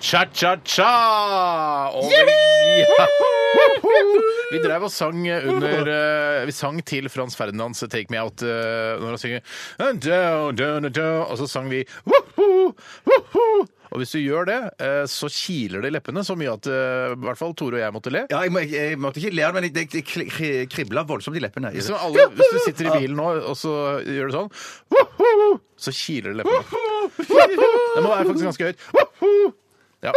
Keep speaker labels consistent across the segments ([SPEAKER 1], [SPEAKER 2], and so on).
[SPEAKER 1] Cha-cha-cha! Og- Ja! Vi drev og sang under eh, Vi sang til Frans Ferdinands 'Take Me Out' eh, når han synger And do, do, do, do, Og så sang vi «Woho, woho». Og hvis du gjør det, eh, så kiler det i leppene så mye at eh, i hvert fall Tore og jeg måtte le.
[SPEAKER 2] Ja, jeg, må- jeg, jeg måtte ikke le av det, men det, det kri- kri- kribla voldsomt i leppene.
[SPEAKER 1] Så alle, hvis du sitter i bilen nå og så gjør du sånn, «Woho», så kiler det i leppene. Det må være faktisk ganske høyt. «Woho». Ja.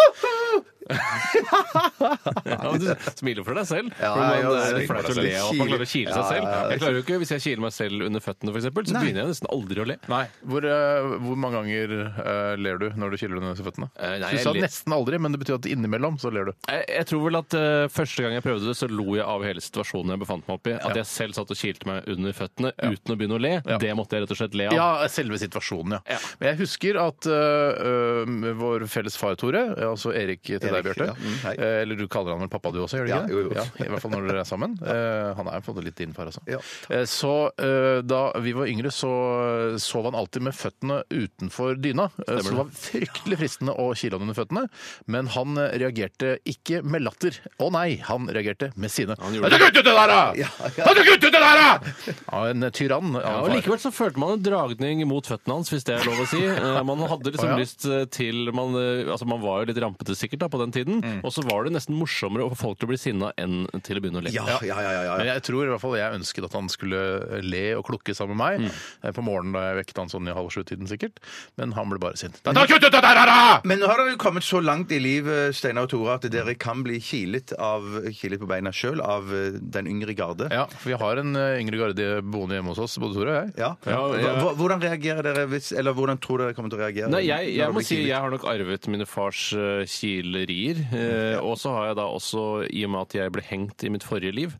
[SPEAKER 3] Ja, men du smiler for deg selv.
[SPEAKER 2] Ja,
[SPEAKER 3] for man,
[SPEAKER 1] eh,
[SPEAKER 2] ja,
[SPEAKER 3] det er
[SPEAKER 2] jeg
[SPEAKER 3] litt flaut å
[SPEAKER 2] smiler.
[SPEAKER 3] le av at man klarer å kile
[SPEAKER 2] Ja,
[SPEAKER 3] seg selv.
[SPEAKER 2] ja, ja.
[SPEAKER 3] Jeg klarer jo ikke, Hvis jeg kiler meg selv under føttene, f.eks., så begynner jeg nesten aldri å le.
[SPEAKER 1] Nei. Hvor, eh, hvor mange ganger eh, ler du når du kiler deg under føttene?
[SPEAKER 3] Eh, nei,
[SPEAKER 1] du
[SPEAKER 3] jeg
[SPEAKER 1] sa
[SPEAKER 3] ler-
[SPEAKER 1] nesten aldri, men det betyr at innimellom så ler du.
[SPEAKER 3] Jeg, jeg tror vel at eh, Første gang jeg prøvde det, så lo jeg av hele situasjonen jeg befant meg oppi. At jeg selv satt og kilte meg under føttene uten å begynne å le. Det måtte jeg rett og slett le av.
[SPEAKER 1] Ja, selve situasjonen, ja.
[SPEAKER 3] Ja.
[SPEAKER 1] Men jeg husker at øh, øh, vår felles far, Tore, altså Erik til deg,
[SPEAKER 2] Erik,
[SPEAKER 1] Bjarte
[SPEAKER 2] ja. Mm, hei.
[SPEAKER 1] eh, Eller du kaller han vel pappa du også, gjør du
[SPEAKER 2] Ja,
[SPEAKER 1] ikke det?
[SPEAKER 2] jo, jo.
[SPEAKER 1] I hvert fall når dere er sammen. Eh, han er på en måte litt din far, altså.
[SPEAKER 2] Ja,
[SPEAKER 1] Eh, så eh, da vi var yngre, så øh, sov han alltid med føttene utenfor dyna. Eh, så det var fryktelig fristende å kile han under føttene. Men han eh, reagerte ikke med latter. Å nei, han reagerte med sinne.
[SPEAKER 3] Han gjorde
[SPEAKER 1] Kan du kutte ut det der, da?! Kan du kutte ut det der, da?! Ja, en tyrann.
[SPEAKER 3] Ja,
[SPEAKER 1] han
[SPEAKER 3] og
[SPEAKER 1] far.
[SPEAKER 3] Likevel så følte man en dragning mot føttene hans, hvis det er lov å si. Eh, Man hadde liksom
[SPEAKER 1] Å, ja.
[SPEAKER 3] lyst eh, til man, eh, altså man var jo litt rampete sikkert da på den tiden,
[SPEAKER 1] Mm.
[SPEAKER 3] og så var det nesten morsommere å få folk til å bli sinna enn til å begynne å le.
[SPEAKER 2] Ja, ja, ja. ja, ja,
[SPEAKER 1] Men
[SPEAKER 2] ja.
[SPEAKER 1] jeg tror i hvert fall jeg ønsket at han skulle eh, le og klukke sammen med meg. eh, På morgenen da jeg vekket han sånn i halv sju-tiden sikkert. Men han ble bare sint. Da, da, kutt ut dette her, da!
[SPEAKER 2] Men nå har dere jo kommet så langt i livet, Steinar og Tore, at dere kan bli kilet, av, kilet på beina sjøl av eh, den yngre garde.
[SPEAKER 1] Ja, for vi har en eh, yngre garde boende hjemme hos oss, både Tore og jeg.
[SPEAKER 2] Ja.
[SPEAKER 3] Ja, ja.
[SPEAKER 2] Hva- Hvordan reagerer dere hvis, eller hvordan tror dere kommer til å reagere?
[SPEAKER 3] Nei, jeg,
[SPEAKER 2] når
[SPEAKER 3] jeg
[SPEAKER 2] dere
[SPEAKER 3] må
[SPEAKER 2] blir
[SPEAKER 3] si
[SPEAKER 2] kilet?
[SPEAKER 3] jeg har nok arvet mine fars eh, kilerier. Eh, og så har jeg da også, i og med at jeg ble hengt i mitt forrige liv,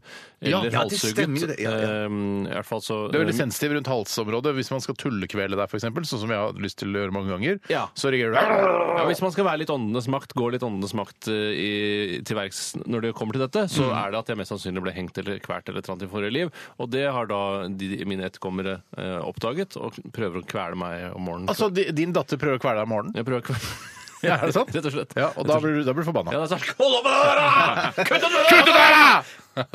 [SPEAKER 2] Ja,
[SPEAKER 3] eller
[SPEAKER 2] ja, det stemmer jo
[SPEAKER 3] halshugget
[SPEAKER 2] det. Ja, ja.
[SPEAKER 3] eh, I hvert fall så eh,
[SPEAKER 1] Det er veldig sensitiv rundt halsområdet hvis man skal tullekvele deg, f.eks., sånn som jeg har lyst til å gjøre mange ganger.
[SPEAKER 3] Ja.
[SPEAKER 1] Så reagerer du
[SPEAKER 3] ja, Hvis man skal være litt åndenes makt, gå litt åndenes makt eh, i, til verks når det kommer til dette, så er det at jeg mest sannsynlig ble hengt eller kvært eller et eller annet i forrige liv. Og det har da de, mine etterkommere eh, oppdaget, og prøver å kvele meg om morgenen.
[SPEAKER 1] Altså, di- din datter prøver å kvele deg om morgenen.
[SPEAKER 3] jeg prøver å kvele
[SPEAKER 1] Ja, er det sant?
[SPEAKER 3] Rett og slett.
[SPEAKER 1] Ja, og da blir du, da blir du forbanna.
[SPEAKER 3] Ja, det er sånn, Hold opp med det der! da! Kutt ut det der!
[SPEAKER 1] Kutt ut døra!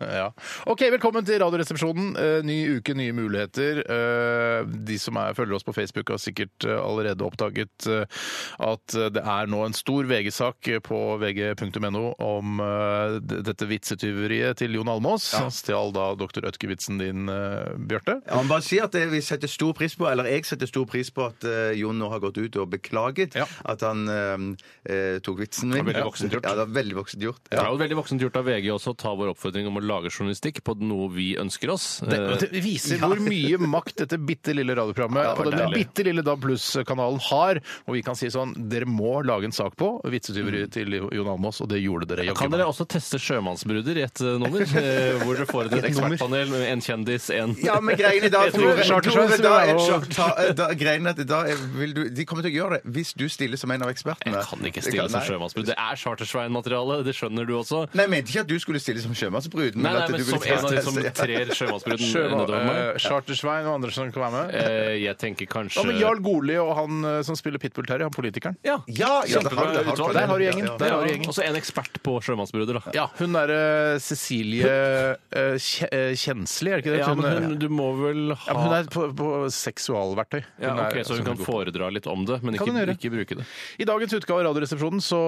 [SPEAKER 1] ja. OK, velkommen til Radioresepsjonen. Eh, Ny uke, nye muligheter. Eh, De som er, følger oss på Facebook, har sikkert eh, allerede oppdaget eh, at eh, det er nå en stor VG-sak eh, på vg.no om eh, d- dette vitsetyveriet til Jon Almås. Han stjal da doktor Ødke-vitsen din, eh, Bjarte.
[SPEAKER 2] Ja, man bare si at det, vi setter stor pris på, eller jeg setter stor pris på at eh, Jon nå har gått ut og beklaget
[SPEAKER 1] Ja.
[SPEAKER 2] at han eh, eh, tok vitsen min.
[SPEAKER 3] Det var veldig voksent gjort.
[SPEAKER 2] Ja, det var veldig voksent gjort.
[SPEAKER 3] Det er jo veldig voksent gjort av VG også å ta vår oppfordring om å lage journalistikk på noe vi ønsker oss.
[SPEAKER 1] Det,
[SPEAKER 3] Eh,
[SPEAKER 1] det viser hvor mye makt dette bitte lille radioprogrammet
[SPEAKER 3] Ja, det
[SPEAKER 1] på
[SPEAKER 3] var
[SPEAKER 1] denne
[SPEAKER 3] deilig.
[SPEAKER 1] bitte lille DAB Pluss-kanalen har. Og vi kan si sånn Dere må lage en sak på vitsetyveriet til Jon Almaas, og det gjorde dere. jaggu
[SPEAKER 3] Mm. Kan
[SPEAKER 1] meg.
[SPEAKER 3] dere også teste Sjømannsbruder i et eh, nummer? eh, Hvor dere får inn et
[SPEAKER 1] Et nummer.
[SPEAKER 3] ekspertpanel med en kjendis, en
[SPEAKER 2] Ja, men greien er da,
[SPEAKER 1] Jeg tror
[SPEAKER 2] Tore,
[SPEAKER 1] Charter Schweiz
[SPEAKER 2] Tore, da
[SPEAKER 1] vil
[SPEAKER 2] er
[SPEAKER 1] være-
[SPEAKER 2] Charter- ta- eh, da, greien er at da er, vil du, De kommer til å gjøre det hvis du stiller som en av ekspertene.
[SPEAKER 3] Jeg kan ikke stille
[SPEAKER 2] Det kan-
[SPEAKER 3] som
[SPEAKER 2] nei.
[SPEAKER 3] sjømannsbruder. Det er Chartersveien-materiale, det skjønner du også.
[SPEAKER 2] Nei, jeg mente ikke at du skulle stille som sjømannsbrud.
[SPEAKER 3] Nei, nei,
[SPEAKER 2] at
[SPEAKER 3] men
[SPEAKER 2] du ville
[SPEAKER 3] som en av de
[SPEAKER 2] teste-
[SPEAKER 3] som trer sjømannsbruden
[SPEAKER 1] Sjøma-
[SPEAKER 3] nedover meg.
[SPEAKER 1] eh, Chartersvein og andre som kan være med.
[SPEAKER 3] Eh, Jeg tenker kanskje
[SPEAKER 1] Hva med Jarl Goli og han eh, som spiller Pitbull Terry, han politikeren?
[SPEAKER 3] Ja.
[SPEAKER 2] Ja, ja, det har,
[SPEAKER 3] Kjempebra
[SPEAKER 2] det har,
[SPEAKER 3] utvalg.
[SPEAKER 1] Der har du gjengen.
[SPEAKER 2] Ja, ja.
[SPEAKER 1] Der har du gjengen.
[SPEAKER 3] Og så en ekspert på sjømannsbruder, da.
[SPEAKER 1] Ja, hun derre Cecilie eh, Kje- eh, Kjensli, er det ikke det?
[SPEAKER 3] Ja, men
[SPEAKER 1] Hun, eh,
[SPEAKER 3] hun, du må vel
[SPEAKER 1] ja, men hun
[SPEAKER 3] ha
[SPEAKER 1] er på, på seksualverktøy. Hun
[SPEAKER 3] ja, ok,
[SPEAKER 1] er-
[SPEAKER 3] Så hun kan
[SPEAKER 1] er god.
[SPEAKER 3] foredra litt om det, men
[SPEAKER 1] Kan hun
[SPEAKER 3] ikke,
[SPEAKER 1] gjøre.
[SPEAKER 3] ikke bruke det.
[SPEAKER 1] I dagens utgave av Radioresepsjonen så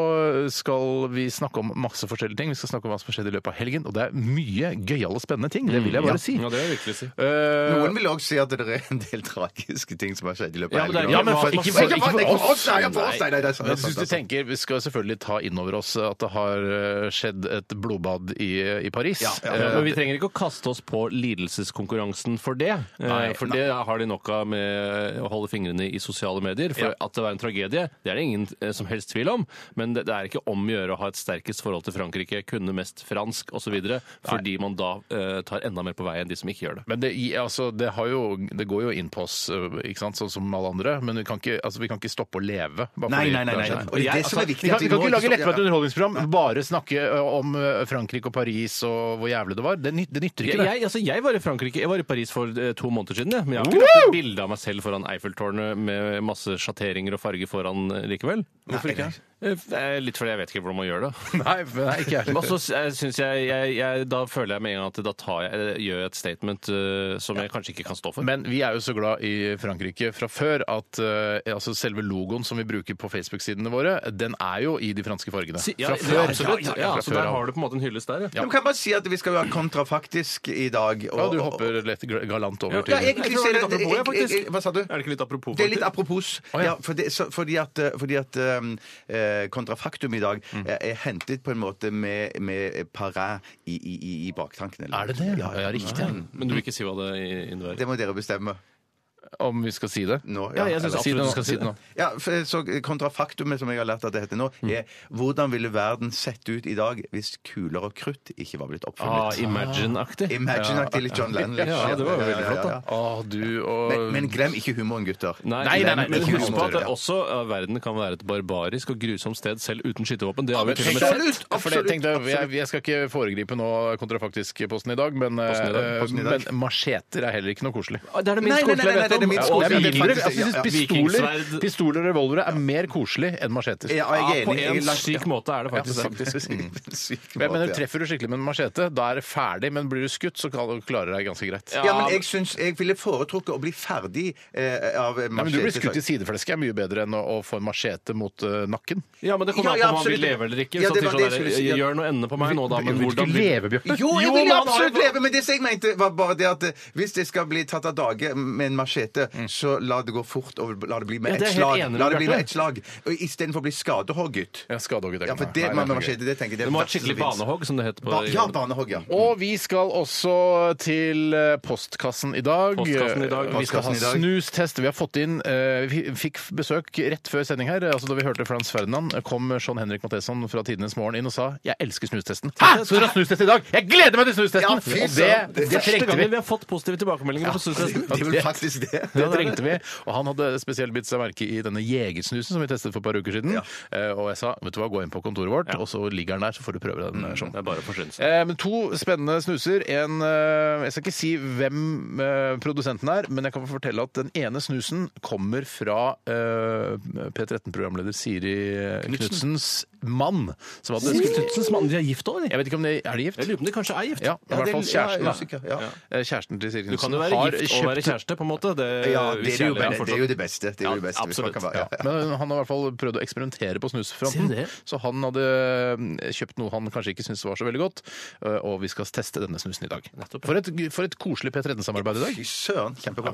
[SPEAKER 1] skal vi snakke om masse forskjellige ting. Vi skal snakke om hva som har skjedd i løpet av helgen, og det er mye gøyale, spennende ting. Det vil jeg
[SPEAKER 2] Mm,
[SPEAKER 1] bare si.
[SPEAKER 3] Ja, det vil jeg virkelig si.
[SPEAKER 1] Eh,
[SPEAKER 2] Noen vil òg si at det er en del tragiske ting som har skjedd i løpet
[SPEAKER 3] Ja,
[SPEAKER 2] av
[SPEAKER 3] men det er
[SPEAKER 2] helgen.
[SPEAKER 3] jo- Ja, men
[SPEAKER 2] for-
[SPEAKER 3] for- ikke
[SPEAKER 1] for-
[SPEAKER 2] Nei,
[SPEAKER 1] ikke for
[SPEAKER 2] nei,
[SPEAKER 1] oss.
[SPEAKER 2] nei, ja, for oss. Nei, nei, det er sant,
[SPEAKER 1] Men
[SPEAKER 2] det
[SPEAKER 1] jeg
[SPEAKER 2] er
[SPEAKER 1] synes
[SPEAKER 2] sant,
[SPEAKER 1] du
[SPEAKER 2] det er sant.
[SPEAKER 1] tenker, Vi skal selvfølgelig ta inn over oss at det har eh, skjedd et blodbad i, i Paris. Eh,
[SPEAKER 3] Ja, men vi trenger ikke å kaste oss på lidelseskonkurransen for det. Eh, for det har de nok av med å holde fingrene i sosiale medier. For at det var en tragedie, Det er det ingen eh, som helst tvil om. Men det, det er ikke om å gjøre å ha et sterkest forhold til Frankrike, kunne mest fransk osv. Fordi man da eh, tar enda mer på vei enn de som ikke gjør det.
[SPEAKER 1] Men det, i- altså, det, har jo, det går jo inn på oss, øh, ikke sant, sånn som alle andre. Men vi kan ikke, altså, vi kan ikke stoppe å leve. bare
[SPEAKER 2] Nei,
[SPEAKER 1] fordi
[SPEAKER 2] nei, nei,
[SPEAKER 1] det
[SPEAKER 2] nei.
[SPEAKER 1] har skjedd.
[SPEAKER 2] Og det er det
[SPEAKER 3] Altså,
[SPEAKER 2] som er
[SPEAKER 1] Vi
[SPEAKER 2] viktig.
[SPEAKER 1] kan,
[SPEAKER 2] at
[SPEAKER 1] vi kan
[SPEAKER 2] nå liksom-
[SPEAKER 1] ikke lage
[SPEAKER 2] stopper-
[SPEAKER 1] lettbeint underholdningsprogram, bare snakke ø, om ø, Frankrike og Paris og hvor jævlig det var. Det, nyt, det nytter ikke,
[SPEAKER 3] Jeg,
[SPEAKER 1] det.
[SPEAKER 3] jeg, altså, jeg var i Frankrike, jeg var i Paris for eh, to måneder siden, jeg. men jeg har ikke lagt et bilde av meg selv foran Eiffeltårnet med masse sjatteringer og farge foran eh, likevel.
[SPEAKER 1] Hvorfor ikke?
[SPEAKER 3] Eh, f- eh, Litt fordi jeg vet ikke hvordan man gjør det.
[SPEAKER 1] Nei, men nei, ikke
[SPEAKER 3] Men
[SPEAKER 1] jeg.
[SPEAKER 3] også eh, synes jeg, jeg, jeg, da føler jeg med en gang at da tar jeg, eh, gjør jeg et statement eh, som jeg kanskje ikke kan stå for.
[SPEAKER 1] Men vi er jo så glad i Frankrike fra før at ø, altså selve logoen som vi bruker på Facebook-sidene våre, den er jo i de franske fargene.
[SPEAKER 3] Si- ja,
[SPEAKER 1] Fra
[SPEAKER 3] ja,
[SPEAKER 1] før.
[SPEAKER 3] absolutt.
[SPEAKER 1] Ja,
[SPEAKER 3] Ja,
[SPEAKER 1] fra
[SPEAKER 3] så
[SPEAKER 1] før
[SPEAKER 3] der
[SPEAKER 1] av.
[SPEAKER 3] har du på en måte en hyllest der.
[SPEAKER 2] Men kan jeg bare si at vi skal være kontrafaktisk i dag. og-
[SPEAKER 1] Ja, du hopper lett gal- galant over til
[SPEAKER 2] Ja, egentlig
[SPEAKER 3] Jeg tror det er litt
[SPEAKER 2] så er det-
[SPEAKER 3] apropos, jeg,
[SPEAKER 2] jeg- jeg-
[SPEAKER 3] faktisk.
[SPEAKER 2] hva sa du?
[SPEAKER 3] Er det ikke litt apropos?
[SPEAKER 2] Det er litt
[SPEAKER 3] faktisk?
[SPEAKER 2] apropos.
[SPEAKER 1] Å, ja.
[SPEAKER 2] ja. for det, så, fordi at, eh, fordi at um, eh, kontrafaktum i dag
[SPEAKER 3] Mm.
[SPEAKER 2] er, er hentet på en måte med, med paræ i, i, i, i baktanken. eller?
[SPEAKER 1] Er det det?
[SPEAKER 2] Ja, ja.
[SPEAKER 1] Ja, riktig.
[SPEAKER 3] Men du vil ikke si hva det innebærer?
[SPEAKER 2] Det må dere bestemme
[SPEAKER 1] Om vi skal si det?
[SPEAKER 2] nå.
[SPEAKER 3] Ja, jeg synes
[SPEAKER 1] Eller si det
[SPEAKER 3] absolutt
[SPEAKER 1] nå.
[SPEAKER 3] du skal si det nå.
[SPEAKER 2] Ja, for, så Kontrafaktumet som jeg har lært at det heter nå,
[SPEAKER 3] Mm.
[SPEAKER 2] er hvordan ville verden sett ut i dag hvis kuler og krutt ikke var blitt
[SPEAKER 3] Ah,
[SPEAKER 2] oppfunnet?
[SPEAKER 3] Imagine-aktig.
[SPEAKER 2] Imagine-aktig litt John Lennon. litt.
[SPEAKER 3] Ja, det var jo veldig flott, da.
[SPEAKER 1] Å, du og
[SPEAKER 2] Men, men glem ikke humoren, gutter.
[SPEAKER 1] Nei, nei, nei,
[SPEAKER 3] men
[SPEAKER 1] ikke
[SPEAKER 3] husk på
[SPEAKER 1] humor,
[SPEAKER 3] at det
[SPEAKER 2] ja.
[SPEAKER 3] også ja, verden kan være et barbarisk og grusomt sted, selv uten skytevåpen. Det har vi til og med sett.
[SPEAKER 2] Absolutt!
[SPEAKER 1] For det,
[SPEAKER 2] absolutt,
[SPEAKER 1] tenkte jeg, jeg,
[SPEAKER 2] absolutt.
[SPEAKER 1] jeg skal ikke foregripe nå kontrafaktisk-posten i dag, men,
[SPEAKER 3] i dag,
[SPEAKER 1] eh,
[SPEAKER 2] posten i dag.
[SPEAKER 1] men macheter er heller ikke noe koselig.
[SPEAKER 3] Det er det
[SPEAKER 2] Nei,
[SPEAKER 3] minst
[SPEAKER 2] nei, nei,
[SPEAKER 3] koselige
[SPEAKER 2] nei, det er
[SPEAKER 3] jeg
[SPEAKER 2] det
[SPEAKER 3] vet
[SPEAKER 2] minst
[SPEAKER 3] om.
[SPEAKER 2] koselige.
[SPEAKER 1] Det er
[SPEAKER 2] Ja,
[SPEAKER 1] billigere.
[SPEAKER 2] faktisk,
[SPEAKER 1] Jeg synes
[SPEAKER 3] ja, ja.
[SPEAKER 1] pistoler,
[SPEAKER 3] Vikingsverd.
[SPEAKER 1] pistoler og revolvere er mer koselig enn macheter.
[SPEAKER 2] Ja, jeg er
[SPEAKER 3] Ja, Ah, på
[SPEAKER 2] enig. jeg er
[SPEAKER 3] en
[SPEAKER 2] langt-
[SPEAKER 3] syk måte er det faktisk det.
[SPEAKER 2] Mm.
[SPEAKER 1] Jeg
[SPEAKER 2] Syk
[SPEAKER 1] mener,
[SPEAKER 2] måte, ja.
[SPEAKER 1] Treffer du skikkelig med en machete, da er det ferdig, men blir du skutt, så kan- klarer du deg ganske greit.
[SPEAKER 3] Ja.
[SPEAKER 2] Ja, men jeg syns jeg ville foretrukket å bli ferdig eh, av
[SPEAKER 1] Nei, men Du blir skutt i sideflesket er mye bedre enn å, å få en machete mot eh, nakken.
[SPEAKER 3] Ja, men det
[SPEAKER 2] Ja,
[SPEAKER 3] kommer an
[SPEAKER 2] ja,
[SPEAKER 3] på om han vil
[SPEAKER 2] absolutt.
[SPEAKER 3] leve eller ikke.
[SPEAKER 2] Ja,
[SPEAKER 3] Så
[SPEAKER 2] det
[SPEAKER 3] til
[SPEAKER 2] var
[SPEAKER 3] sånn
[SPEAKER 2] det jeg
[SPEAKER 3] der,
[SPEAKER 2] skulle si, at-
[SPEAKER 3] Gjør noe ende på meg nå, da. Men
[SPEAKER 1] Vil du
[SPEAKER 3] hvordan
[SPEAKER 1] ikke
[SPEAKER 3] vil
[SPEAKER 1] leve, Bjørte?
[SPEAKER 2] Jo, jeg
[SPEAKER 3] Jo,
[SPEAKER 2] vil
[SPEAKER 3] men han har
[SPEAKER 2] absolutt
[SPEAKER 3] jo-
[SPEAKER 2] leve, men det som jeg mente var bare det at eh, hvis jeg skal bli tatt av dage med en machete, så la det gå fort, og la det bli
[SPEAKER 3] Ja,
[SPEAKER 2] med
[SPEAKER 3] det er
[SPEAKER 2] ett
[SPEAKER 3] jeg helt
[SPEAKER 2] slag.
[SPEAKER 3] enig med
[SPEAKER 2] La det bli
[SPEAKER 3] Bjarte.
[SPEAKER 2] med ett slag. Og Istedenfor å bli skadehogget.
[SPEAKER 1] Ja, skadehogget er
[SPEAKER 2] Ja,
[SPEAKER 1] ikke
[SPEAKER 2] for
[SPEAKER 1] noe.
[SPEAKER 2] det
[SPEAKER 1] Nei,
[SPEAKER 2] med
[SPEAKER 1] det er ikke
[SPEAKER 2] machete, det tenker jeg det
[SPEAKER 3] Det
[SPEAKER 2] er
[SPEAKER 3] må ha et
[SPEAKER 2] verste som
[SPEAKER 3] skikkelig
[SPEAKER 2] finnes.
[SPEAKER 3] banehogg, som det heter på
[SPEAKER 2] Ba- Ja, banehogg, ja.
[SPEAKER 1] Og vi skal også til eh, postkassen i dag. Eh,
[SPEAKER 3] Postkassen i dag.
[SPEAKER 1] Vi skal ha
[SPEAKER 2] Postkassen i dag.
[SPEAKER 1] snustest. Vi har fått inn eh, Vi fikk besøk rett før sending her. Altså Da vi hørte Frans Ferdinand, eh, kom Sean Henrik Matheson fra Tidenes Morgen inn og sa 'Jeg elsker snustesten'. Hæ! Så dere har snustest i dag? Jeg gleder meg til snustesten!
[SPEAKER 2] Ja, fy
[SPEAKER 1] og det,
[SPEAKER 2] søren.
[SPEAKER 1] det,
[SPEAKER 2] Det er
[SPEAKER 3] Første
[SPEAKER 1] trengte
[SPEAKER 3] gangen
[SPEAKER 1] vi.
[SPEAKER 3] vi har fått positive tilbakemeldinger på Sunnsen.
[SPEAKER 2] Det er vel faktisk det.
[SPEAKER 1] Det trengte vi, og Han hadde spesielt bitt seg merke i denne jegersnusen som vi testet for et par uker siden. Eh, og jeg sa vet du hva, gå inn på kontoret vårt, og så ligger den der, så får du prøve den. eh, Sean.
[SPEAKER 3] Mm, Det er bare å forsyne seg.
[SPEAKER 1] Eh, men to spennende snuser. En, eh, jeg skal ikke si hvem eh, produsenten er, men jeg kan fortelle at den ene snusen kommer fra eh, P13-programleder Siri eh, Knutsens mann. Som hadde
[SPEAKER 3] Knutsens mann, de er gift òg, de?
[SPEAKER 1] Jeg vet ikke om de er de gift?
[SPEAKER 3] Jeg lurer på om de kanskje er gift.
[SPEAKER 1] Ja, i
[SPEAKER 2] Ja, det-
[SPEAKER 1] hvert fall
[SPEAKER 2] ja,
[SPEAKER 1] kjæresten. da.
[SPEAKER 2] usikker, ja.
[SPEAKER 1] Eh, Kjæresten til Siri
[SPEAKER 3] Du kan jo
[SPEAKER 1] Knutsen
[SPEAKER 3] være
[SPEAKER 1] har
[SPEAKER 3] gift og være
[SPEAKER 1] kjøpt
[SPEAKER 3] kjæreste, på en måte. Det,
[SPEAKER 2] Ja, det
[SPEAKER 3] hvis
[SPEAKER 2] er jo
[SPEAKER 3] kjærlighet
[SPEAKER 2] det er jo det beste. Det er jo det beste hvis man kan være-
[SPEAKER 1] ja.
[SPEAKER 2] ja.
[SPEAKER 1] Men han har i hvert fall prøvd å eksperimentere på snusfronten.
[SPEAKER 3] Ser du det?
[SPEAKER 1] Så han hadde eh, kjøpt noe han kanskje ikke syntes var så veldig godt, eh, og vi skal teste denne snusen i dag. For et, for et koselig P13-samarbeid i dag.
[SPEAKER 2] Fy søren, kjempebra.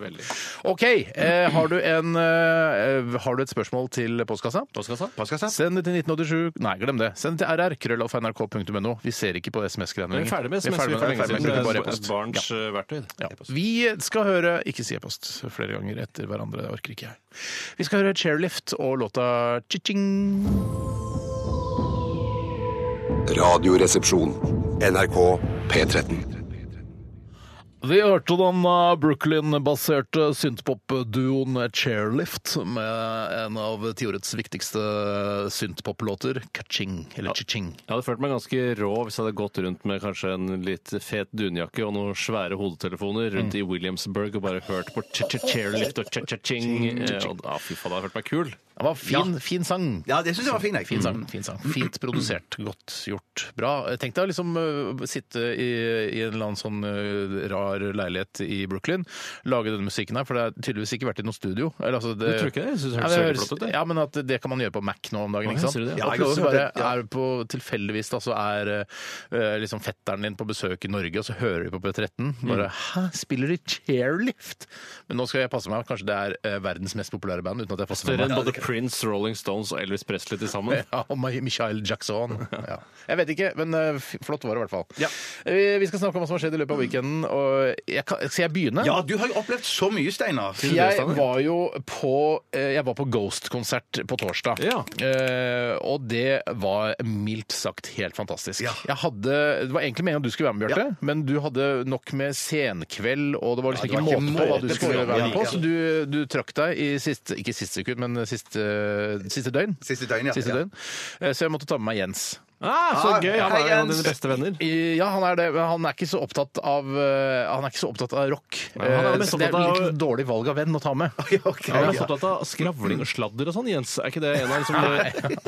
[SPEAKER 1] OK, eh, har, du en, eh, har du et spørsmål til postkassa?
[SPEAKER 3] Postkassa?
[SPEAKER 1] Send det til 1987 Nei, glem det. Send det til rr. krøllalfa.nrk.no. Vi ser ikke på SMS-greiene
[SPEAKER 3] Vi er ferdig med
[SPEAKER 1] Vi er
[SPEAKER 3] SMS
[SPEAKER 1] ferdig
[SPEAKER 3] for lenge
[SPEAKER 1] SMS.
[SPEAKER 3] siden.
[SPEAKER 1] Vi
[SPEAKER 3] Det
[SPEAKER 1] bruker
[SPEAKER 3] er
[SPEAKER 1] bare
[SPEAKER 3] et
[SPEAKER 1] e-post.
[SPEAKER 3] barns eh, verktøy.
[SPEAKER 1] Ja. Vi skal høre Ikke si e-post flere ganger etter hverandre. Det orker ikke jeg. Vi skal høre Chairlift og låta Chiching.
[SPEAKER 4] Radioresepsjon. NRK P13.
[SPEAKER 1] Vi hørte den eh, Brooklyn-baserte synthpop-duoen Chairlift med en av tiårets viktigste synthpop-låter, Kaching, eller Chiching.
[SPEAKER 3] Jeg hadde følt meg ganske rå hvis jeg hadde gått rundt med kanskje en litt fet dunjakke og noen svære hodetelefoner rundt i Williamsburg og bare hørt på ch-ch-chairlift og ch-ch-ching. eh, og- Ja, fy faen, det hadde følt meg kul.
[SPEAKER 1] Det var fin, fin sang.
[SPEAKER 2] Ja, det syns jeg var fin. jeg.
[SPEAKER 1] Fin
[SPEAKER 3] Mm.
[SPEAKER 1] sang, fin sang. Fint produsert, godt gjort. Bra. Tenk deg å liksom øh, sitte i, i en eller annen sånn øh, rar leilighet i Brooklyn, lage denne musikken her, for det har tydeligvis ikke vært i noe studio. Eller, altså, det,
[SPEAKER 3] Du tror ikke det? Jeg synes det
[SPEAKER 1] Ja,
[SPEAKER 3] høres veldig
[SPEAKER 1] høres-
[SPEAKER 3] flott ut, det.
[SPEAKER 1] Ja, men at det kan man gjøre på Mac nå om dagen,
[SPEAKER 3] Å,
[SPEAKER 1] ikke
[SPEAKER 3] ja,
[SPEAKER 1] sant?
[SPEAKER 3] ser du det?
[SPEAKER 1] Ja,
[SPEAKER 2] Ja,
[SPEAKER 1] og
[SPEAKER 2] jeg har også
[SPEAKER 1] plutselig bare
[SPEAKER 2] hørt det, ja.
[SPEAKER 1] er på tilfeldigvis da, så er øh, liksom fetteren din på besøk i Norge, og så hører vi på P13,
[SPEAKER 3] Mm.
[SPEAKER 1] bare hæ, spiller de chairlift? Men nå skal jeg passe meg, kanskje det er øh, eh, verdens mest populære band, uten at jeg passer meg.
[SPEAKER 3] Større enn både
[SPEAKER 2] det kan-
[SPEAKER 3] Prince, Rolling Stones og Elvis Presley til sammen.
[SPEAKER 1] Ja, og Mi- Michael Jackson. Ja. Jeg vet ikke, men eh, f- flott var det i hvert fall.
[SPEAKER 2] Ja.
[SPEAKER 1] Eh, Vi skal snakke om hva som har skjedd i løpet av weekenden. Og jeg kan, skal jeg begynne?
[SPEAKER 2] Ja, du har jo opplevd så mye, Steinar.
[SPEAKER 1] Jeg var jo på eh, Jeg var på Ghost-konsert på torsdag.
[SPEAKER 3] Ja.
[SPEAKER 1] Eh, og det var mildt sagt helt fantastisk.
[SPEAKER 2] Ja.
[SPEAKER 1] Jeg hadde, det var egentlig meningen at du skulle være med, Bjarte, men du hadde nok med senkveld, og det var liksom
[SPEAKER 2] Ja, det
[SPEAKER 1] ikke
[SPEAKER 2] var
[SPEAKER 1] måte på
[SPEAKER 2] ikke
[SPEAKER 1] hva
[SPEAKER 2] måte
[SPEAKER 1] du
[SPEAKER 2] på,
[SPEAKER 1] skulle
[SPEAKER 2] ja.
[SPEAKER 1] være med på,
[SPEAKER 2] Ja.
[SPEAKER 1] så du, du trakk deg i siste Ikke siste sekund, men siste, siste døgn.
[SPEAKER 2] Siste døgn, ja.
[SPEAKER 1] Siste
[SPEAKER 2] Ja.
[SPEAKER 1] døgn. Eh, så jeg måtte ta med meg Jens.
[SPEAKER 3] Ah, så gøy! Han
[SPEAKER 2] Hei,
[SPEAKER 3] er en av
[SPEAKER 2] Jens.
[SPEAKER 3] dine beste venner.
[SPEAKER 1] I- Ja, han er det, men han er ikke så opptatt av eh, Han er ikke så opptatt av rock.
[SPEAKER 3] Nei, han er
[SPEAKER 1] Eh,
[SPEAKER 3] mest
[SPEAKER 1] så det er
[SPEAKER 3] opptatt
[SPEAKER 1] litt
[SPEAKER 3] av-
[SPEAKER 1] dårlig valg av venn å ta med.
[SPEAKER 2] ok.
[SPEAKER 3] Han er så opptatt av skravling og sladder og sånn, Jens. Er ikke det en av liksom,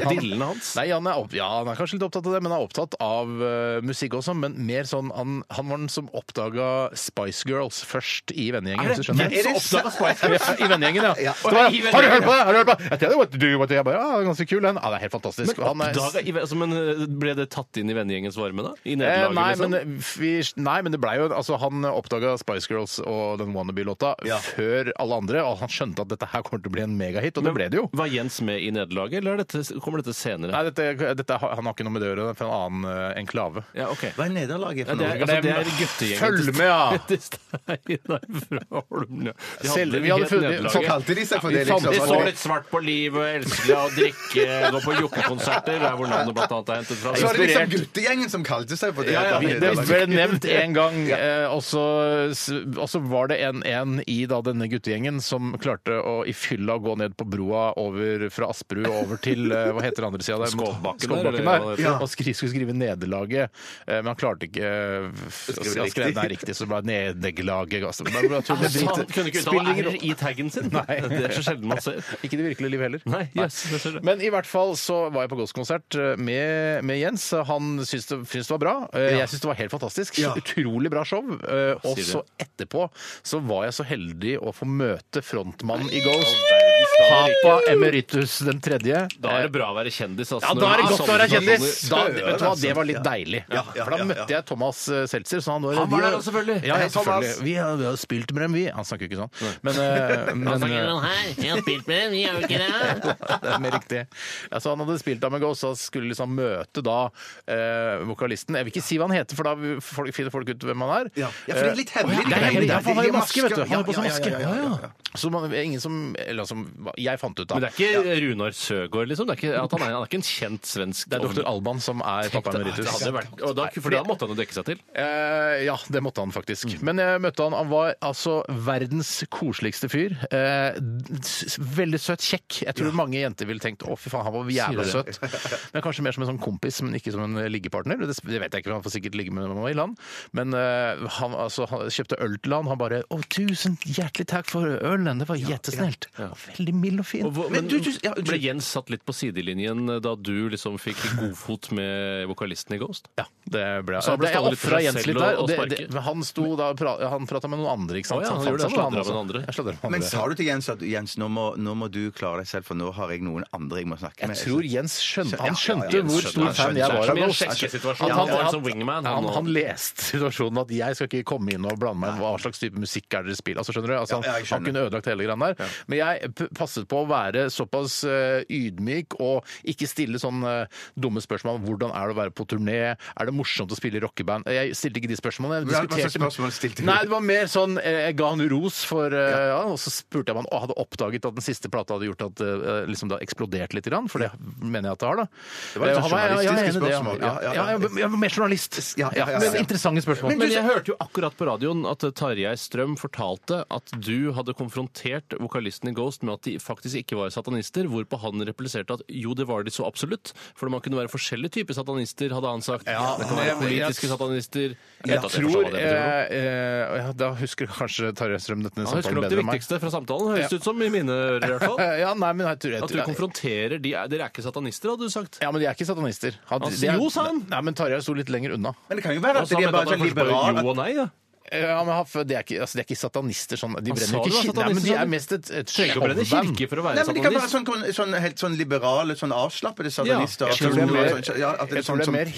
[SPEAKER 3] dillene hans?
[SPEAKER 1] Nei, han er, opp, ja, han er kanskje litt opptatt av det, men han er opptatt av eh, musikk også. Men mer sånn Han, han var den som oppdaga Spice Girls først i vennegjengen. hvis du skjønner.
[SPEAKER 2] Jens som oppdaget
[SPEAKER 1] Spice Girls? I vennegjengen, ja.
[SPEAKER 2] Ja.
[SPEAKER 1] Så bare, har du hørt på det?! Har du hørt på det? I tell you what to do, what to do. Jeg bare, ja, det er ganske kul, den. Ja, det er helt fantastisk. Og han er-
[SPEAKER 3] Oppdaga i- altså, men eh, Ble det tatt inn i vennegjengens varme, da? I
[SPEAKER 1] Eh,
[SPEAKER 3] nederlaget,
[SPEAKER 1] nei,
[SPEAKER 3] liksom?
[SPEAKER 1] men vi, nei, men det blei jo Altså, han oppdaga Spice Girls og den Wannabe-låta
[SPEAKER 2] Ja.
[SPEAKER 1] før alle andre, og han skjønte at dette her kommer til å bli en megahit, og det ble det jo.
[SPEAKER 3] Var Jens med i nederlaget, eller er dette, kommer dette senere?
[SPEAKER 1] Nei, dette, dette, har- han har ikke noe med det å gjøre, det er fra en annen eh, enklave.
[SPEAKER 3] Ja, ok. Ah.
[SPEAKER 2] Hva er nederlaget for
[SPEAKER 3] det er,
[SPEAKER 2] noe?
[SPEAKER 3] altså, det er guttegjengen
[SPEAKER 1] Følg med, ja!
[SPEAKER 3] til Steinar fra Holm. ja. De hadde
[SPEAKER 1] Selv- vi
[SPEAKER 3] helt
[SPEAKER 1] hadde funnet-
[SPEAKER 3] nederlaget.
[SPEAKER 1] såkalt-
[SPEAKER 2] Kalte de seg for
[SPEAKER 1] Ja, vi
[SPEAKER 2] det,
[SPEAKER 1] fant-
[SPEAKER 2] liksom?
[SPEAKER 3] De
[SPEAKER 1] det
[SPEAKER 3] så litt svart på livet, elsket å drikke, gå på jokkekonserter, det er hvor navnet blant annet er hentet fra.
[SPEAKER 2] Så var det liksom guttegjengen som kalte seg for det.
[SPEAKER 3] Ja, ja,
[SPEAKER 2] Det var
[SPEAKER 1] Det
[SPEAKER 2] nederlaget.
[SPEAKER 1] ble nevnt én gang, eh, og så og så var det en, en i da, denne guttegjengen som klarte å i fylla gå ned på broa over fra Asperud og over til eh, hva heter den andre sida der?
[SPEAKER 3] Skovbakken der,
[SPEAKER 1] Skovbakken
[SPEAKER 3] eller
[SPEAKER 1] der.
[SPEAKER 3] hva det
[SPEAKER 1] Og skri, skulle skrive nederlaget, eh, men han klarte ikke eh, f- å
[SPEAKER 2] Skrive
[SPEAKER 1] skrive
[SPEAKER 2] riktig.
[SPEAKER 1] det riktig, så det ble nederlaget. Altså, det ble- det ble tull. Det
[SPEAKER 3] Han
[SPEAKER 1] drit-
[SPEAKER 3] sånn kunne ikke
[SPEAKER 1] spiller
[SPEAKER 3] uttale
[SPEAKER 1] ingen
[SPEAKER 3] R i taggen sin. Nei. Det er så sjelden man ser.
[SPEAKER 1] rolle. Ikke i det virkelige liv heller.
[SPEAKER 3] Nei, yes, jeg ser det.
[SPEAKER 1] Men i hvert fall så var jeg på Ghost-konsert med, med Jens. Han syntes det, syntes det var bra. Eh, Jeg syntes det var helt fantastisk.
[SPEAKER 2] Ja.
[SPEAKER 1] Utrolig bra show. Eh, Og
[SPEAKER 3] Sier det.
[SPEAKER 1] så etterpå så var jeg så heldig å få møte frontmannen i Ghost. Papa Emeritus den tredje.
[SPEAKER 3] Da er det bra å være kjendis. Altså,
[SPEAKER 1] Ja,
[SPEAKER 3] når
[SPEAKER 1] da er det
[SPEAKER 3] man
[SPEAKER 1] godt å
[SPEAKER 3] sånne
[SPEAKER 1] være kjendis! sånn- Da,
[SPEAKER 3] personer.
[SPEAKER 1] vet du hva, Det var litt deilig.
[SPEAKER 2] Ja, ja,
[SPEAKER 1] For da
[SPEAKER 2] ja, ja.
[SPEAKER 1] møtte jeg Thomas eh, Seltzer. Så han, var,
[SPEAKER 3] Han var
[SPEAKER 1] vi-
[SPEAKER 3] der også, selvfølgelig.
[SPEAKER 1] Ja,
[SPEAKER 2] Hei,
[SPEAKER 1] ja, selvfølgelig.
[SPEAKER 2] Thomas.
[SPEAKER 1] Vi, har, vi har spilt med dem, vi. Han snakker jo ikke sånn. Men, eh, men,
[SPEAKER 5] Han
[SPEAKER 1] eh,
[SPEAKER 5] snakker sånn her. Jeg har spilt med dem, vi gjør jo ikke det.
[SPEAKER 1] Det er mer riktig. Altså, han hadde spilt da med Ghost, og skulle liksom møte da eh, vokalisten. Jeg vil ikke si hva han heter, for da vil folk, finner folk ut hvem han er.
[SPEAKER 2] Ja, ja, for det er litt
[SPEAKER 1] Å,
[SPEAKER 2] hemmelig.
[SPEAKER 1] ja, det er hemmelig. Ja, for han har
[SPEAKER 2] De-
[SPEAKER 1] jo
[SPEAKER 2] de
[SPEAKER 1] maske, vet du. Han har på
[SPEAKER 2] masker.
[SPEAKER 1] seg
[SPEAKER 2] Ja, ja,
[SPEAKER 1] maske.
[SPEAKER 2] ja, ja, ja, ja.
[SPEAKER 1] Så man, ingen som Eller som jeg fant ut, da.
[SPEAKER 3] Men det er ikke Runar Søgaard, liksom. Det er ikke, at han, er, han er ikke en kjent svensk
[SPEAKER 1] Det er doktor Alban som er pappa
[SPEAKER 3] Det
[SPEAKER 1] emeritus.
[SPEAKER 3] hadde vært, og da, for da måtte han jo dekke seg til.
[SPEAKER 1] Eh, ja, det måtte han faktisk.
[SPEAKER 3] Mm.
[SPEAKER 1] Men jeg møtte han. Han var altså verdens koseligste fyr. Eh, s- veldig søt, kjekk. Jeg tror mange jenter ville tenkt å fy faen, han var jævla
[SPEAKER 3] Sier
[SPEAKER 1] søt. Men kanskje mer som en sånn kompis, men ikke som en liggepartner. Det, det vet jeg ikke, han får sikkert ligge med noen i land. Men eh, han, altså, han kjøpte øl til han. Han bare å, tusen hjertelig takk for ølen, det var jettesnilt. Veldig mild og fin.
[SPEAKER 3] Og hvor-
[SPEAKER 2] Men
[SPEAKER 3] men
[SPEAKER 2] du- du- ja,
[SPEAKER 3] Ble Jens satt litt på sidelinjen da du liksom fikk godfot med vokalisten i Ghost?
[SPEAKER 1] Ja, det ble
[SPEAKER 3] Så han ble
[SPEAKER 1] det- Jeg
[SPEAKER 3] stående litt for
[SPEAKER 1] ofra
[SPEAKER 3] seg
[SPEAKER 1] Jens
[SPEAKER 3] selv
[SPEAKER 1] litt
[SPEAKER 3] og-
[SPEAKER 1] der.
[SPEAKER 3] og
[SPEAKER 1] Og det,
[SPEAKER 3] sparke.
[SPEAKER 1] det, men han sto da og pra, han prata med noen andre, ikke sant?
[SPEAKER 3] Å ja,
[SPEAKER 1] Så
[SPEAKER 3] han gjorde
[SPEAKER 1] fant
[SPEAKER 3] det.
[SPEAKER 1] seg også.
[SPEAKER 3] Sladra med noen andre.
[SPEAKER 1] Jeg sladra med noen
[SPEAKER 2] Men
[SPEAKER 1] andre.
[SPEAKER 2] sa du til Jens at Jens, nå må, nå må du klare deg selv, for nå har jeg noen andre jeg må snakke
[SPEAKER 1] Jeg
[SPEAKER 2] med?
[SPEAKER 1] tror Jens skjønte,
[SPEAKER 2] Ja, ja,
[SPEAKER 1] han skjønte
[SPEAKER 2] ja, Jens
[SPEAKER 1] hvor
[SPEAKER 2] skjønte-
[SPEAKER 1] stor
[SPEAKER 2] han
[SPEAKER 1] fan
[SPEAKER 2] skjønte-
[SPEAKER 1] jeg var av
[SPEAKER 3] skjønte-
[SPEAKER 1] Ghost.
[SPEAKER 3] skjønte- sjekkesituasjon.
[SPEAKER 1] Han,
[SPEAKER 3] Han var
[SPEAKER 1] han,
[SPEAKER 3] som wingman,
[SPEAKER 1] han,
[SPEAKER 3] han
[SPEAKER 1] han,
[SPEAKER 3] og-
[SPEAKER 1] leste situasjonen at jeg skal ikke komme inn og blande meg inn hva slags type musikk er det dere spiller. Altså, skjønner du? Altså, han,
[SPEAKER 2] Ja, ja, jeg
[SPEAKER 1] han
[SPEAKER 2] skjønner.
[SPEAKER 1] kunne ødelagt hele greia der. Men jeg p- passet på å være såpass eh, ydmyk og ikke stille sånn eh, dumme spørsmål om hvordan er det å være på turné, er det morsomt å spille i rockeband? Jeg stilte ikke de spørsmålene.
[SPEAKER 2] Hva- hva
[SPEAKER 1] Jeg
[SPEAKER 2] slags
[SPEAKER 1] diskuterte
[SPEAKER 2] spørsmål stilte du?
[SPEAKER 1] Nei, det var mer sånn eh, Jeg ga han ros for eh, ja. Og så spurte jeg om han å, hadde oppdaget at den siste plata hadde gjort at eh, liksom det hadde eksplodert litt, grann, for det mener jeg at det har, da.
[SPEAKER 2] var litt
[SPEAKER 1] Eh, han var- ja, ja, jeg er enig
[SPEAKER 2] journalistiske
[SPEAKER 1] i det, ja.
[SPEAKER 2] spørsmål.
[SPEAKER 1] Ja,
[SPEAKER 2] Ja, ja,
[SPEAKER 1] ja,
[SPEAKER 2] ja.
[SPEAKER 1] jeg- jeg var mer journalist.
[SPEAKER 2] Ja, ja, ja, ja,
[SPEAKER 1] Men
[SPEAKER 2] ja.
[SPEAKER 1] interessante spørsmål.
[SPEAKER 3] Men jeg hørte jo akkurat på radioen at Tarjei Strøm fortalte at du hadde konfrontert vokalisten i Ghost med at de faktisk ikke var satanister, hvorpå han repliserte at jo, det var de så absolutt, for man kunne være forskjellige typer satanister, hadde han sagt.
[SPEAKER 1] Ja,
[SPEAKER 3] det kan
[SPEAKER 1] men
[SPEAKER 3] være
[SPEAKER 1] jeg-
[SPEAKER 3] politiske
[SPEAKER 1] jeg-
[SPEAKER 3] satanister
[SPEAKER 1] Jeg
[SPEAKER 3] vet at jeg forstår
[SPEAKER 1] tror
[SPEAKER 3] hva det
[SPEAKER 1] eh,
[SPEAKER 3] betyr for noe.
[SPEAKER 1] eh, ja, Da husker kanskje Tarjei Strøm dette
[SPEAKER 3] Han husker
[SPEAKER 1] samtalen
[SPEAKER 3] nok det
[SPEAKER 1] bedre enn meg.
[SPEAKER 3] viktigste fra samtalen, høres det ut som, i mine ører i hvert fall.
[SPEAKER 1] Eh, Ja, nei, men jeg tror, jeg,
[SPEAKER 3] At du konfronterer de Dere er ikke satanister, hadde du sagt.
[SPEAKER 1] ja, men de er ikke satanister. Han-
[SPEAKER 3] Han-
[SPEAKER 1] de er-
[SPEAKER 3] Jo, sa han.
[SPEAKER 1] Nei, men Tarjei sto litt lenger unna.
[SPEAKER 2] Men det kan jo være
[SPEAKER 3] Og
[SPEAKER 2] at de
[SPEAKER 3] så han
[SPEAKER 2] er
[SPEAKER 3] mente at
[SPEAKER 2] bare
[SPEAKER 3] han
[SPEAKER 2] sånn
[SPEAKER 3] kanskje bare
[SPEAKER 2] liberale
[SPEAKER 3] jo og nei, da.
[SPEAKER 1] Ja, men han- det er ikke, altså, det er ikke satanister sånn. De brenner
[SPEAKER 3] sa
[SPEAKER 1] jo
[SPEAKER 3] du var
[SPEAKER 1] ikke kirke. Nei, men
[SPEAKER 3] satanist,
[SPEAKER 1] de
[SPEAKER 3] sa
[SPEAKER 1] er
[SPEAKER 3] du?
[SPEAKER 1] mest et, et
[SPEAKER 3] Trenger ikke å brenne
[SPEAKER 1] showband.
[SPEAKER 3] kirke for å
[SPEAKER 2] Nei,
[SPEAKER 3] være
[SPEAKER 2] men De kan være sånn,
[SPEAKER 3] satanist.
[SPEAKER 2] sånn, helt sånn liberale, sånn avslappede satanister.
[SPEAKER 1] Jeg tror
[SPEAKER 2] At
[SPEAKER 1] det
[SPEAKER 2] det
[SPEAKER 1] er
[SPEAKER 2] er
[SPEAKER 1] mer,
[SPEAKER 2] sånn- ja, at det er
[SPEAKER 1] jeg tror
[SPEAKER 2] sånn
[SPEAKER 1] det er
[SPEAKER 2] som-
[SPEAKER 1] mer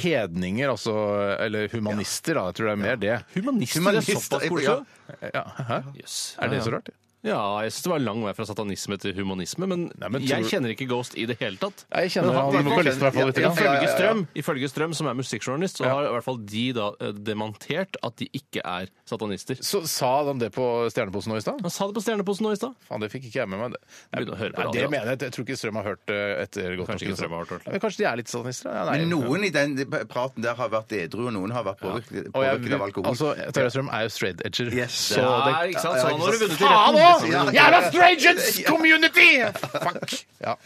[SPEAKER 1] hedninger, altså, eller humanister, da. Jeg tror det er mer det.
[SPEAKER 3] Humanister er
[SPEAKER 2] Humanister,
[SPEAKER 3] såpass
[SPEAKER 2] ja.
[SPEAKER 3] koselig.
[SPEAKER 1] Ja, hæ?
[SPEAKER 3] Yes.
[SPEAKER 1] Er det så rart?
[SPEAKER 3] Ja, jeg synes det var lang vei fra satanisme til humanisme, men,
[SPEAKER 1] Nei, men
[SPEAKER 3] jeg
[SPEAKER 1] tror-
[SPEAKER 3] kjenner ikke Ghost i det hele tatt.
[SPEAKER 1] Nei, jeg kjenner
[SPEAKER 3] Men
[SPEAKER 1] han
[SPEAKER 3] i hvert
[SPEAKER 1] vokalisten i hvert fall litt,
[SPEAKER 3] fall-
[SPEAKER 1] ja.
[SPEAKER 2] Ja, ja, ja,
[SPEAKER 3] Ifølge
[SPEAKER 2] ja.
[SPEAKER 3] Strøm, ifølge Strøm, som er musikkjournalist, så
[SPEAKER 1] Ja.
[SPEAKER 3] har i hvert fall de da eh, dementert at de ikke er satanister.
[SPEAKER 1] Så sa han det på Stjerneposen nå i stad?
[SPEAKER 3] Han sa det på Stjerneposen nå i stad.
[SPEAKER 1] Faen, det fikk ikke jeg med meg.
[SPEAKER 3] Begynner å høre på
[SPEAKER 1] Nei,
[SPEAKER 3] radio,
[SPEAKER 1] det
[SPEAKER 3] altså.
[SPEAKER 1] mener jeg. Jeg tror ikke Strøm har hørt det etter Godt
[SPEAKER 3] Kanskje
[SPEAKER 1] norsk.
[SPEAKER 3] ikke
[SPEAKER 1] innsatt.
[SPEAKER 3] Strøm har hørt det.
[SPEAKER 1] Men Kanskje de er litt satanister? da? Ja, nei.
[SPEAKER 2] Men noen i den praten der har vært edru, og noen har vært påvirket,
[SPEAKER 1] Og jeg,
[SPEAKER 2] påvirket av alkohol.
[SPEAKER 1] altså, Tarjei Strøm er jo straight edger.
[SPEAKER 2] Yes.
[SPEAKER 1] Så
[SPEAKER 3] Ja,
[SPEAKER 1] det
[SPEAKER 3] ikke sant? Så han har du vunnet i
[SPEAKER 1] Faen
[SPEAKER 3] retten.
[SPEAKER 1] òg!
[SPEAKER 2] Ja, ja, ja.
[SPEAKER 1] Jævla strangers community! Fuck. Ja.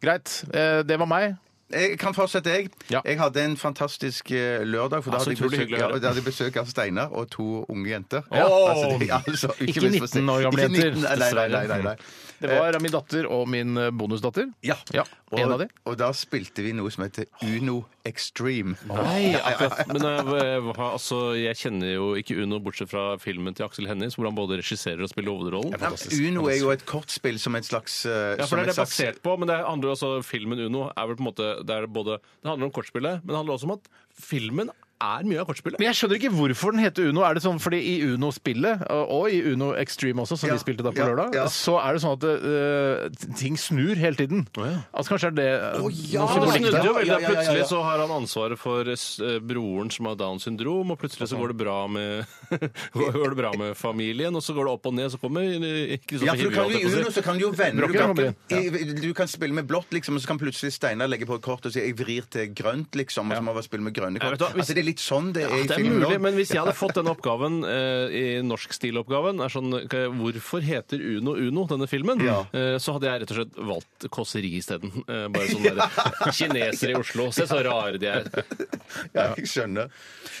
[SPEAKER 1] Greit. Eh, Det var meg.
[SPEAKER 2] Jeg kan fortsette, jeg.
[SPEAKER 1] Ja. Ah,
[SPEAKER 2] Jeg hadde en fantastisk eh, lørdag. For da
[SPEAKER 3] Ja, så
[SPEAKER 2] hadde jeg
[SPEAKER 3] utrolig
[SPEAKER 2] besøk,
[SPEAKER 3] hyggelig å
[SPEAKER 2] ja,
[SPEAKER 3] høre.
[SPEAKER 2] da hadde jeg besøk av Steinar og to unge jenter.
[SPEAKER 1] Åh!
[SPEAKER 2] det- altså,
[SPEAKER 1] Ikke
[SPEAKER 2] minst for å si-
[SPEAKER 1] 19 år gamle
[SPEAKER 2] ikke
[SPEAKER 1] jenter,
[SPEAKER 2] 19, Nei, nei, nei. nei, nei.
[SPEAKER 1] Det var min datter og min
[SPEAKER 3] eh,
[SPEAKER 1] bonusdatter.
[SPEAKER 2] Ja.
[SPEAKER 1] Ja,
[SPEAKER 2] Og,
[SPEAKER 1] en av de.
[SPEAKER 2] og da spilte vi noe som heter Uno Extreme.
[SPEAKER 3] Nei, akkurat. Men eh, hva- altså, jeg kjenner jo ikke Uno bortsett fra filmen til Aksel Hennie, så hvor han både regisserer og spiller hovedrollen.
[SPEAKER 2] Nei, Uno er jo et kortspill som et slags eh,
[SPEAKER 3] Ja, for
[SPEAKER 2] som
[SPEAKER 3] det er
[SPEAKER 2] et
[SPEAKER 3] det
[SPEAKER 2] slags-
[SPEAKER 3] basert på, men det handler jo også filmen Uno er vel på en måte, det, er både, det handler om kortspillet, men det handler også om at filmen er mye av kortspillet.
[SPEAKER 1] Men jeg skjønner ikke hvorfor den heter Uno. Er det sånn fordi i Uno-spillet, og- og i Uno Extreme også, som
[SPEAKER 2] Ja,
[SPEAKER 1] vi spilte da på
[SPEAKER 2] ja,
[SPEAKER 1] lørdag,
[SPEAKER 2] ja.
[SPEAKER 1] så er det sånn at eh, ting snur hele tiden. Altså kanskje er det
[SPEAKER 2] ja.
[SPEAKER 1] Nå
[SPEAKER 3] Så det
[SPEAKER 1] symbolikken
[SPEAKER 3] snudde
[SPEAKER 1] der.
[SPEAKER 3] jo veldig,
[SPEAKER 2] Ja, ja, ja, ja, ja.
[SPEAKER 3] Plutselig så har han ansvaret for eh, broren som har Downs syndrom, og plutselig så går det bra med, går det bra med familien, og så går det opp og ned, så kommer eh,
[SPEAKER 2] Ja, for
[SPEAKER 3] Kristoffer
[SPEAKER 2] du kan jo i
[SPEAKER 3] Hivju.
[SPEAKER 2] Uno så kan du jo vende du
[SPEAKER 1] Brokken
[SPEAKER 2] kan,
[SPEAKER 1] kommer inn.
[SPEAKER 2] i- du kan spille med blått, liksom, og så kan plutselig Steinar legge på et kort og si 'jeg vrir til grønt', liksom. Og så må man spille med grønne
[SPEAKER 3] Ja,
[SPEAKER 2] kort.
[SPEAKER 3] vet du hva, hvis-
[SPEAKER 2] Altså, det er litt sånn det er i
[SPEAKER 3] Ah, Det er
[SPEAKER 2] filmen.
[SPEAKER 3] mulig,
[SPEAKER 2] også.
[SPEAKER 3] men hvis jeg hadde fått denne oppgaven eh, i norskstiloppgaven er sånn, k- Hvorfor heter Uno Uno, denne filmen?
[SPEAKER 2] Ja.
[SPEAKER 3] Eh, så hadde jeg rett og slett valgt kåseri isteden. Eh, bare sånn der Kinesere i Oslo. Se så rare de er.
[SPEAKER 2] Ja, jeg skjønner.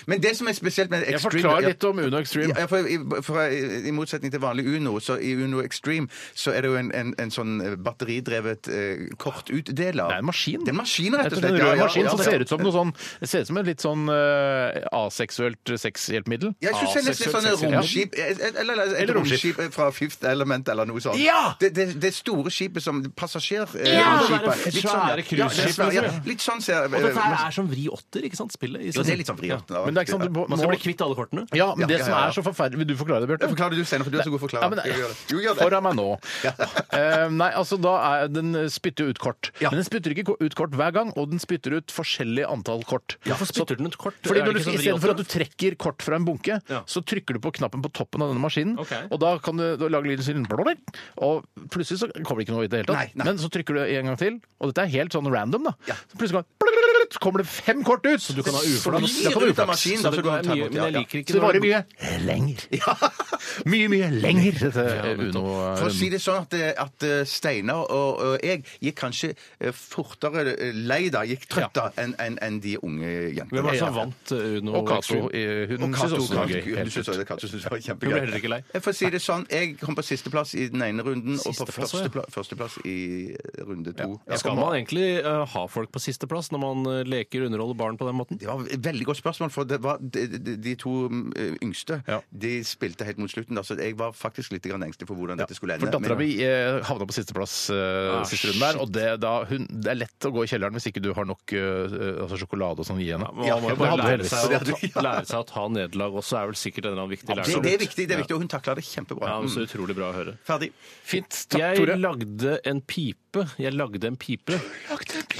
[SPEAKER 2] Men det som er spesielt med
[SPEAKER 1] Jeg
[SPEAKER 2] Extreme
[SPEAKER 1] forklarer
[SPEAKER 2] Ja.
[SPEAKER 1] litt om Uno Extreme.
[SPEAKER 2] Ja, for i, for i, I motsetning til vanlig Uno, så i Uno Extreme så er det jo en, en, en sånn batteridrevet eh, kortutdeler.
[SPEAKER 1] Det er en maskin.
[SPEAKER 2] Det er en maskin,
[SPEAKER 1] Rett
[SPEAKER 2] rett og
[SPEAKER 1] og slett,
[SPEAKER 2] slett.
[SPEAKER 1] en rød maskin som ser ut som noe sånn Det ser ut som et litt sånn eh, aseksuelt sexhjelpemiddel.
[SPEAKER 2] Ja, jeg
[SPEAKER 3] Ah,
[SPEAKER 2] synes det er nesten litt sånn romskip eller, eller, et
[SPEAKER 1] Eller romskip.
[SPEAKER 2] romskip eh, fra Fifth Element eller noe sånt.
[SPEAKER 1] Ja!
[SPEAKER 2] Det, det, det store skipet som passasjerskipet.
[SPEAKER 3] Ja,
[SPEAKER 2] Litt
[SPEAKER 3] det er det
[SPEAKER 2] sånn, ja.
[SPEAKER 3] svære
[SPEAKER 2] Ja, det er
[SPEAKER 3] cruiseskipet,
[SPEAKER 2] svært, ja.
[SPEAKER 3] liksom.
[SPEAKER 2] Litt sånn ser
[SPEAKER 3] Og dette her er som vri åtter, ikke sant? Spillet. i
[SPEAKER 2] Jo, det
[SPEAKER 3] seg
[SPEAKER 2] er
[SPEAKER 3] selv.
[SPEAKER 2] litt sånn vriåten.
[SPEAKER 3] Ja.
[SPEAKER 2] da.
[SPEAKER 1] Men det er ikke sant, du må-
[SPEAKER 3] Man skal bli kvitt alle kortene.
[SPEAKER 1] Ja, men
[SPEAKER 2] Ja,
[SPEAKER 1] det
[SPEAKER 2] ja,
[SPEAKER 1] som
[SPEAKER 2] ja, ja.
[SPEAKER 1] er så forferdelig Vil du forklare det,
[SPEAKER 2] Ja,
[SPEAKER 1] Bjørte?
[SPEAKER 2] Forklarer du, Steinar, for du er så god forklarer.
[SPEAKER 1] Ja, men-
[SPEAKER 2] Jo, gjør det. Jo, gjør det.
[SPEAKER 1] Foran meg nå. Eh, nei, altså da er Den spytter jo ut kort.
[SPEAKER 2] Ja.
[SPEAKER 1] Men den spytter ikke ko- ut kort hver gang, og den spytter ut forskjellig antall kort.
[SPEAKER 3] Hvorfor spytter den ut kort?
[SPEAKER 1] Fordi
[SPEAKER 3] Er
[SPEAKER 1] når
[SPEAKER 3] det
[SPEAKER 1] du,
[SPEAKER 3] ikke sånn
[SPEAKER 1] I stedet for at du
[SPEAKER 3] vriåtter?
[SPEAKER 1] trekker kort fra en bunke,
[SPEAKER 3] Ja.
[SPEAKER 1] så trykker du på knappen på toppen av denne maskinen.
[SPEAKER 3] Ok.
[SPEAKER 1] Og da kan du, du lage lyden sin blåler, Og plutselig så kommer det ikke noe i det hele
[SPEAKER 2] Nei,
[SPEAKER 1] tatt.
[SPEAKER 2] nei.
[SPEAKER 1] Men så trykker du en gang til, og dette er helt sånn random, da.
[SPEAKER 2] Ja.
[SPEAKER 1] Så plutselig kommer, så kommer det fem kort ut! Så
[SPEAKER 3] du kan ha uflaks.
[SPEAKER 2] Glir ut av maskinen, da,
[SPEAKER 3] Så det
[SPEAKER 2] så du
[SPEAKER 3] går
[SPEAKER 2] kan ta
[SPEAKER 3] mye,
[SPEAKER 2] imot,
[SPEAKER 3] men
[SPEAKER 2] ja,
[SPEAKER 3] jeg
[SPEAKER 2] ja.
[SPEAKER 3] liker ikke
[SPEAKER 1] Så det
[SPEAKER 3] når
[SPEAKER 1] varer mye lenger. Mye, mye lenger, dette
[SPEAKER 2] For å si
[SPEAKER 1] Uno-runden.
[SPEAKER 2] det sånn at, eh, at eh, Steinar og, og jeg gikk kanskje eh, fortere eh, lei da, gikk trøtt da, enn enn- enn de unge jentene.
[SPEAKER 3] Hvem var det
[SPEAKER 1] Ja.
[SPEAKER 3] som vant eh, Uno
[SPEAKER 1] Og Cato.
[SPEAKER 3] Extreme?
[SPEAKER 1] eh, Hun
[SPEAKER 2] Og
[SPEAKER 1] syns
[SPEAKER 2] Cato-
[SPEAKER 1] også det var gøy. helt
[SPEAKER 2] Cato- du synes
[SPEAKER 1] fint.
[SPEAKER 2] også det, Cato synes det var
[SPEAKER 3] Hun ble heller
[SPEAKER 2] kjempegøy.
[SPEAKER 3] ikke lei.
[SPEAKER 2] Jeg får si det sånn, jeg kom på sisteplass i den ene runden, og på
[SPEAKER 3] Sisteplass, ja.
[SPEAKER 2] førsteplass, førsteplass i runde to. Ja.
[SPEAKER 3] Skal man egentlig eh, ha folk på sisteplass når man eh, leker og underholder barn på den måten?
[SPEAKER 2] Det var et veldig godt spørsmål, for det var de, de, de to mm, yngste
[SPEAKER 1] Ja.
[SPEAKER 2] de spilte helt mot slutten. Da, så jeg var faktisk litt grann engstelig for hvordan dette skulle ende.
[SPEAKER 1] For dattera
[SPEAKER 2] men-
[SPEAKER 1] mi eh, havna på sisteplass eh,
[SPEAKER 3] Ah,
[SPEAKER 1] siste runden der. Og det, da, hun, det er lett å gå i kjelleren hvis ikke du har nok eh, altså sjokolade og sånn å gi henne.
[SPEAKER 3] Man
[SPEAKER 2] Ja,
[SPEAKER 3] må
[SPEAKER 2] det
[SPEAKER 3] jo bare
[SPEAKER 1] hadde
[SPEAKER 3] lære
[SPEAKER 1] du
[SPEAKER 3] seg, å
[SPEAKER 2] heldigvis.
[SPEAKER 3] ta, lære seg å ta nederlag også, er vel sikkert en eller annen viktig
[SPEAKER 2] det,
[SPEAKER 3] lærdom.
[SPEAKER 2] det er viktig, det er viktig, og hun takla det kjempebra.
[SPEAKER 3] Ja, men Så
[SPEAKER 2] Mm.
[SPEAKER 3] utrolig bra å høre.
[SPEAKER 2] Ferdig.
[SPEAKER 1] Fint. Takk,
[SPEAKER 3] Jeg
[SPEAKER 1] Tore.
[SPEAKER 3] lagde en pipe. Jeg lagde en pipe.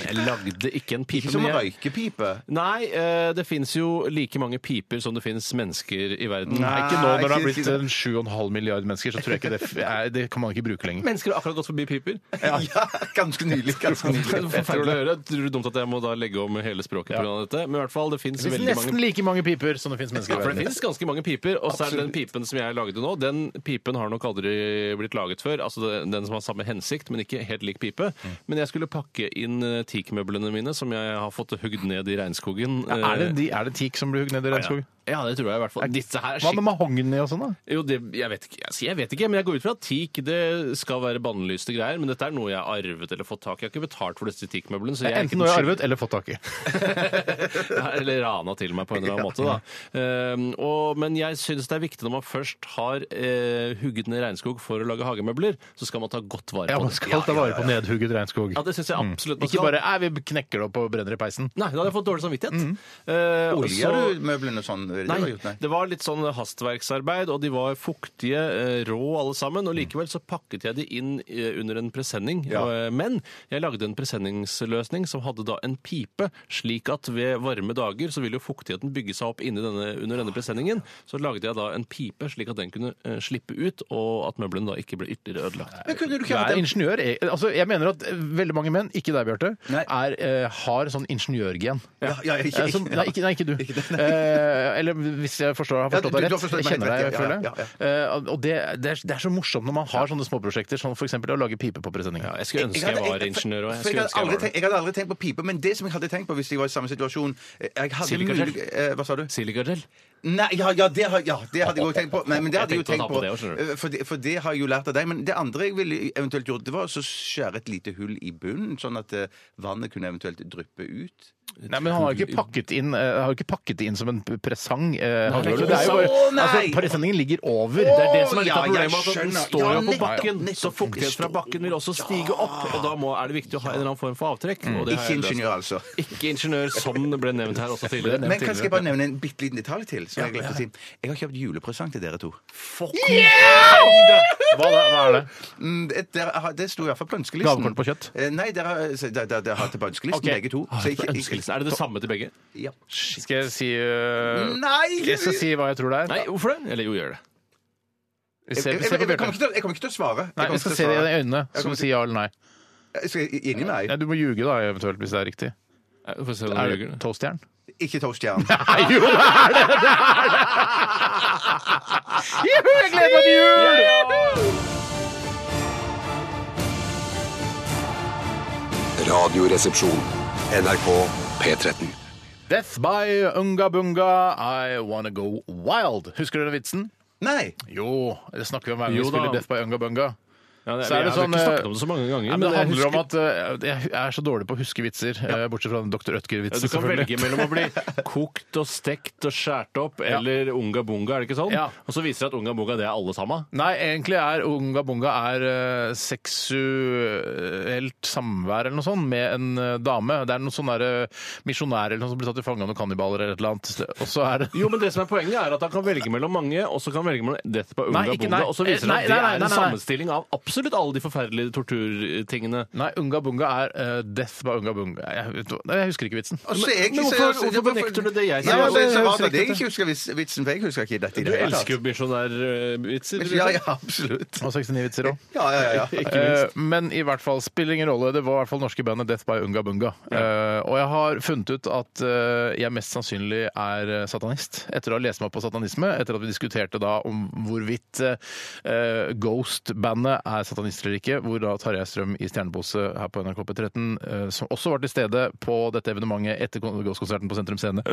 [SPEAKER 3] Jeg lagde ikke en pipe.
[SPEAKER 2] Ikke som
[SPEAKER 3] men
[SPEAKER 2] en
[SPEAKER 3] jeg-
[SPEAKER 2] røykepipe.
[SPEAKER 3] Nei, eh, det fins jo like mange piper som det fins mennesker i verden.
[SPEAKER 1] Nei,
[SPEAKER 3] Nei,
[SPEAKER 1] ikke nå når det har
[SPEAKER 2] ikke-
[SPEAKER 1] blitt en 7,5 milliard mennesker, så tror jeg ikke det, f- nei, det kan man ikke bruke lenger.
[SPEAKER 3] Mennesker har akkurat gått forbi piper.
[SPEAKER 2] Ja, ganske nylig. Ganske
[SPEAKER 3] Det er
[SPEAKER 2] nylig.
[SPEAKER 3] Forferdelig å høre. Jeg tror det er dumt at jeg må da legge om hele språket pga. av dette. Men i hvert fall, det fins
[SPEAKER 1] Det finnes
[SPEAKER 3] veldig mange
[SPEAKER 1] nesten like mange piper som det finnes
[SPEAKER 3] Ja,
[SPEAKER 1] mennesker i
[SPEAKER 3] for det
[SPEAKER 1] verden.
[SPEAKER 3] finnes ganske mange piper, og så er det den pipen som jeg lagde nå, den pipen har nok aldri blitt laget før. Altså det- den som har samme hensikt, men ikke helt lik pipe.
[SPEAKER 1] Mm.
[SPEAKER 3] Men jeg skulle pakke inn eh, teakmøblene mine, som jeg har fått hugd ned i regnskogen.
[SPEAKER 1] Ja, Er det,
[SPEAKER 3] Eh,
[SPEAKER 1] de, er det teak som blir hugd ned i regnskog?
[SPEAKER 3] Ja, det tror jeg i hvert fall. Disse her er
[SPEAKER 1] Hva med
[SPEAKER 3] skikk...
[SPEAKER 1] mahogni og sånn, da?
[SPEAKER 3] Jo, det, jeg, vet ikke, altså, jeg vet ikke, men jeg går ut fra at teak det skal være bannlyste greier, men dette er noe jeg har arvet eller fått tak i. Jeg har ikke betalt for disse teakmøblene. så jeg er ikke
[SPEAKER 1] Enten
[SPEAKER 3] den
[SPEAKER 1] noe jeg har arvet
[SPEAKER 3] skyldige.
[SPEAKER 1] eller fått tak i.
[SPEAKER 3] Ja, Eller rana til meg på en eller annen måte, da. Ehm, og, men jeg syns det er viktig når man først har eh, hugget ned regnskog for å lage hagemøbler, så skal man ta godt vare
[SPEAKER 1] Ja,
[SPEAKER 3] på
[SPEAKER 1] man
[SPEAKER 3] det.
[SPEAKER 1] skal ta vare på nedhugget regnskog.
[SPEAKER 3] Ja, det syns jeg absolutt man
[SPEAKER 1] Ikke
[SPEAKER 3] skal.
[SPEAKER 1] bare 'æ, vi knekker det opp og brenner i peisen'. Mm.
[SPEAKER 3] Nei, da hadde jeg fått dårlig samvittighet. Eh,
[SPEAKER 2] Oljer
[SPEAKER 3] så-
[SPEAKER 2] du møblene sånn? ennå? er det det du har
[SPEAKER 3] Nei,
[SPEAKER 2] gjort? Nei.
[SPEAKER 3] det var litt sånn hastverksarbeid, og de var fuktige, eh, rå alle sammen. Og likevel så pakket jeg de inn eh, under en presenning.
[SPEAKER 2] Ja.
[SPEAKER 3] Eh, Men jeg lagde en presenningsløsning som hadde da en pipe, slik at ved varme dager så ville jo fuktigheten bygge seg opp inni denne, under denne presenningen. Så lagde jeg da en pipe, slik at den kunne eh, slippe ut, og at møblene da ikke ble ytterligere ødelagt.
[SPEAKER 2] Men kunne du
[SPEAKER 1] Du
[SPEAKER 2] ikke hatt
[SPEAKER 1] er
[SPEAKER 2] en
[SPEAKER 1] ingeniør. Jeg- Altså, jeg mener at veldig mange menn, ikke deg, Bjarte,
[SPEAKER 2] Nei.
[SPEAKER 1] er, eh, har sånn ingeniørgen.
[SPEAKER 2] Ja, ja, ikke-
[SPEAKER 1] Eh, som- nei, ikke, nei, ikke du. Eh, eller hvis jeg forstår, har
[SPEAKER 2] Ja,
[SPEAKER 1] forstått
[SPEAKER 2] du-
[SPEAKER 1] deg
[SPEAKER 2] du
[SPEAKER 1] rett.
[SPEAKER 2] har forstått
[SPEAKER 1] Jeg
[SPEAKER 2] meg
[SPEAKER 1] kjenner
[SPEAKER 2] rett,
[SPEAKER 1] deg,
[SPEAKER 2] ja,
[SPEAKER 1] føler
[SPEAKER 2] ja,
[SPEAKER 1] jeg. Eh, og det, det, er, det er så morsomt når man har sånne småprosjekter som for eksempel å lage pipe på presenninger.
[SPEAKER 3] Ja, jeg skulle ønske jeg, var ingeniør òg.
[SPEAKER 2] for jeg, hadde aldri tenkt, jeg hadde aldri tenkt på pipe, men det som jeg hadde tenkt på hvis jeg var i samme situasjon eh, jeg hadde
[SPEAKER 3] Silikagel.
[SPEAKER 2] mulig- eh, Hva sa du?
[SPEAKER 3] Silikagel.
[SPEAKER 2] Nei, ja, ja, det, har- ja, det hadde jeg òg tenkt på. Nei, men det hadde jeg jo
[SPEAKER 3] Jeg
[SPEAKER 2] tenkt
[SPEAKER 3] tenkte å ta
[SPEAKER 2] på,
[SPEAKER 3] på det også, skjønner du.
[SPEAKER 2] eh, for, det, for det har jeg jo lært av deg. Men det andre jeg ville eventuelt gjort, det var å skjære et lite hull i bunnen, sånn at eh, vannet kunne eventuelt dryppe ut.
[SPEAKER 1] Nei, men han har jo ikke pakket inn, eh, han har jo ikke pakket det inn som en presang. eh, han gjør
[SPEAKER 3] det er
[SPEAKER 1] det.
[SPEAKER 3] ikke
[SPEAKER 1] Det er jo
[SPEAKER 2] presang. Å,
[SPEAKER 1] bare,
[SPEAKER 2] nei!
[SPEAKER 1] altså, presenningen ligger over.
[SPEAKER 3] Det er det som er litt
[SPEAKER 2] Ja,
[SPEAKER 3] av
[SPEAKER 2] jeg
[SPEAKER 3] problemet. at Den
[SPEAKER 2] skjønner.
[SPEAKER 3] står
[SPEAKER 2] Ja,
[SPEAKER 3] jo på
[SPEAKER 2] nettopp,
[SPEAKER 3] bakken, så
[SPEAKER 2] nettopp.
[SPEAKER 3] fuktighet fra bakken vil også stige opp. Og da må, er det viktig å ha en eller annen form for avtrekk. Og det har
[SPEAKER 2] Ikke
[SPEAKER 3] jeg løst.
[SPEAKER 2] ingeniør, altså.
[SPEAKER 3] Ikke ingeniør, som det ble nevnt her også tidligere.
[SPEAKER 2] Men kan skal jeg bare nevne en bitte liten detalj til? Som jeg, glemte å si. jeg har kjøpt julepresang til dere to.
[SPEAKER 1] Hva, da, hva er det?
[SPEAKER 2] Mm, Det, dere har- det sto i hvert fall på ønskelisten.
[SPEAKER 1] Gavekort på kjøtt?
[SPEAKER 2] Eh, Nei, dere har- så dere- dere har det på ønskelisten,
[SPEAKER 3] Ok.
[SPEAKER 2] begge to.
[SPEAKER 3] Ah,
[SPEAKER 2] Så
[SPEAKER 3] for
[SPEAKER 2] ikke- ikke-
[SPEAKER 3] ønskelisten. Er det det samme til begge?
[SPEAKER 2] Ja.
[SPEAKER 1] Skal jeg si eh,
[SPEAKER 2] Nei!
[SPEAKER 1] Jeg skal si hva jeg tror det er.
[SPEAKER 3] Nei, hvorfor det? Eller jo, gjør det.
[SPEAKER 1] Vi
[SPEAKER 2] Jeg,
[SPEAKER 1] ser,
[SPEAKER 2] jeg,
[SPEAKER 1] vi ser
[SPEAKER 2] jeg,
[SPEAKER 1] på
[SPEAKER 2] jeg,
[SPEAKER 1] Bjarte.
[SPEAKER 2] kommer ikke til, å- jeg kommer ikke til å svare. Jeg
[SPEAKER 1] Nei, vi
[SPEAKER 2] kommer ikke
[SPEAKER 1] skal
[SPEAKER 2] til
[SPEAKER 1] se
[SPEAKER 2] å
[SPEAKER 1] det i
[SPEAKER 2] svare.
[SPEAKER 1] øynene,
[SPEAKER 2] Jeg
[SPEAKER 1] så må
[SPEAKER 2] kommer
[SPEAKER 1] du si ja eller nei.
[SPEAKER 2] Jeg skal inni meg.
[SPEAKER 1] Nei, Du må ljuge da, eventuelt, hvis det er riktig.
[SPEAKER 3] Nei, vi får se om
[SPEAKER 1] Er
[SPEAKER 3] du
[SPEAKER 1] det
[SPEAKER 3] ljuger.
[SPEAKER 1] toastjern?
[SPEAKER 2] Ikke toastjern.
[SPEAKER 1] Nei, jo, det er det! Det er det! Juhu, jeg gleder meg til jul!
[SPEAKER 4] Radioresepsjon. NRK P13.
[SPEAKER 1] Death by Unga Bunga, I Wanna Go Wild. Husker dere vitsen?
[SPEAKER 2] Nei!
[SPEAKER 1] Jo, det snakker vi om hver gang
[SPEAKER 3] Jo
[SPEAKER 1] vi
[SPEAKER 3] da.
[SPEAKER 1] spiller Death by Unga Bunga.
[SPEAKER 3] Ja, det,
[SPEAKER 1] Så er det
[SPEAKER 3] jeg har
[SPEAKER 1] sånn, eh,
[SPEAKER 3] ikke snakket om det så mange ganger.
[SPEAKER 1] Ja, men det
[SPEAKER 3] jeg
[SPEAKER 1] handler om
[SPEAKER 3] husker-
[SPEAKER 1] at eh, jeg er så dårlig på å huske vitser, eh, bortsett fra den Dr.
[SPEAKER 3] Ja,
[SPEAKER 1] Ødker-vitsen.
[SPEAKER 3] du kan
[SPEAKER 1] selvfølgelig.
[SPEAKER 3] velge mellom å bli kokt og stekt og skåret opp eller unga bunga, er det ikke sånn?
[SPEAKER 1] Ja.
[SPEAKER 3] Og så viser det at unga bunga det er alle sammen.
[SPEAKER 1] Nei, egentlig er Unga Bunga er eh, seksuelt samvær eller noe sånt med en eh, dame. Det er noen sånne der, eh, misjonærer eller noe som blir tatt til fange av noen kannibaler eller et eller annet. Og så er det
[SPEAKER 3] Jo, men det som er poenget er at han kan velge mellom mange, og så kan han velge mellom Death by Unga
[SPEAKER 1] Nei, ikke-
[SPEAKER 3] Bunga,
[SPEAKER 1] nei.
[SPEAKER 3] og så viser det
[SPEAKER 1] Nei,
[SPEAKER 3] at det
[SPEAKER 1] nei, nei,
[SPEAKER 3] er
[SPEAKER 1] nei,
[SPEAKER 3] en
[SPEAKER 1] nei.
[SPEAKER 3] sammenstilling av absolutt alle de forferdelige torturtingene.
[SPEAKER 1] Nei, Unga Bunga er eh, Death by Unga Bunga. Jeg, vet hva- Nei, jeg husker ikke vitsen.
[SPEAKER 2] Og så er jeg ikke-
[SPEAKER 3] Men hvorfor- hvorfor benekter du det jeg sier?
[SPEAKER 2] Ja, men det
[SPEAKER 1] Jeg husker
[SPEAKER 2] er så rart at jeg
[SPEAKER 1] ikke
[SPEAKER 2] ikke husker vis- vitsen, for jeg husker ikke dette i
[SPEAKER 3] Du
[SPEAKER 2] det hele
[SPEAKER 3] elsker
[SPEAKER 2] tatt.
[SPEAKER 3] jo misjonærvitser.
[SPEAKER 2] Ja, ja, absolutt.
[SPEAKER 1] Og 69-vitser òg.
[SPEAKER 2] Ja, ja, Eh, ja. ja.
[SPEAKER 1] Eh, men i hvert fall spiller ingen rolle. Det var i hvert fall norske bandet Death by Unga Bunga. Eh, og jeg har funnet ut at eh, jeg mest sannsynlig er eh, satanist. Etter å ha lest meg opp på satanisme, etter at vi diskuterte da om hvorvidt eh, Ghost-bandet er satanister eller ikke, hvor da Tarjei Strøm i Stjernepose her på NRK P13, eh, som også var til stede på dette evenementet etter kon- Ghost-konserten på Sentrum Scene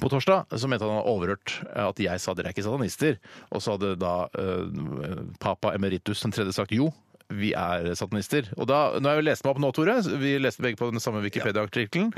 [SPEAKER 1] på torsdag, så mente han han hadde overhørt eh, at jeg sa dere er ikke satanister. Og så hadde da eh, papa emeritus den tredje sagt jo vi er satanister. Og da, nå har jeg jo lest meg opp nå, Tore. Vi leste begge på den samme Wikipedia-artikkelen.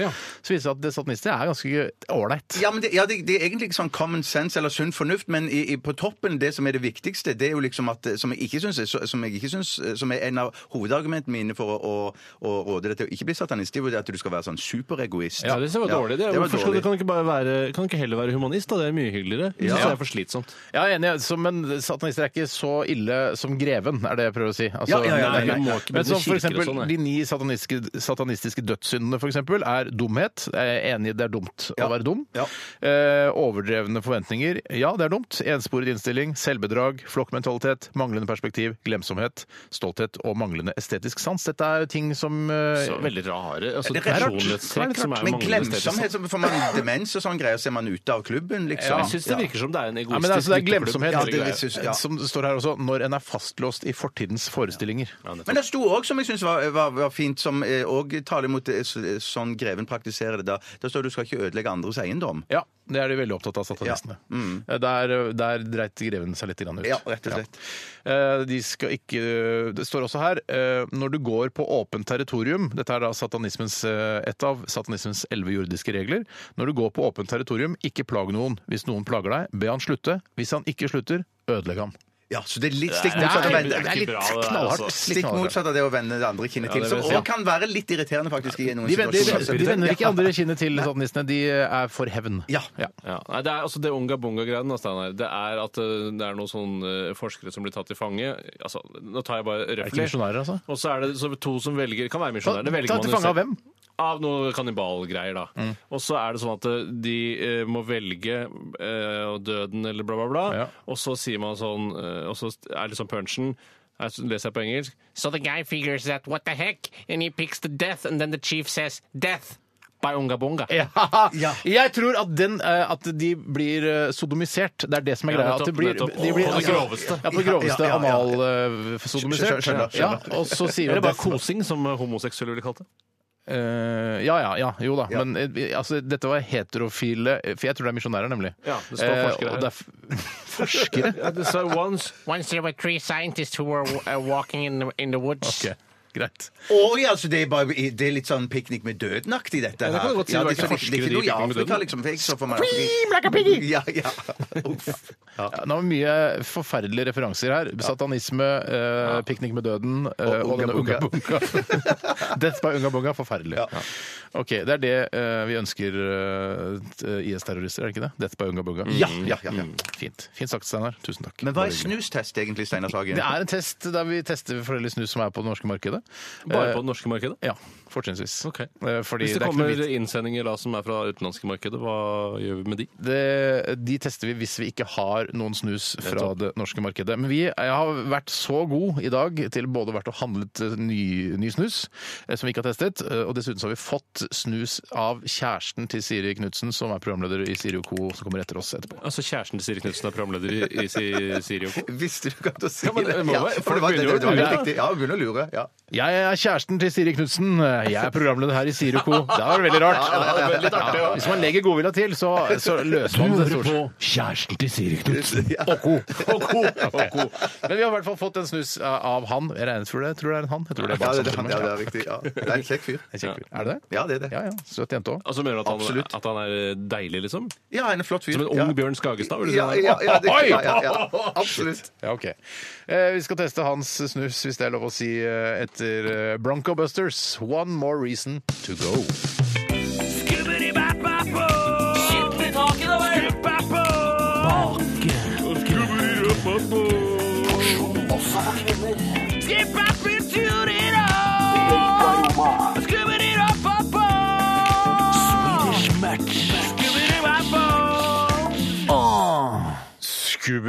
[SPEAKER 1] Så viser det at det satanister er ganske ålreit.
[SPEAKER 2] Ja, men det, ja, det, det er egentlig ikke sånn common sense eller sunn fornuft, men i, i, på toppen, det som er det viktigste, det er jo liksom at eh, Som jeg ikke syns er, så- som jeg ikke syns, eh, som er en av hovedargumentene mine for å, å, å råde deg til å ikke bli satanist, det er jo det at du skal være sånn superegoist.
[SPEAKER 3] Ja, det var dårlig. Det,
[SPEAKER 2] det var
[SPEAKER 3] Hvorfor skal-
[SPEAKER 2] dårlig.
[SPEAKER 3] Kan du ikke, bare være, kan du ikke heller være humanist? da? Det er mye hyggeligere. Jeg synes det er for slitsomt.
[SPEAKER 1] Jeg er enig, så- men satanister er ikke så ille som greven, er det jeg prøver å si. Altså,
[SPEAKER 2] Ja, ja, ja,
[SPEAKER 1] nei,
[SPEAKER 3] nei,
[SPEAKER 1] nei.
[SPEAKER 3] må ikke
[SPEAKER 1] Men
[SPEAKER 3] bli
[SPEAKER 1] som for
[SPEAKER 3] kirker og
[SPEAKER 1] eksempel,
[SPEAKER 3] sånn, nei.
[SPEAKER 1] de ni satanistiske, satanistiske dødssyndene for eksempel, er dumhet. Jeg er enig, det er dumt å
[SPEAKER 2] Ja.
[SPEAKER 1] være dum.
[SPEAKER 2] Ja.
[SPEAKER 1] Eh, overdrevne forventninger. Ja, det er dumt. Ensporet innstilling, selvbedrag, flokkmentalitet, manglende perspektiv, glemsomhet, stolthet og manglende estetisk sans. Dette er jo ting som eh,
[SPEAKER 3] Så veldig rare. Altså,
[SPEAKER 2] Det er rart.
[SPEAKER 3] personlighetstrekk som er
[SPEAKER 2] Men
[SPEAKER 3] mange steder.
[SPEAKER 2] glemsomhet, så får man demens og sånn greier, så er man ute av klubben, liksom.
[SPEAKER 3] Jeg syns det virker som det er en egoistisk
[SPEAKER 1] Ja, men det er, altså, det er
[SPEAKER 3] gutteklubb.
[SPEAKER 1] glemsomhet
[SPEAKER 2] Ja, det- jeg synes- ja.
[SPEAKER 1] som det står her også, når en er fastlåst i fortidens forestillinger.
[SPEAKER 2] Men det sto òg, som jeg syns var, var, var fint, som òg taler mot det, s- sånn Greven praktiserer det. Da Da står det du skal ikke ødelegge andres eiendom.
[SPEAKER 1] Ja, det er de veldig opptatt av, satanistene. Eh, Der, der dreit greven seg litt grann ut.
[SPEAKER 2] Mm. Ja, rett og slett.
[SPEAKER 1] Ja. Eh, De skal ikke Det står også her eh, når du går på åpent territorium Dette er da satanismens, eh, et av satanismens elleve jordiske regler. Når du går på åpent territorium, ikke plag noen. Hvis noen plager deg, be han slutte. Hvis han ikke slutter, ødelegg ham.
[SPEAKER 2] Ja, så det er litt stikk
[SPEAKER 3] Nei,
[SPEAKER 2] motsatt av
[SPEAKER 3] det er-
[SPEAKER 2] vende.
[SPEAKER 3] det er litt knallhardt.
[SPEAKER 2] Altså, Stikk motsatt av det å vende det andre kinnet til.
[SPEAKER 3] det vil
[SPEAKER 2] Som
[SPEAKER 3] jeg
[SPEAKER 2] òg
[SPEAKER 3] si, ja.
[SPEAKER 2] kan være litt irriterende, faktisk. i noen
[SPEAKER 1] De vender,
[SPEAKER 2] situasjoner.
[SPEAKER 1] de vender ikke andre kinnet til satanistene. De er for hevn.
[SPEAKER 2] Ja.
[SPEAKER 3] Ja. Nei, det er altså det unga bunga-greien, da, Steinar. Det er at eh, det er noen sånne eh, forskere som blir tatt til fange. Altså, nå tar jeg bare
[SPEAKER 1] Er det ikke
[SPEAKER 3] røffelig.
[SPEAKER 1] misjonærer, altså?
[SPEAKER 3] Og så er det så to som velger Kan være
[SPEAKER 1] Ta,
[SPEAKER 3] misjonærer. det velger
[SPEAKER 1] ta
[SPEAKER 3] man
[SPEAKER 1] til
[SPEAKER 3] jo
[SPEAKER 1] fange av
[SPEAKER 3] selv.
[SPEAKER 1] hvem?
[SPEAKER 3] Av noe kannibalgreier, da.
[SPEAKER 1] Mm.
[SPEAKER 3] Og så er det sånn at eh, de eh, må velge eh, og døden eller bla, bla, bla.
[SPEAKER 1] Ja.
[SPEAKER 3] Og så sier man sånn eh, Og så er liksom punchen her leser jeg på engelsk.
[SPEAKER 5] So the guy figures out what the heck, and he picks the death, and then the chief says, death by unga bunga.
[SPEAKER 1] Ja. Jeg tror at, den, eh, at de blir eh, sodomisert. Det er det som er
[SPEAKER 3] Ja,
[SPEAKER 1] greia.
[SPEAKER 3] nettopp,
[SPEAKER 1] At de blir,
[SPEAKER 3] nettopp.
[SPEAKER 1] de blir,
[SPEAKER 3] På det groveste.
[SPEAKER 1] Ja, på det groveste
[SPEAKER 2] Ja, ja, ja, ja.
[SPEAKER 1] anal-sodomisert.
[SPEAKER 2] Skjø- skjønner, skjønner.
[SPEAKER 1] Ja, og så sier
[SPEAKER 3] Eller
[SPEAKER 1] vi
[SPEAKER 3] bare kosing, som eh, homoseksuelle ville kalt det.
[SPEAKER 1] Eh, ja, ja, ja, jo da. Men eh, altså, dette var heterofile For jeg tror det er misjonærer, nemlig.
[SPEAKER 3] Ja, det står
[SPEAKER 1] Eh,
[SPEAKER 3] forskere
[SPEAKER 1] og
[SPEAKER 3] her.
[SPEAKER 1] det er f- forskere?
[SPEAKER 3] So once
[SPEAKER 5] Once there were three scientists who were uh, walking in the, in the woods.
[SPEAKER 1] Ok, greit.
[SPEAKER 2] Og ja, altså, det, er bare, det er litt sånn piknik med døden-aktig, dette
[SPEAKER 3] det kan
[SPEAKER 2] her.
[SPEAKER 3] du godt si. Det var
[SPEAKER 2] det, er
[SPEAKER 3] ikke
[SPEAKER 2] ikke- det er ikke noe i
[SPEAKER 3] forskere i Piknik med
[SPEAKER 2] Afrika,
[SPEAKER 3] døden.
[SPEAKER 2] liksom. for jeg så for meg Ja, ja. Uff.
[SPEAKER 1] Ja, nå har vi mye forferdelige referanser her. Satanisme, eh, piknik med døden eh, og, denne Unga
[SPEAKER 2] Unga
[SPEAKER 1] Bunga. Death by Unga Bunga. Forferdelig. Ok, Det er det eh, vi ønsker eh, t- IS-terrorister, er det ikke det? Death by Unga Bunga.
[SPEAKER 2] Ja, ja, ja, ja.
[SPEAKER 1] Fint. Fint sagt, Steinar. Tusen takk.
[SPEAKER 2] Men hva er
[SPEAKER 1] Bare hyggelig.
[SPEAKER 2] snustest egentlig, Steinar Sagen?
[SPEAKER 1] Det er en test der vi tester forskjellig snus som er på det norske markedet.
[SPEAKER 3] bare
[SPEAKER 1] Eh,
[SPEAKER 3] på det norske markedet.
[SPEAKER 1] Ja, fortrinnsvis.
[SPEAKER 3] Ok.
[SPEAKER 1] Eh, Fordi
[SPEAKER 3] Hvis
[SPEAKER 1] det er ikke
[SPEAKER 3] det
[SPEAKER 1] noe
[SPEAKER 3] kommer
[SPEAKER 1] vits-
[SPEAKER 3] innsendinger da som er fra utenlandske markedet, hva gjør vi med de?
[SPEAKER 1] det, de tester vi hvis vi ikke har noen snus fra det norske markedet. Men vi, jeg har vært så god i dag til både vært og handlet eh, ny, ny snus, eh, som vi ikke har testet, eh, og dessuten så har vi fått snus av kjæresten til Siri Knutsen, som er programleder i Siri og Co., som kommer etter oss etterpå.
[SPEAKER 3] Altså Kjæresten til Siri Knutsen er programleder i, i Si- Siri og Co.
[SPEAKER 2] Visste du ikke at du sa
[SPEAKER 3] Ja, men
[SPEAKER 2] det?
[SPEAKER 3] det må
[SPEAKER 2] Ja,
[SPEAKER 3] være-
[SPEAKER 2] for det var, det, det, det var
[SPEAKER 3] begynner
[SPEAKER 2] helt
[SPEAKER 3] å lure.
[SPEAKER 2] riktig. Ja, begynner å lure. Ja.
[SPEAKER 1] Jeg er kjæresten til Siri Knutsen. Jeg er programleder her i Siri og Co. Det var veldig rart. Ja, hvis man legger godvilja til, så, så løser man det stort sett.
[SPEAKER 4] Kjæresten til Siri
[SPEAKER 1] Og ko. Men vi har i hvert fall fått en snus eh, av han. Jeg regnet for det. Jeg tror det er en han. Jeg tror det er
[SPEAKER 2] Ja,
[SPEAKER 1] bare sånn
[SPEAKER 2] det, det,
[SPEAKER 1] samtidig med.
[SPEAKER 2] ja, det er riktig. Ja. Det er en kjekk fyr.
[SPEAKER 1] En kjekk fyr. Er det det?
[SPEAKER 2] Ja, det er det.
[SPEAKER 1] Ja, ja. Søt jente òg.
[SPEAKER 3] Altså Mener du at han,
[SPEAKER 2] Absolutt.
[SPEAKER 3] at han er deilig, liksom?
[SPEAKER 2] Ja, en flott fyr.
[SPEAKER 3] Som en
[SPEAKER 2] ja.
[SPEAKER 3] ung Bjørn Skagestad? vil du si
[SPEAKER 2] Ja,
[SPEAKER 3] han er?
[SPEAKER 2] ja, ja, det,
[SPEAKER 1] Oi!
[SPEAKER 2] ja, ja, ja. Absolutt.
[SPEAKER 1] Ja, ok. Eh, vi skal teste hans snus, hvis det er lov å si, eh, etter eh, Bronco Busters. One more reason to go.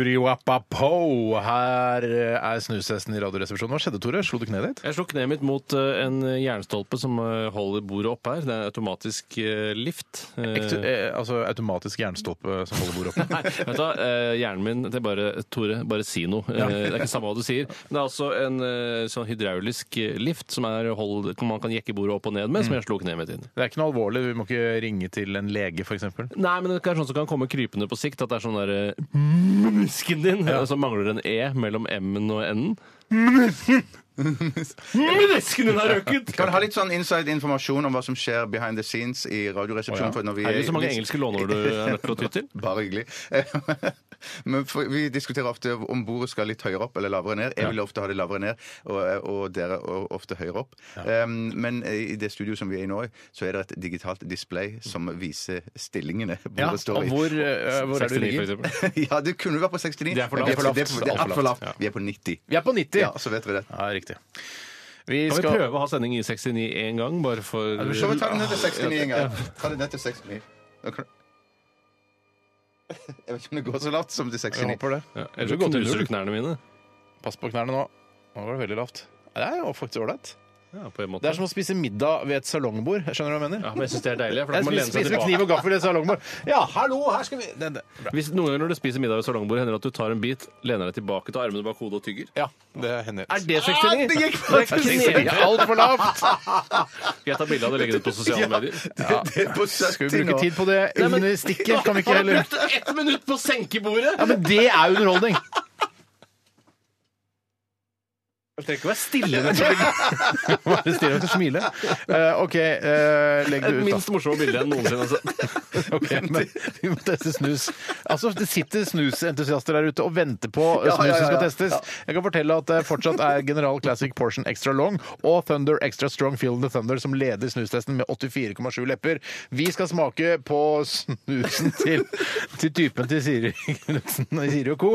[SPEAKER 1] Skubberiwappapo. Her eh, er snushesten i Radioresepsjonen. Hva skjedde, Tore? Slo du kneet ditt?
[SPEAKER 3] Jeg slo kneet mitt mot eh, en jernstolpe som eh, holder bordet oppe her. Det er en automatisk eh, lift. Eh,
[SPEAKER 1] Ekte, eh, altså automatisk jernstolpe som holder bordet oppe.
[SPEAKER 3] Nei, vet du, hva, eh, hjernen min det er bare Tore, bare si noe. Eh, Det er ikke samme hva du sier. Men det er altså en eh, sånn hydraulisk eh, lift som er hold, man kan jekke bordet opp og ned
[SPEAKER 2] Mm.
[SPEAKER 3] med, som jeg slo kneet mitt inn. i.
[SPEAKER 1] Det er ikke noe alvorlig. Vi må ikke ringe til en lege, f.eks.
[SPEAKER 3] Nei, men det er sånn som kan komme krypende på sikt, at det er sånn derre Munisken din! Og så mangler det en E mellom M-en og N-en. Munisken din har røket!
[SPEAKER 2] Kan du ha litt sånn inside informasjon om hva som skjer behind the scenes i Radioresepsjonen? for når vi
[SPEAKER 3] Er det så mange engelske låneord du er nødt til å ty til?
[SPEAKER 2] Bare hyggelig. Eh, Men for, vi diskuterer ofte om bordet skal litt høyere opp eller lavere ned. Jeg vil ofte ha det lavere ned, og, og dere og ofte høyere opp. Eh, men i det studioet som vi er i nå, så er det et digitalt display som viser stillingene bordet står
[SPEAKER 1] og
[SPEAKER 2] i.
[SPEAKER 1] hvor, eh, hvor er det du
[SPEAKER 3] 69, for
[SPEAKER 1] ligger?
[SPEAKER 3] eksempel.
[SPEAKER 2] ja, det kunne vært på 69.
[SPEAKER 3] Det er for
[SPEAKER 2] men
[SPEAKER 3] lavt.
[SPEAKER 2] Vi er, det er alt for lavt. Vi er på 90.
[SPEAKER 1] Vi er på 90.
[SPEAKER 2] Ja, så vet vi det.
[SPEAKER 1] Ja, riktig. Vi
[SPEAKER 3] Kan vi
[SPEAKER 1] skal...
[SPEAKER 3] prøve å ha sending i 69 én gang, bare for
[SPEAKER 2] Så vi tar det ned til 69 en gang. Ta det ned til 69. Da kan- Jeg vet ikke om det går så lavt som til
[SPEAKER 1] Jeg
[SPEAKER 2] 69.
[SPEAKER 1] håper det.
[SPEAKER 3] Ja, Ellers så knuser du knærne mine.
[SPEAKER 1] Pass på knærne nå. Nå var det veldig lavt. Nei, Det er jo faktisk ålreit.
[SPEAKER 3] Ja, på en måte.
[SPEAKER 1] Det er som å spise middag ved et salongbord. Skjønner du hva jeg mener?
[SPEAKER 3] Ja, men jeg syns det er deilig. For da
[SPEAKER 1] Jeg
[SPEAKER 3] kan man
[SPEAKER 1] spiser,
[SPEAKER 3] lene seg
[SPEAKER 1] spiser med
[SPEAKER 3] tilbake.
[SPEAKER 1] kniv og gaffel ved et salongbord. Ja, hallo, her skal vi det, det.
[SPEAKER 3] Hvis noen ganger når du spiser middag ved salongbordet, hender det at du tar en bit, lener deg tilbake, tar armene bak hodet og tygger.
[SPEAKER 1] Ja, Ah, det hender.
[SPEAKER 3] Er det 69? det gikk
[SPEAKER 1] Altfor lavt!
[SPEAKER 3] Jeg tar bilde av det og legger det ut på sosiale medier.
[SPEAKER 2] Det er på 70
[SPEAKER 1] Skal vi bruke
[SPEAKER 2] nå.
[SPEAKER 1] tid på det under stikket? Kan vi ikke heller
[SPEAKER 3] ett minutt på senkebordet!
[SPEAKER 1] Ja, men det er underholdning!
[SPEAKER 6] Du trenger ikke være stille. Dette.
[SPEAKER 1] Bare stirre etter smilet. Eh, OK, eh, legg
[SPEAKER 3] Et
[SPEAKER 1] det ut,
[SPEAKER 3] minst morsomme bilde enn noensinne. Altså.
[SPEAKER 1] da. Ok, men vi må teste snus. Altså, Det sitter snusentusiaster der ute og venter på eh,
[SPEAKER 2] Ja, ja, ja,
[SPEAKER 1] snusen skal
[SPEAKER 2] ja.
[SPEAKER 1] testes. Jeg kan fortelle at det fortsatt er General Classic Portion Extra Long og Thunder Extra Strong Feel the Thunder som leder snustesten med 84,7 lepper. Vi skal smake på snusen til, til typen til Siri Knutsen og Siri og co.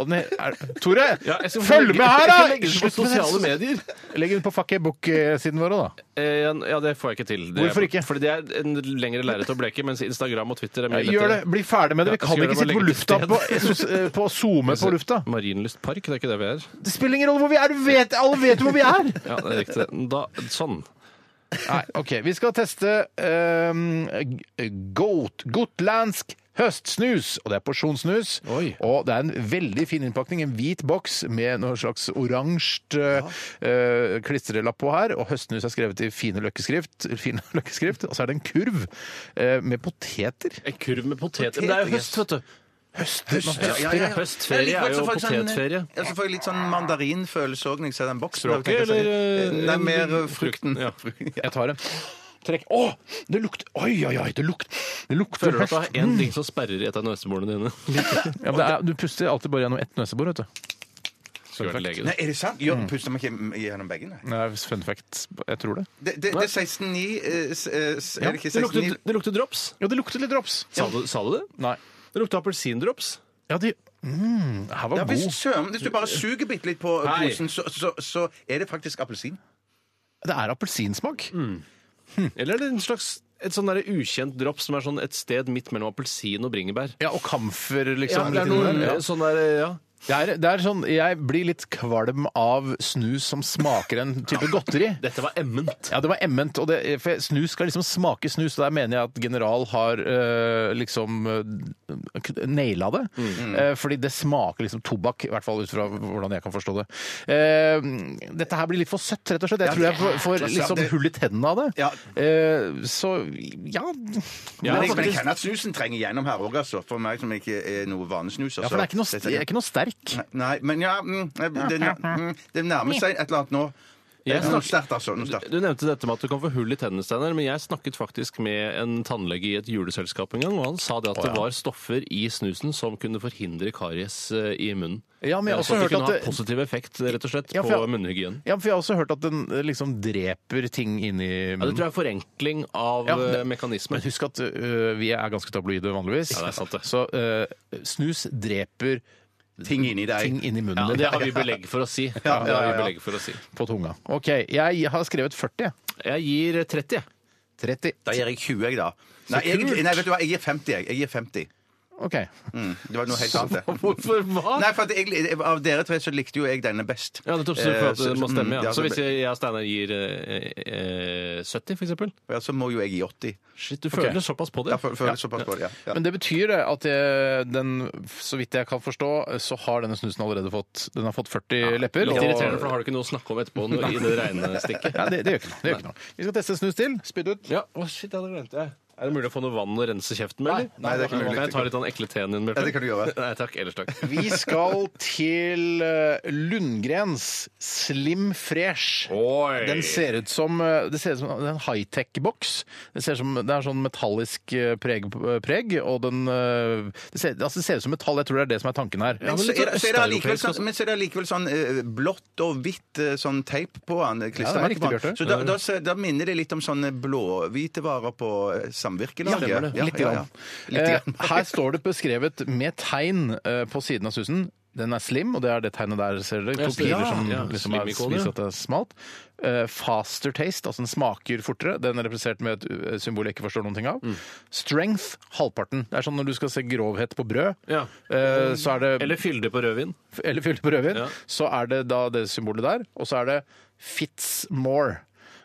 [SPEAKER 1] Og den he- er, Tore,
[SPEAKER 3] Ja, jeg skal-
[SPEAKER 1] følg med her, da!
[SPEAKER 3] Jeg skal legge den på
[SPEAKER 1] Slutt med det.
[SPEAKER 3] sosiale medier.
[SPEAKER 1] Legg den på fuckebook-siden vår òg, da.
[SPEAKER 3] Eh, Ja, det får jeg ikke til. Det-
[SPEAKER 1] Hvorfor ikke?
[SPEAKER 3] Fordi det er en lengre lerret å bleke, mens Instagram og Twitter er mye
[SPEAKER 1] Ja, Gjør det. Bli ferdig med det. Vi
[SPEAKER 3] Ja,
[SPEAKER 1] kan
[SPEAKER 3] skal
[SPEAKER 1] ikke
[SPEAKER 3] gjøre
[SPEAKER 1] sitte
[SPEAKER 3] det,
[SPEAKER 1] på lufta
[SPEAKER 3] bare legge
[SPEAKER 1] på,
[SPEAKER 3] det
[SPEAKER 1] eh, på SoMe på lufta.
[SPEAKER 3] Marienlyst park, det er ikke det vi er?
[SPEAKER 1] Det spiller ingen rolle hvor vi er. Du vet, alle vet jo hvor vi er!
[SPEAKER 3] Ja, det er riktig. Da, sånn.
[SPEAKER 1] Nei, OK. Vi skal teste um, goat, gotlandsk høstsnus. Og det er porsjonssnus.
[SPEAKER 3] Oi.
[SPEAKER 1] Og det er en veldig fin innpakning. En hvit boks med noe slags oransje eh, eh, klistrelapp på her. Og høstsnus er skrevet i fine løkkeskrift. Fine løkkeskrift. Og så er det en kurv eh, med poteter.
[SPEAKER 3] En kurv med poteter. Men det er jo høst, vet du.
[SPEAKER 1] Høst,
[SPEAKER 2] Ja, ja, ja, ja.
[SPEAKER 3] Høstferie
[SPEAKER 2] Men likevel
[SPEAKER 3] er jo
[SPEAKER 2] så får jeg sånn-
[SPEAKER 3] potetferie.
[SPEAKER 2] Ja, så får jeg litt sånn mandarinfølelse òg når jeg ser den boksen.
[SPEAKER 3] Språket,
[SPEAKER 2] Jeg tenker sånn-
[SPEAKER 3] eller,
[SPEAKER 2] Nei,
[SPEAKER 3] eh,
[SPEAKER 2] mer eh, frukten.
[SPEAKER 3] Ja.
[SPEAKER 1] Jeg tar en trekk. Å, det lukter Oi, oi, oi, det lukter Det lukter
[SPEAKER 3] Føler du at det er én ting som sperrer i et av nøseborene dine?
[SPEAKER 1] Ja, men det er, du puster alltid bare gjennom ett nesebor, vet du.
[SPEAKER 3] Skulle vært lege,
[SPEAKER 2] Nei,
[SPEAKER 3] det.
[SPEAKER 2] er det sant? Jo, puster man ikke gjennom begge, nei?
[SPEAKER 1] Mm. Nei, fun fact. Jeg tror det.
[SPEAKER 2] Det, det, det er 16,9 eh, s- eh, s-
[SPEAKER 3] Ja,
[SPEAKER 2] Er det ikke
[SPEAKER 3] det lukter,
[SPEAKER 2] 16,9?
[SPEAKER 3] det lukter drops.
[SPEAKER 1] Ja, det lukter litt drops.
[SPEAKER 3] Sa du, sa du det?
[SPEAKER 1] Nei.
[SPEAKER 3] Det lukter appelsindrops.
[SPEAKER 1] Ja, de mm, Her var
[SPEAKER 2] Ja,
[SPEAKER 1] god.
[SPEAKER 2] hvis, søren, hvis du bare suger bitte litt på
[SPEAKER 3] Nei.
[SPEAKER 2] posen, så, så, så er det faktisk appelsin.
[SPEAKER 1] Det er appelsinsmak.
[SPEAKER 3] Eller er det en slags et sånn der ukjent drops som er sånn et sted midt mellom appelsin og bringebær?
[SPEAKER 1] Ja, og kamfer,
[SPEAKER 3] Ja,
[SPEAKER 1] liksom.
[SPEAKER 3] det er
[SPEAKER 1] litt inni
[SPEAKER 3] noe
[SPEAKER 1] der, ja.
[SPEAKER 3] sånn der, ja.
[SPEAKER 1] det, er, det er sånn Jeg blir litt kvalm av snus som smaker en type godteri.
[SPEAKER 3] Dette var emment.
[SPEAKER 1] Ja, det var emment. Og det, for snus skal liksom smake snus, og der mener jeg at General har eh, liksom eh, naila det. Eh, fordi det smaker liksom tobakk, i hvert fall ut fra hvordan jeg kan forstå det. Eh, dette her blir litt for søtt, rett og slett. Jeg tror jeg får, får liksom hull i tennene av det.
[SPEAKER 2] Ja.
[SPEAKER 1] Eh, så ja
[SPEAKER 2] Men jeg, men jeg
[SPEAKER 1] faktisk-
[SPEAKER 2] kjenner at snusen trenger gjennom her òg, altså. For meg som ikke er noe vanesnus.
[SPEAKER 1] ja, for det er ikke noe, det er ikke noe sterk.
[SPEAKER 2] Nei, men ja mm, det, mm, det nærmer seg et eller annet nå.
[SPEAKER 3] Jeg
[SPEAKER 2] Nå
[SPEAKER 3] snakker-
[SPEAKER 2] sterkt, altså. Nå sterkt.
[SPEAKER 3] Du nevnte dette med at du kan få hull i tennene, Steinar, men jeg snakket faktisk med en tannlege i et juleselskap en gang, og han sa det at det var stoffer i snusen som kunne forhindre karies eh, i munnen. Eh,
[SPEAKER 1] Ja, men jeg har
[SPEAKER 3] Så
[SPEAKER 1] også hørt
[SPEAKER 3] det kunne
[SPEAKER 1] at
[SPEAKER 3] ha
[SPEAKER 1] det-
[SPEAKER 3] positiv effekt rett og slett
[SPEAKER 1] Ja, for
[SPEAKER 3] på
[SPEAKER 1] jeg-
[SPEAKER 3] munnhygienen.
[SPEAKER 1] Ja, for jeg har også hørt at den eh, liksom dreper ting inni
[SPEAKER 3] Ja, det
[SPEAKER 1] munnen.
[SPEAKER 3] tror jeg er forenkling av
[SPEAKER 1] Ja, det-
[SPEAKER 3] eh, mekanismen.
[SPEAKER 1] Men husk at ø, vi er ganske tabloide vanligvis.
[SPEAKER 3] Ja, det er sant det.
[SPEAKER 1] Så ø, snus dreper
[SPEAKER 2] Ting inni deg.
[SPEAKER 1] ting inni munnen
[SPEAKER 3] Ja,
[SPEAKER 1] din.
[SPEAKER 3] det har vi belegg for å si.
[SPEAKER 2] ja,
[SPEAKER 3] Det har vi
[SPEAKER 2] ja.
[SPEAKER 3] belegg for å si.
[SPEAKER 1] På tunga. OK, jeg har skrevet 40. jeg.
[SPEAKER 3] Jeg gir 30, jeg.
[SPEAKER 1] 30.
[SPEAKER 2] Da gir jeg 20, jeg, da. Nei, egentlig, nei, vet du hva, jeg gir 50, jeg. jeg gir 50.
[SPEAKER 1] OK.
[SPEAKER 2] Mm, det var noe helt annet, det.
[SPEAKER 3] Hvorfor hva?
[SPEAKER 2] Nei, for at jeg, av dere tre så likte jo jeg denne best.
[SPEAKER 3] Ja, nettopp, så for at det må stemme,
[SPEAKER 2] Mm,
[SPEAKER 3] ja.
[SPEAKER 2] ja,
[SPEAKER 3] Så hvis
[SPEAKER 2] så-
[SPEAKER 3] jeg jeg og Steinar gir eh, eh, 70, for eksempel
[SPEAKER 2] Ja, så må jo jeg gi 80.
[SPEAKER 3] Shit, du føler såpass på det.
[SPEAKER 2] Ja, for, for, såpass på det, ja. ja.
[SPEAKER 1] Men det betyr det at jeg, den, så vidt jeg kan forstå, så har denne snusen allerede fått Den har fått 40 lepper.
[SPEAKER 3] Litt
[SPEAKER 1] og-
[SPEAKER 3] irriterende, for da har du ikke noe å snakke om etterpå når- i det regnestykket.
[SPEAKER 1] Ja, det, det gjør ikke noe. Det gjør ikke noe. Vi skal teste snus til. Spytt ut.
[SPEAKER 3] Ja, å shit, ja, det glemte jeg. Er det mulig å få noe vann og rense kjeften med?
[SPEAKER 1] Nei,
[SPEAKER 3] eller?
[SPEAKER 1] nei,
[SPEAKER 2] det er ikke mulig.
[SPEAKER 3] Kan jeg ta litt av den ekle teen din? Bjarte?
[SPEAKER 2] Ja, det kan du gjøre.
[SPEAKER 3] Nei takk. Ellers takk.
[SPEAKER 1] Vi skal til ø, Lundgrens Slim Fresh.
[SPEAKER 3] Oi!
[SPEAKER 1] Den ser ut som eh, Det ser ut som det er en high-tech-boks. Det, ser ut som- det er sånn metallisk eh, preg, preg og den eh, det ser, altså det ser ut som metall. Jeg tror det er det som er tanken her.
[SPEAKER 2] Men
[SPEAKER 3] men
[SPEAKER 2] så
[SPEAKER 3] litt
[SPEAKER 2] er det- så er det
[SPEAKER 3] sånn
[SPEAKER 2] allikevel
[SPEAKER 3] østeuropeisk
[SPEAKER 2] sånn, men så er det allikevel sånn eh, blått og hvitt eh, sånn teip på han, eh,
[SPEAKER 1] riktig,
[SPEAKER 2] klistremerke på
[SPEAKER 1] Bjarte.
[SPEAKER 2] han. Så da, da, ser- da minner det litt om sånne blåhvite varer på eh, Samvirke-Norge.
[SPEAKER 1] Ja, litt
[SPEAKER 2] ja,
[SPEAKER 1] grann.
[SPEAKER 2] ja. Litt grann.
[SPEAKER 1] Eh, her står det beskrevet med tegn eh, på siden av susen. Den er slim, og det er det tegnet der, ser dere.
[SPEAKER 3] Ja,
[SPEAKER 1] To
[SPEAKER 3] så-
[SPEAKER 1] piler
[SPEAKER 3] ja,
[SPEAKER 1] som
[SPEAKER 3] ja,
[SPEAKER 1] liksom er,
[SPEAKER 3] slim-ikonet,
[SPEAKER 1] viser
[SPEAKER 3] ja.
[SPEAKER 1] at det er smalt. Eh, faster taste, altså den smaker fortere. Den er representert med et eh, symbol jeg ikke forstår noen ting av.
[SPEAKER 2] Mm.
[SPEAKER 1] Strength, halvparten. Det er sånn når du skal se grovhet på brød,
[SPEAKER 3] Ja.
[SPEAKER 1] eh, så er det
[SPEAKER 3] Eller fylde på rødvin.
[SPEAKER 1] eller fylte på rødvin,
[SPEAKER 3] Ja.
[SPEAKER 1] så er det da det symbolet der. Og så er det Fitzmore.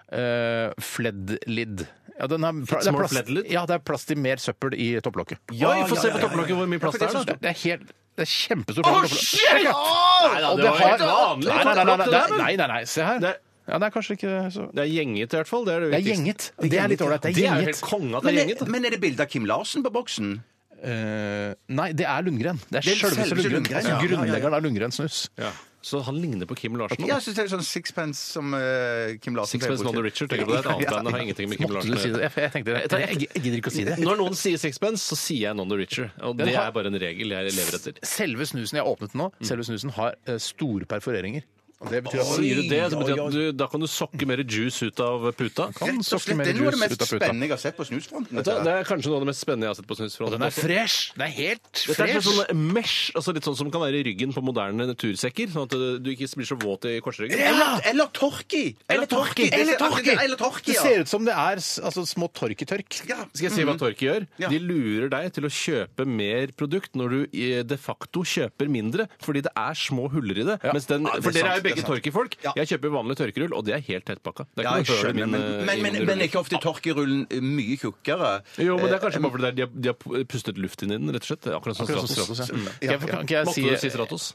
[SPEAKER 1] Uh, Fledlid. Ja, den er, det er
[SPEAKER 3] Fitzmore
[SPEAKER 1] plass,
[SPEAKER 3] Fledlid?
[SPEAKER 1] ja, det er plass til mer søppel i topplokket.
[SPEAKER 3] Oi, få se på topplokket hvor mye plass det
[SPEAKER 2] sånn-
[SPEAKER 3] er, da.
[SPEAKER 1] Det er helt det er kjempestort. Oh, shit!
[SPEAKER 3] Nei da, det var helt vanlig
[SPEAKER 1] Nei, nei, nei, nei,
[SPEAKER 3] topplokk,
[SPEAKER 1] nei,
[SPEAKER 3] det der, men.
[SPEAKER 1] nei, nei, nei, se her.
[SPEAKER 3] Det-
[SPEAKER 1] Ja, det er kanskje ikke så
[SPEAKER 3] Det er gjenget, i hvert fall. Det er det
[SPEAKER 1] Det er
[SPEAKER 3] viktigste.
[SPEAKER 1] gjenget. Det er litt ålreit. Det
[SPEAKER 3] Det
[SPEAKER 1] er
[SPEAKER 3] er jo
[SPEAKER 1] gjenget.
[SPEAKER 3] helt konge at det
[SPEAKER 2] Men,
[SPEAKER 3] er
[SPEAKER 2] er,
[SPEAKER 3] gjenget. da.
[SPEAKER 2] men er det bilde av Kim Larsen på boksen?
[SPEAKER 1] Eh, nei, det er Lundgren. Det er
[SPEAKER 2] Det er
[SPEAKER 1] selveste
[SPEAKER 2] selveste
[SPEAKER 1] Lundgren.
[SPEAKER 2] Lundgren,
[SPEAKER 1] Altså,
[SPEAKER 2] ja. Ja, ja, ja.
[SPEAKER 1] grunnleggeren av Lundgren snus.
[SPEAKER 3] Ja. Så han ligner på Kim Larsen.
[SPEAKER 2] Ja, jeg synes det er sånn sixpence som eh, Kim Larsen
[SPEAKER 3] Sixpence
[SPEAKER 2] pleier å
[SPEAKER 3] Nonny
[SPEAKER 2] si.
[SPEAKER 3] Richard, tenker du på det? Et annet
[SPEAKER 2] Ja,
[SPEAKER 3] band det har ingenting med Kim
[SPEAKER 1] Måtte du si
[SPEAKER 3] Larsen
[SPEAKER 1] det? Jeg, jeg tenkte det. Jeg, jeg, jeg gidder ikke å si det.
[SPEAKER 3] Når noen sier Sixpence, så sier jeg Nonny Richard. Og
[SPEAKER 1] Den
[SPEAKER 3] det
[SPEAKER 1] har-
[SPEAKER 3] er bare en regel jeg lever etter.
[SPEAKER 1] Selve snusen jeg åpnet nå, selve snusen har eh, store perforeringer. Og det betyr at
[SPEAKER 3] Sier du Mm. det, så betyr det at du, da kan du sokke mer juice ut av puta.
[SPEAKER 1] kan
[SPEAKER 2] Rett og
[SPEAKER 1] sokke
[SPEAKER 2] slett,
[SPEAKER 1] mer
[SPEAKER 2] Det er noe av det
[SPEAKER 1] juice
[SPEAKER 2] mest
[SPEAKER 1] ut av puta.
[SPEAKER 2] spennende jeg har sett på snusfronten.
[SPEAKER 3] Vet du,
[SPEAKER 2] dette her.
[SPEAKER 3] Det er kanskje noe av det mest spennende jeg har sett på snusfronten.
[SPEAKER 1] Den er fresh! Den er helt
[SPEAKER 3] Dette er
[SPEAKER 1] fresh!
[SPEAKER 3] sånn mesh, altså litt sånn som kan være i ryggen på moderne tursekker. Sånn at du- du ikke blir så våt i korsryggen.
[SPEAKER 2] Eller, eller torki!
[SPEAKER 1] Eller torki!
[SPEAKER 2] Det ser-
[SPEAKER 1] Eller torki!
[SPEAKER 2] Eller torki,
[SPEAKER 1] Det
[SPEAKER 2] ja.
[SPEAKER 1] ser ut som det er s- altså, små torketørk.
[SPEAKER 2] Ja. Mm.
[SPEAKER 3] Skal jeg si hva Torki gjør?
[SPEAKER 2] Ja.
[SPEAKER 3] De lurer deg til å kjøpe mer produkt når du eh, de facto kjøper mindre, fordi det er små huller i det. Mens den,
[SPEAKER 2] det er
[SPEAKER 3] for dere
[SPEAKER 2] sant,
[SPEAKER 3] er jo
[SPEAKER 2] det
[SPEAKER 3] begge
[SPEAKER 2] er sant.
[SPEAKER 3] Torki-folk.
[SPEAKER 2] Ja.
[SPEAKER 3] Jeg kjøper vanlig tørkerull, og det er helt tettpakka. Det
[SPEAKER 2] Ja,
[SPEAKER 3] er
[SPEAKER 2] jeg
[SPEAKER 3] ikke noe hull i
[SPEAKER 2] skjønner, men,
[SPEAKER 3] min, eh,
[SPEAKER 2] men,
[SPEAKER 3] i
[SPEAKER 2] men,
[SPEAKER 3] min
[SPEAKER 2] men Eh, er
[SPEAKER 3] rulle.
[SPEAKER 2] ikke ofte torkerullen mye tjukkere?
[SPEAKER 3] Jo, men det er kanskje bare fordi det er- de har, de har pustet luft inn i den, rett og slett. Det er Akkurat som
[SPEAKER 1] Akkurat som
[SPEAKER 3] Stratos. Mm.
[SPEAKER 1] Stratos, Mm. ja. Kan jeg- Kan ikke
[SPEAKER 3] Måtte du
[SPEAKER 1] jeg
[SPEAKER 3] si
[SPEAKER 1] si
[SPEAKER 3] Stratos?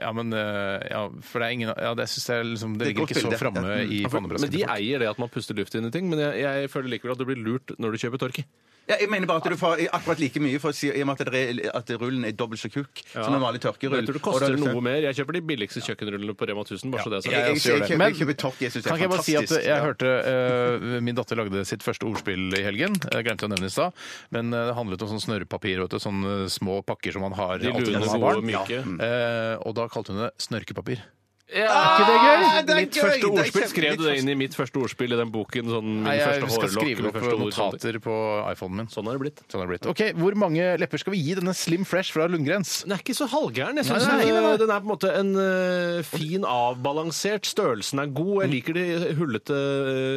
[SPEAKER 1] Ja, men eh, Ja, for det er ingen Ja, det syns jeg liksom Det
[SPEAKER 2] Det er
[SPEAKER 1] ligger ikke
[SPEAKER 2] et godt
[SPEAKER 1] så
[SPEAKER 2] bilde.
[SPEAKER 1] framme i
[SPEAKER 3] Men de
[SPEAKER 1] pannebrasken.
[SPEAKER 3] eier det at man puster luft inn i ting, men jeg, jeg føler likevel at du blir lurt når du kjøper Torki.
[SPEAKER 2] Eh, Ja, jeg mener bare at du får eh, akkurat like mye, for å si, i og med at, det, er- at rullen er dobbelt så tjukk som en vanlig tørkerull.
[SPEAKER 3] Jeg tror det
[SPEAKER 2] Og da
[SPEAKER 3] koster
[SPEAKER 2] er sånn-
[SPEAKER 3] noe mer. Jeg kjøper de billigste kjøkkenrullene på Rema 1000. bare så det er sagt.
[SPEAKER 2] Jeg, jeg, jeg,
[SPEAKER 1] det.
[SPEAKER 2] jeg, kjøper-
[SPEAKER 1] Men-
[SPEAKER 2] jeg kjøper torki. Jeg syns det
[SPEAKER 1] Kan
[SPEAKER 2] er
[SPEAKER 1] ikke jeg bare si at
[SPEAKER 2] fantastisk.
[SPEAKER 1] jeg hørte eh, Min datter lagde sitt første ordspill i helgen. Jeg glemte å nevne det i stad. Men eh, det handlet om sånn snørrepapir. Vet du, sånne små pakker som man har
[SPEAKER 3] De
[SPEAKER 1] alltid når
[SPEAKER 3] lune,
[SPEAKER 1] man har
[SPEAKER 3] gode,
[SPEAKER 1] barn.
[SPEAKER 3] myke.
[SPEAKER 2] Mm.
[SPEAKER 1] Eh, og da kalte hun det snørkepapir. det
[SPEAKER 3] Ja.
[SPEAKER 1] gøy?
[SPEAKER 2] Ah, det er
[SPEAKER 3] Mitt
[SPEAKER 2] gøy! Det
[SPEAKER 3] første
[SPEAKER 2] er
[SPEAKER 3] ordspill,
[SPEAKER 2] kjempe-
[SPEAKER 3] skrev du det
[SPEAKER 2] mitt
[SPEAKER 3] inn i mitt første ordspill i den boken? Sånn, min
[SPEAKER 1] Nei, jeg
[SPEAKER 3] første
[SPEAKER 1] skal
[SPEAKER 3] hårlokk,
[SPEAKER 1] skrive
[SPEAKER 3] min
[SPEAKER 1] opp
[SPEAKER 3] første ord, sånne ting.
[SPEAKER 1] notater på iPhonen min.
[SPEAKER 3] Sånn har det blitt.
[SPEAKER 1] Sånn har det blitt. Ok, Hvor mange lepper skal vi gi denne Slim Fresh fra Lundgrens?
[SPEAKER 3] Den er ikke så halvgæren. Jeg
[SPEAKER 1] synes
[SPEAKER 3] synes
[SPEAKER 1] den-
[SPEAKER 3] den, den er på en måte en eh, fin, avbalansert. Størrelsen er god. Jeg liker de hullete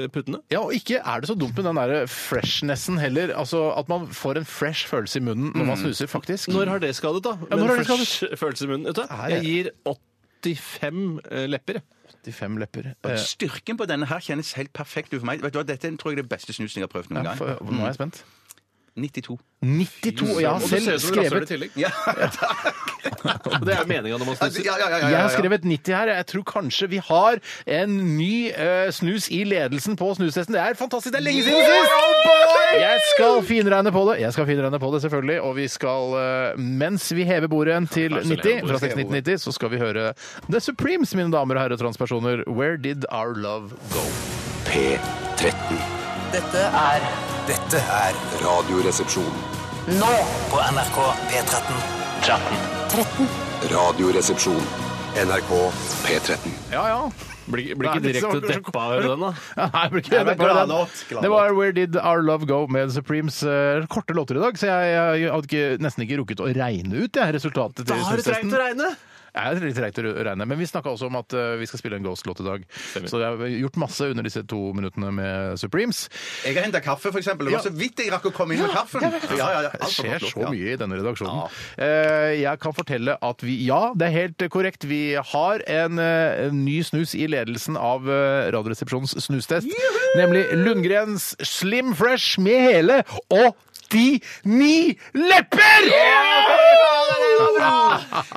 [SPEAKER 3] eh, puttene.
[SPEAKER 1] Ja, og ikke er det så dumt med den der freshnessen heller. Altså At man får en fresh følelse i munnen når man snuser, faktisk.
[SPEAKER 3] Mm. Når har det skadet, da?
[SPEAKER 1] Ja, når
[SPEAKER 3] Men
[SPEAKER 1] har det
[SPEAKER 3] først- Følelse i munnen. Vet du? hva?
[SPEAKER 1] Nei,
[SPEAKER 3] Jeg gir 85 eh, lepper.
[SPEAKER 1] 85 lepper.
[SPEAKER 2] Og
[SPEAKER 1] Eh,
[SPEAKER 2] Styrken på denne her kjennes helt perfekt ut for meg. Vet du hva, Dette tror jeg er det beste snusen jeg har prøvd noen
[SPEAKER 1] ja, for,
[SPEAKER 2] gang.
[SPEAKER 1] nå er jeg spent.
[SPEAKER 2] 92.
[SPEAKER 1] 92! Og jeg har
[SPEAKER 3] Og du
[SPEAKER 1] selv
[SPEAKER 3] ser ut som en rasshøl i
[SPEAKER 1] skrevet
[SPEAKER 3] tillegg.
[SPEAKER 2] Ja,
[SPEAKER 3] Og Det er meninga når man
[SPEAKER 2] ja, Altså,
[SPEAKER 3] stusser.
[SPEAKER 2] ja, ja, ja, ja,
[SPEAKER 1] jeg har
[SPEAKER 2] ja.
[SPEAKER 1] skrevet 90 her. Jeg tror kanskje vi har en ny eh, snus i ledelsen på snustesten. Det er fantastisk! Det er lenge siden sist! Jeg skal finregne på det, Jeg skal finregne på det selvfølgelig. Og vi skal, eh, mens vi hever bordet igjen til
[SPEAKER 3] Ja, så
[SPEAKER 1] 90,
[SPEAKER 3] lever
[SPEAKER 1] fra
[SPEAKER 3] bordet.
[SPEAKER 1] 6 til 90, så skal vi høre The Supremes, mine damer og herrer og transpersoner. Where did our love go?
[SPEAKER 7] P13.
[SPEAKER 8] Dette er
[SPEAKER 4] Dette er Radioresepsjon.
[SPEAKER 8] nå på NRK P13.
[SPEAKER 4] Radioresepsjon. NRK P13.
[SPEAKER 1] Ja, ja.
[SPEAKER 3] Blir,
[SPEAKER 1] Nei,
[SPEAKER 3] ikke
[SPEAKER 1] det liksom var
[SPEAKER 3] direkte
[SPEAKER 1] kanskje-
[SPEAKER 3] deppa av den, da?
[SPEAKER 1] Ja, Nei, det blir ikke
[SPEAKER 2] Nei,
[SPEAKER 1] det.
[SPEAKER 2] men glad låt, glad
[SPEAKER 1] Det var Where Did Our Love Go med The Supremes. eh, Korte låter i dag, så jeg, jeg hadde ikke, nesten ikke rukket å regne ut det her resultatet. til snustesten.
[SPEAKER 3] regne!
[SPEAKER 1] Jeg er litt treigt å regne, men vi snakka også om at eh, vi skal spille en Ghost-låt i dag. Så jeg har gjort masse under disse to minuttene med Supremes.
[SPEAKER 2] Jeg har henta kaffe, for eksempel. Det var så vidt jeg rakk å komme inn med kaffen. Ja, ja, ja.
[SPEAKER 1] Det
[SPEAKER 2] Alt for
[SPEAKER 1] skjer
[SPEAKER 2] flott,
[SPEAKER 1] så
[SPEAKER 2] ja.
[SPEAKER 1] mye i denne redaksjonen. Eh, Jeg kan fortelle at vi Ja, det er helt korrekt. Vi har en eh, ny snus i ledelsen av eh, Radioresepsjonens snustest. Nemlig Lundgrens Slim Fresh med hele 89 lepper!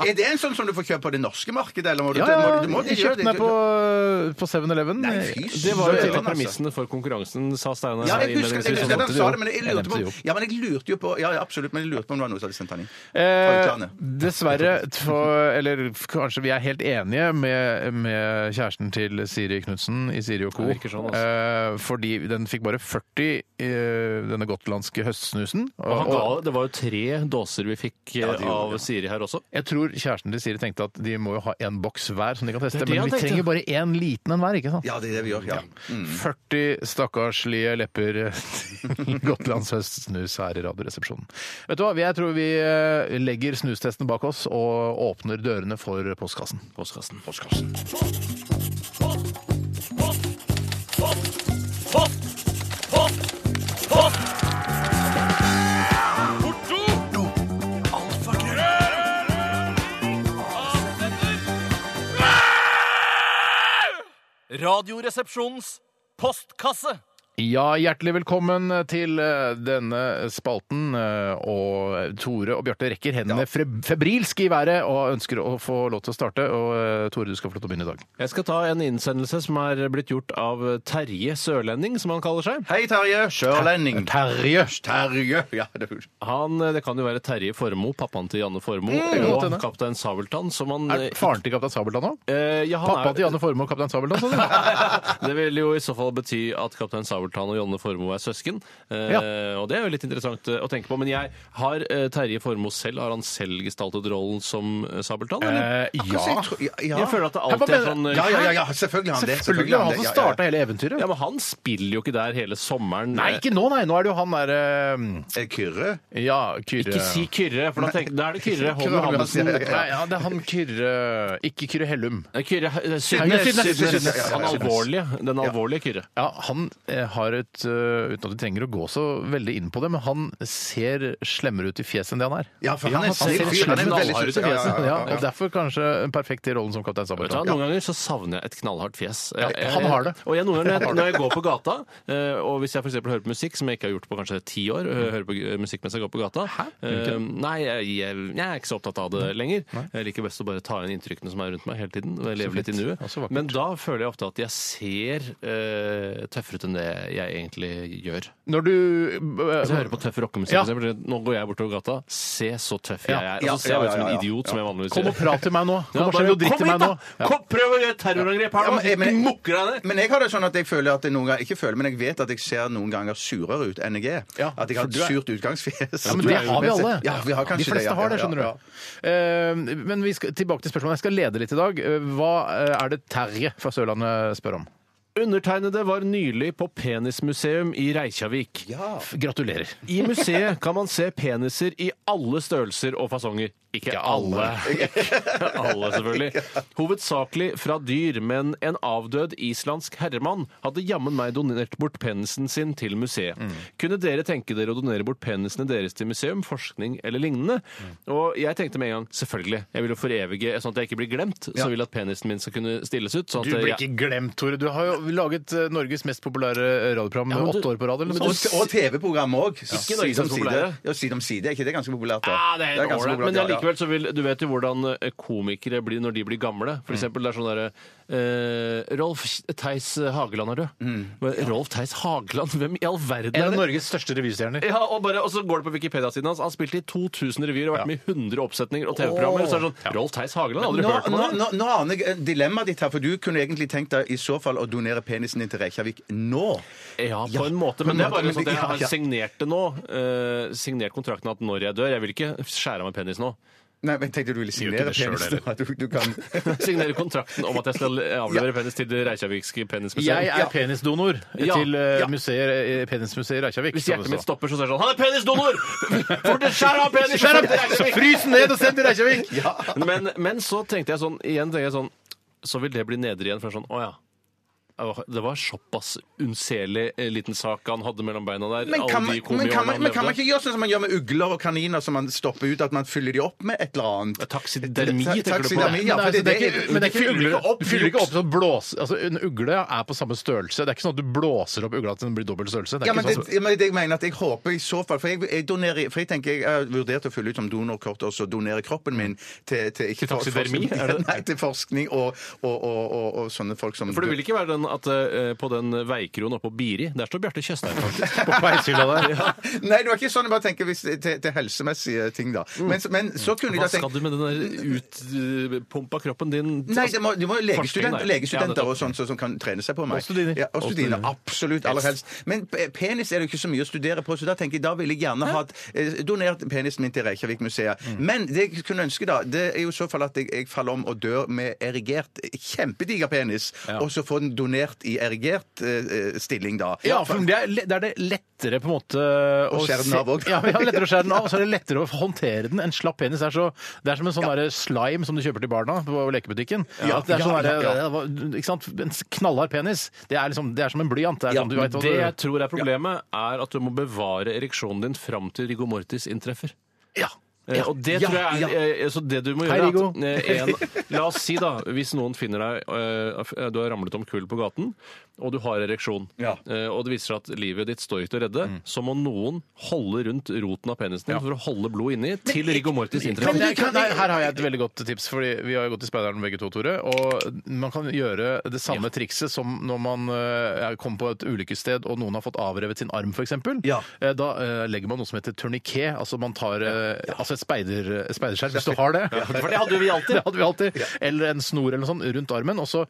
[SPEAKER 2] Er det en sånn som du får kjøpt på det norske markedet? Eller må du,
[SPEAKER 1] Ja, ja,
[SPEAKER 2] må du, må du
[SPEAKER 1] jeg
[SPEAKER 2] gjøre
[SPEAKER 1] kjøpte
[SPEAKER 2] det?
[SPEAKER 1] den her på, på 7-Eleven.
[SPEAKER 2] Nei, fy
[SPEAKER 3] Det var
[SPEAKER 2] søren,
[SPEAKER 3] jo til og med
[SPEAKER 2] altså.
[SPEAKER 3] premissene for konkurransen, sa Steinar.
[SPEAKER 2] Ja, jeg husker, jeg
[SPEAKER 3] innledningsvis.
[SPEAKER 2] husker at han sa det, men jeg
[SPEAKER 1] Jeg
[SPEAKER 2] lurte på
[SPEAKER 1] nevnte det jo.
[SPEAKER 2] Ja, men jeg lurte jo på Ja, ja, absolutt, men jeg lurte på om det var noe som hadde sendt han inn. Fra
[SPEAKER 1] Eh,
[SPEAKER 2] utlandet.
[SPEAKER 1] dessverre, for, eller f- kanskje vi er helt enige med, med kjæresten til Siri Knutsen i Siri og Co.
[SPEAKER 3] Det virker sånn,
[SPEAKER 1] eh, fordi den fikk bare 40, eh, denne gotlandske høstsnusen.
[SPEAKER 3] Og han ga, det var jo tre dåser vi fikk eh, av Siri her også.
[SPEAKER 1] jeg tror kjæresten til Siri tenkte at de må jo ha én boks hver som de kan teste,
[SPEAKER 3] Det er det
[SPEAKER 1] men
[SPEAKER 3] han
[SPEAKER 1] vi
[SPEAKER 3] tenkte.
[SPEAKER 1] trenger bare én liten en hver, ikke sant?
[SPEAKER 2] Ja, det er det vi gjør. Ja.
[SPEAKER 1] 40 stakkarslige lepper til Gotlands høstsnus her i Radioresepsjonen. Vet du hva, jeg tror vi eh, legger snustesten bak oss og åpner dørene for postkassen.
[SPEAKER 3] Postkassen.
[SPEAKER 1] Ja, hjertelig velkommen til eh, denne spalten. eh, Og Tore og Bjarte rekker hendene fre- febrilsk i været og ønsker å få lov til å starte. Og eh, Tore, du skal få lov til å begynne i dag.
[SPEAKER 3] Jeg skal ta en innsendelse som er blitt gjort av Terje Sørlending, som han kaller seg.
[SPEAKER 2] Hei, Terje. Sørlending.
[SPEAKER 1] Terje! Terje! Ja, det er
[SPEAKER 3] Han, det kan jo være Terje Formoe, pappaen til Janne Formoe,
[SPEAKER 2] Mm,
[SPEAKER 1] kan godt
[SPEAKER 3] og
[SPEAKER 1] hende.
[SPEAKER 3] kaptein Sabeltann, som han
[SPEAKER 1] Er faren til Kaptein Sabeltann òg?
[SPEAKER 3] Eh, ja, han
[SPEAKER 1] Pappa
[SPEAKER 3] er-
[SPEAKER 1] til Janne Formoe og Kaptein Sabeltann? sa du?
[SPEAKER 3] Det vil jo i så fall bety at kaptein Sabeltann og Janne Formoe er søsken. Eh, Og det er jo litt interessant eh, å tenke på. Men jeg har eh, Terje Formoe selv. Har han selv gestaltet rollen som eh, Sabeltann, eller?
[SPEAKER 1] Eh, ja.
[SPEAKER 2] Ja. ja.
[SPEAKER 3] Jeg føler at det
[SPEAKER 1] Hva
[SPEAKER 3] alltid er
[SPEAKER 1] mener-
[SPEAKER 3] sånn eh,
[SPEAKER 2] ja, ja, ja, ja, selvfølgelig har han det.
[SPEAKER 1] Selvfølgelig var han
[SPEAKER 2] det.
[SPEAKER 1] som
[SPEAKER 2] Ja, ja.
[SPEAKER 1] starta hele eventyret.
[SPEAKER 3] Ja, men han spiller jo ikke der hele sommeren.
[SPEAKER 1] Nei, ikke nå, nei. Nå er det jo han derre
[SPEAKER 2] Eh, Kyrre?
[SPEAKER 1] Ja, Kyrre
[SPEAKER 3] Eh, Ikke si Kyrre, for da, tenk, da er det Kyrre Holm
[SPEAKER 2] Kyrre Holm
[SPEAKER 3] Johansen.
[SPEAKER 2] Johansen,
[SPEAKER 1] Nei, ja, det er han Kyrre Ikke Kyrre Hellum.
[SPEAKER 3] Nei, Kyrre eh,
[SPEAKER 1] Ja,
[SPEAKER 3] Sydnes.
[SPEAKER 1] Sydnes, Sydnes,
[SPEAKER 3] Sydnes.
[SPEAKER 1] ja, ja, ja,
[SPEAKER 3] Han
[SPEAKER 1] Sydnes.
[SPEAKER 3] alvorlige. Den alvorlige Kyrre.
[SPEAKER 1] Ja, han eh, har et øh, Uten at du trenger å gå så veldig inn på det, men han ser slemmere ut i fjeset enn det han er.
[SPEAKER 2] Ja, for han er
[SPEAKER 3] han
[SPEAKER 2] en
[SPEAKER 3] ser
[SPEAKER 2] snill fyr. Han er en
[SPEAKER 3] knallhard
[SPEAKER 2] veldig
[SPEAKER 3] ut i
[SPEAKER 2] snill- ja, ja,
[SPEAKER 1] Ja,
[SPEAKER 2] ja, ja.
[SPEAKER 1] og Derfor kanskje en perfekt i rollen som kaptein
[SPEAKER 3] Vet du hva,
[SPEAKER 1] Sabeltann.
[SPEAKER 3] Noen ganger så savner jeg et knallhardt fjes. Jeg- jeg-
[SPEAKER 1] han har det.
[SPEAKER 3] Og jeg, noen ganger når jeg, når jeg går på gata, eh, og hvis jeg for eksempel hører på musikk, som jeg ikke har gjort på kanskje ti år
[SPEAKER 1] Mm.
[SPEAKER 3] eh, Hører på eh, musikk mens jeg går på gata eh, Nei, jeg, jeg, jeg er ikke så opptatt av det lenger. Jeg liker best å bare ta inn inntrykkene som er rundt meg hele tiden. Og jeg lever litt i
[SPEAKER 1] fint. Ja, så
[SPEAKER 3] nuet.
[SPEAKER 1] vakkert.
[SPEAKER 3] Men da føler jeg ofte at jeg ser eh, tøffere ut enn det jeg egentlig gjør.
[SPEAKER 1] Når du eh,
[SPEAKER 3] Hvis jeg hører på tøff rockemusikk,
[SPEAKER 1] Ja.
[SPEAKER 3] for eksempel, nå går jeg bortover gata, se så tøff jeg
[SPEAKER 1] Ja.
[SPEAKER 3] er.
[SPEAKER 2] Ja,
[SPEAKER 3] Og så ser jeg
[SPEAKER 2] ja,
[SPEAKER 3] ut som
[SPEAKER 2] ja,
[SPEAKER 3] en
[SPEAKER 2] ja, ja.
[SPEAKER 3] idiot, som jeg vanligvis
[SPEAKER 1] Kom og prat til meg nå! Kom
[SPEAKER 3] ja,
[SPEAKER 1] og
[SPEAKER 3] bare,
[SPEAKER 1] sleng noe dritt til meg nå! Ja.
[SPEAKER 3] Kom, prøv å gjøre et terrorangrep her
[SPEAKER 2] Ja,
[SPEAKER 3] nå!
[SPEAKER 2] men- men-
[SPEAKER 3] du mukker deg ned!
[SPEAKER 2] Men jeg har det sånn at jeg føler at jeg noen ganger, ikke føler, men jeg vet at jeg ser noen ganger surere ut enn jeg er.
[SPEAKER 1] Ja,
[SPEAKER 2] at jeg har
[SPEAKER 1] for
[SPEAKER 2] et
[SPEAKER 1] du er-
[SPEAKER 2] surt utgangsfjes.
[SPEAKER 1] Ja, men det har vi alle.
[SPEAKER 2] Ja, vi har kanskje
[SPEAKER 1] De fleste
[SPEAKER 2] det, ja,
[SPEAKER 1] har det,
[SPEAKER 2] ja,
[SPEAKER 1] skjønner
[SPEAKER 2] ja.
[SPEAKER 1] du. Eh, Men vi skal, tilbake til spørsmålet. Jeg skal lede litt i dag. Eh, Hva eh, er det Terje fra Sørlandet spør om?
[SPEAKER 3] Undertegnede var nylig på penismuseum i Reykjavik.
[SPEAKER 1] F- Gratulerer.
[SPEAKER 3] I museet kan man se peniser i alle størrelser og fasonger. Ikke alle. Ikke alle, selvfølgelig. Hovedsakelig fra dyr, men en avdød islandsk herremann hadde jammen meg donert bort penisen sin til museet.
[SPEAKER 1] Mm.
[SPEAKER 3] Kunne dere tenke dere å donere bort penisene deres til museum, forskning eller lignende?
[SPEAKER 1] Mm.
[SPEAKER 3] Og jeg tenkte med en gang selvfølgelig. Jeg vil jo forevige, sånn at jeg ikke blir glemt. Så vil jeg at penisen min skal kunne stilles ut. Sånn at
[SPEAKER 1] Du blir
[SPEAKER 3] jeg-
[SPEAKER 1] ikke glemt, Tore. Du har jo laget eh, Norges mest populære eh, radioprogram
[SPEAKER 3] Ja, men du-
[SPEAKER 1] åtte år på rad. eller
[SPEAKER 3] men
[SPEAKER 1] noe
[SPEAKER 2] Og,
[SPEAKER 1] sånt.
[SPEAKER 2] og TV-program òg. Side om
[SPEAKER 3] Norges mest
[SPEAKER 2] side.
[SPEAKER 3] populære.
[SPEAKER 2] Ja, side om side. Er ikke det ganske populært? da?
[SPEAKER 3] Ja, Ah, det er helt
[SPEAKER 2] ganske
[SPEAKER 3] ålreit.
[SPEAKER 2] populært,
[SPEAKER 3] Men
[SPEAKER 2] ja, ja.
[SPEAKER 3] allikevel så vil Du vet jo hvordan eh, komikere blir når de blir gamle.
[SPEAKER 2] Mm.
[SPEAKER 3] For eksempel det er sånn derre eh, Rolf Theis Hageland er død.
[SPEAKER 2] Mm.
[SPEAKER 3] Men Rolf Theis Hageland? Hvem i all verden
[SPEAKER 1] En
[SPEAKER 3] er
[SPEAKER 1] av
[SPEAKER 3] det?
[SPEAKER 1] Norges største revystjerner.
[SPEAKER 3] Ja, og, bare, og så går det på Wikipedia-siden hans. Han spilte i 2000 revyer og har vært med i 100 oppsetninger og TV-programmer. Så er det sånn Rolf Theis Hageland? Aldri
[SPEAKER 2] Nå,
[SPEAKER 3] hørt om
[SPEAKER 2] nå,
[SPEAKER 3] han.
[SPEAKER 2] nå, nå aner jeg eh, dilemmaet ditt her, for du kunne egentlig tenkt deg i så fall å donere penisen din til Reykjavik nå.
[SPEAKER 3] Ja, på
[SPEAKER 2] Ja,
[SPEAKER 3] en måte,
[SPEAKER 2] på
[SPEAKER 3] men
[SPEAKER 2] en
[SPEAKER 3] det er
[SPEAKER 2] måte,
[SPEAKER 3] bare
[SPEAKER 2] men
[SPEAKER 3] sånn at
[SPEAKER 2] det-
[SPEAKER 3] jeg
[SPEAKER 2] ja,
[SPEAKER 3] har
[SPEAKER 2] ja.
[SPEAKER 3] signert det nå. eh, signert kontrakten at når jeg dør Jeg vil ikke skjære av meg penis nå.
[SPEAKER 2] Nei, men jeg tenkte du ville signere
[SPEAKER 1] det selv,
[SPEAKER 2] penisen. at Du, du kan...
[SPEAKER 3] Signere kontrakten om at jeg skal avlevere penis til det reykjavikske penismuseet.
[SPEAKER 1] Jeg er penisdonor
[SPEAKER 3] Ja.
[SPEAKER 1] til eh, museet- eh, penismuseet i Reykjavik.
[SPEAKER 3] Hvis
[SPEAKER 1] som det
[SPEAKER 3] hjertet
[SPEAKER 1] står.
[SPEAKER 3] mitt stopper, så sier jeg sånn Han er penisdonor! Fort, skjær av penis!
[SPEAKER 1] Skjær opp! Så Frys den ned og send til Reykjavik!
[SPEAKER 3] Men, men så tenkte jeg sånn igjen tenkte jeg sånn, Så vil det bli nedre igjen, for det er sånn Å ja. Det var såpass unnselig eh, liten sak han hadde mellom beina der.
[SPEAKER 2] Men kan,
[SPEAKER 3] alle
[SPEAKER 2] man,
[SPEAKER 3] de
[SPEAKER 2] men, kan
[SPEAKER 3] komiårene
[SPEAKER 2] man,
[SPEAKER 3] han
[SPEAKER 2] men kan man
[SPEAKER 3] levde.
[SPEAKER 2] ikke gjøre sånn som man gjør med ugler og kaniner, som man stopper ut, at man fyller de opp med et eller annet?
[SPEAKER 3] Taksidermi, tenker du på?
[SPEAKER 2] Taksidermi, ja, for
[SPEAKER 1] Nei, altså, det er
[SPEAKER 2] det-
[SPEAKER 1] ikke- men det er
[SPEAKER 3] de
[SPEAKER 1] ikke
[SPEAKER 3] fyller
[SPEAKER 1] ugler
[SPEAKER 3] ikke opp
[SPEAKER 1] Du fyller ikke
[SPEAKER 3] juks.
[SPEAKER 1] opp som blås... Altså, en ugle er på samme størrelse. Det er ikke sånn at du blåser opp ugla til den blir dobbelt størrelse. Det er
[SPEAKER 2] Ja,
[SPEAKER 1] ikke
[SPEAKER 2] men
[SPEAKER 1] sånn-
[SPEAKER 2] det, ja, men det jeg mener at jeg håper i så fall For jeg, jeg donerer For jeg tenker jeg har vurdert å fylle ut som donorkort og så donere kroppen min til til, ikke for-
[SPEAKER 3] taksidermi,
[SPEAKER 2] forskning-
[SPEAKER 3] er det det?
[SPEAKER 2] Nei, til forskning og, og, og, og, og sånne folk som
[SPEAKER 3] For det vil ikke være den at eh, på den veikroen oppe på Biri Der står Bjarte Tjøstheim. faktisk.
[SPEAKER 1] På peishylla der.
[SPEAKER 2] Nei, det var ikke sånn. Jeg bare tenker hvis, til, til helsemessige ting, da. Men, men så kunne
[SPEAKER 3] Mm.
[SPEAKER 2] jeg da
[SPEAKER 3] Hva skal
[SPEAKER 2] tenkt
[SPEAKER 3] du med den der utpumpa kroppen din?
[SPEAKER 2] Nei,
[SPEAKER 1] Altså,
[SPEAKER 2] det må, det må jo legestudent,
[SPEAKER 3] Forskning, nei.
[SPEAKER 2] legestudenter
[SPEAKER 3] Ja, nettopp.
[SPEAKER 2] og sånn som- som kan trene seg på meg.
[SPEAKER 1] Og studiner.
[SPEAKER 2] Ja, og
[SPEAKER 1] Og
[SPEAKER 2] studiner,
[SPEAKER 1] studiner.
[SPEAKER 2] absolutt. Aller helst. Men pe- penis er det jo ikke så mye å studere på, så da tenker jeg da ville jeg gjerne ha eh, donert penisen min til Reykjavik-museet.
[SPEAKER 1] Mm.
[SPEAKER 2] Men det jeg kunne ønske, da, det er jo i så fall at jeg, jeg faller om og dør med erigert, kjempediger penis, og så får den donert i erigert eh, eh, stilling, da.
[SPEAKER 1] Ja, for det er, det er det lettere på en måte å
[SPEAKER 2] skjære den
[SPEAKER 1] se-
[SPEAKER 2] av også.
[SPEAKER 1] Ja, men ja, lettere å skjære den av, og så er det lettere å håndtere den. En slapp penis er så Det er som en sånn derre slime som du kjøper til barna på lekebutikken.
[SPEAKER 2] Ja,
[SPEAKER 1] At det er sånn
[SPEAKER 2] ja,
[SPEAKER 1] derre-
[SPEAKER 2] ja,
[SPEAKER 1] Ikke sant? En knallhard penis. Det er, liksom, det er som en blyant. Det er sånn, du vet, hva
[SPEAKER 3] Det
[SPEAKER 1] du-
[SPEAKER 3] jeg tror er problemet, er at du må bevare ereksjonen din fram til rigor mortis inntreffer.
[SPEAKER 1] ja.
[SPEAKER 3] Eh, Og det
[SPEAKER 2] Ja,
[SPEAKER 3] tror jeg er, eh, Så det du må
[SPEAKER 1] Hei,
[SPEAKER 3] gjøre er
[SPEAKER 1] Riggo.
[SPEAKER 3] eh, at, eh, en, La oss si, da, hvis noen finner deg eh, Du har ramlet omkull på gaten, og du har ereksjon,
[SPEAKER 2] Ja.
[SPEAKER 3] eh, og det viser seg at livet ditt står ikke til å redde,
[SPEAKER 1] Mm.
[SPEAKER 3] så må noen holde rundt roten av penisen din for å holde blod inni til rigor mortis
[SPEAKER 1] Kan
[SPEAKER 3] inntrer.
[SPEAKER 1] jeg, kan, nei, her har jeg et veldig godt tips, Fordi vi har jo gått i Speideren begge to, Tore. Og man kan gjøre det samme trikset som når man eh, kommer på et ulykkessted og noen har fått avrevet sin arm, f.eks.
[SPEAKER 2] Ja.
[SPEAKER 1] Eh, da eh, legger man noe som heter turniké. Altså man tar eh, altså et speider, et speiderskjerm, hvis du har det.
[SPEAKER 3] For det hadde vi alltid.
[SPEAKER 1] Det hadde vi alltid. Eller en snor eller noe sånt rundt armen, og så